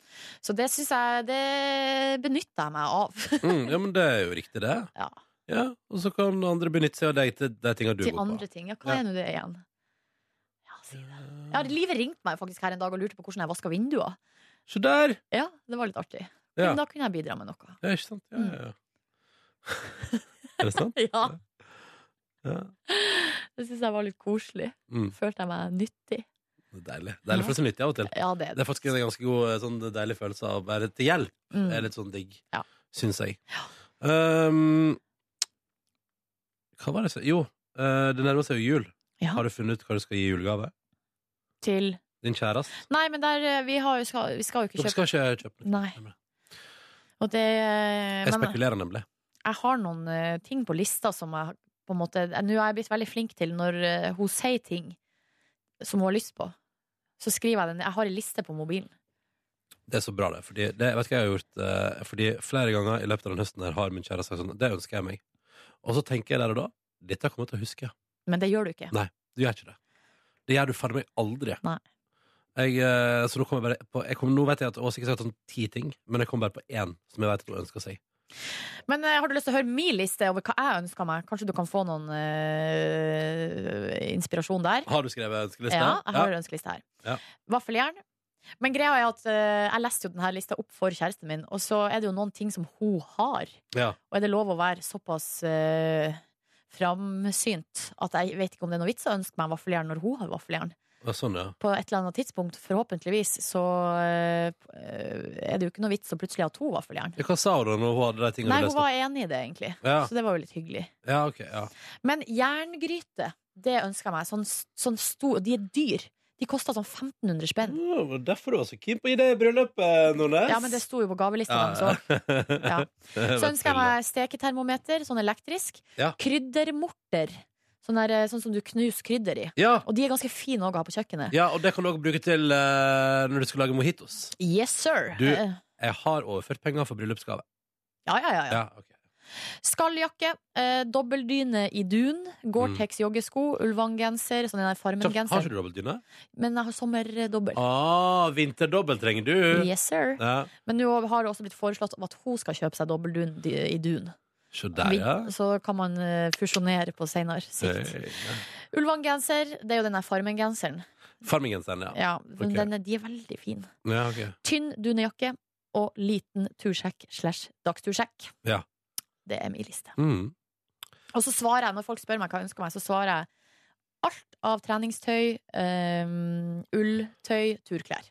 S3: Så det syns jeg Det benytter jeg meg av.
S2: Mm, ja, men det er jo riktig, det.
S3: Ja.
S2: Og så kan andre benytte seg av deg til de tinga du
S3: til
S2: går på.
S3: andre ting. Ja, hva
S2: Ja.
S3: er nå det igjen? Ja, si det. Ja, Livet ringte meg faktisk her en dag og lurte på hvordan jeg vaska vinduer.
S2: Så der!
S3: Ja, det var litt artig.
S2: Ja.
S3: Men da kunne jeg bidra med noe.
S2: Ja, ikke sant? Ja, ja, ja.
S3: Mm.
S2: er det sant?
S3: Ja,
S2: Ja.
S3: det syns jeg var litt koselig.
S2: Mm.
S3: Følte jeg meg nyttig.
S2: Det er deilig. Deilig for å se nyttig av og til.
S3: Ja, det er det.
S2: er faktisk en ganske god eh, sånn, deilig følelse av å være til hjelp.
S3: Mm.
S2: er litt sånn digg,
S3: Ja.
S2: syns jeg. Um, hva var det så Jo, eh, det nærmer seg jo jul. Har du funnet ut hva du skal gi i julegave?
S3: Til
S2: Din kjæreste?
S3: Nei, men der eh, Vi, har jo, skal, vi skal jo ikke
S2: Dere
S3: kjøpe
S2: skal ikke kjøpe noe.
S3: Nei. Og det eh,
S2: Jeg
S3: men-
S2: spekulerer nemlig.
S3: jeg har noen eh, ting på lista som jeg på en måte Nå er jeg blitt veldig flink til når eh, hun sier ting som hun har lyst på. Så skriver jeg den. Jeg har ei liste på mobilen.
S2: Det er så bra, det. Fordi det vet du hva jeg har gjort eh, Fordi flere ganger i løpet av den høsten her har min kjære sagt sånn Det ønsker jeg meg. Og så tenker jeg der og da Dette kommer jeg til å huske.
S3: Men det gjør du ikke.
S2: Nei, du gjør ikke det. Det gjør du fader meg aldri.
S3: Nei.
S2: Jeg, eh, så nå kommer jeg bare på jeg kommer, Nå vet jeg at Åse ikke har sagt sånn ti ting, men jeg kommer bare på én som jeg vet at hun ønsker seg.
S3: Men eh, har du lyst til å høre min liste over hva jeg ønsker meg? Kanskje du kan få noen eh, inspirasjon der?
S2: Har du skrevet ønskeliste?
S3: Ja, jeg har ønskeliste her.
S2: Ja.
S3: Vaffeljern. Men greia er at eh, jeg leste jo denne lista opp for kjæresten min, og så er det jo noen ting som hun har.
S2: Ja.
S3: Og er det lov å være såpass eh, framsynt at jeg vet ikke om det er noe vits å ønske meg vaffeljern når hun har vaffeljern?
S2: Ja, Sånn, ja.
S3: På et eller annet tidspunkt, forhåpentligvis, så eh, er det jo ikke noe vits å plutselig ha to vaffeljern.
S2: Ja, Hva sa hun da når hun hadde de tingene
S3: Nei,
S2: du
S3: hun
S2: leste?
S3: var enig i det, egentlig.
S2: Ja.
S3: Så det var jo litt hyggelig.
S2: Ja, ok, ja.
S3: Men jerngryte, det ønsker jeg meg. Sånn, sånn stor, og de er dyr. De koster sånn 1500 spenn.
S2: Det var derfor du var så keen på å gi det i bryllupet, Nordnes.
S3: Ja, men det sto jo på gavelista deres òg. Ja. Så ønsker jeg meg steketermometer, sånn elektrisk.
S2: Ja.
S3: Kryddermorter. Sånn, der, sånn som du knuser krydder i.
S2: Ja.
S3: Og de er ganske fine å ha på kjøkkenet.
S2: Ja, og det kan du også bruke til eh, når du skal lage mojitos.
S3: Yes, sir!
S2: Du,
S3: Eh,
S2: jeg har overført penger for bryllupsgave.
S3: Ja, ja, ja. ja.
S2: Ja, ok.
S3: Skalljakke, eh, dobbeldyne i dun, Gore-Tex joggesko, Ulvan-genser, sånn den
S2: Mm. Så, har
S3: der
S2: ikke
S3: Farmen-genser.
S2: du dobbeltdyne?
S3: Men jeg har sommerdobbel.
S2: Ah, vinterdobbel trenger du.
S3: Yes, sir.
S2: Ja.
S3: Men nå har det også blitt foreslått om at hun skal kjøpe seg dobbeldun d- i dun.
S2: Så der,
S3: Vi-
S2: ja.
S3: Så kan man eh, fusjonere på seinere sikt.
S2: Hey, ja.
S3: Ulvan-genser, det er jo den der Farmen-genseren.
S2: Farmingenseren, ja.
S3: Ja, men
S2: Ok.
S3: den er, de er veldig fine.
S2: Ja, ok.
S3: Tynn dunjakke og liten tursjekk slash dagstursekk.
S2: Ja.
S3: Det er min liste.
S2: Mm.
S3: Og så svarer jeg, når folk spør meg hva jeg ønsker meg, så svarer jeg alt av treningstøy, um, ull, tøy, turklær.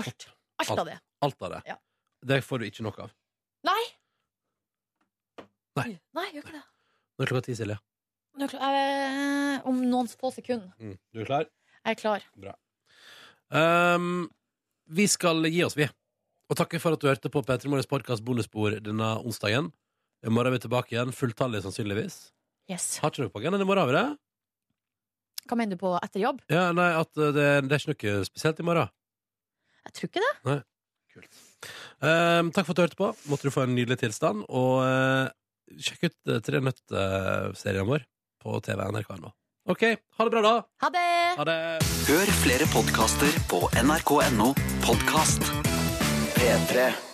S3: Alt. Alt av det.
S2: Alt av det.
S3: Ja.
S2: Det får du ikke nok av.
S3: Nei!
S2: Nei.
S3: Nei, gjør ikke det.
S2: Nå er klokka ti, Silje.
S3: Nå er klar- eh, om noen få sekunder.
S2: Mm. Du er klar?
S3: Jeg er klar.
S2: Bra. Um, vi skal gi oss, vi. Og takke for at du hørte på P3 Morgens podkast bonusbord denne onsdagen. I morgen er vi tilbake igjen, fulltallig sannsynligvis.
S3: Yes.
S2: Har ikke noe på agendaen i morgen, har vi det?
S3: Hva mener du på etter jobb?
S2: Ja, nei, at uh, det, det er ikke noe spesielt i morgen.
S3: Jeg tror ikke det.
S2: Nei. Kult. Um, takk for at du hørte på. Måtte du få en nydelig tilstand. Og uh, sjekk ut uh, Tre nøtt-serien vår på TV NRK nå. OK, ha det bra, da.
S3: Ha det!
S2: Ha det!
S13: Hør flere podkaster på nrk.no podkast. P3.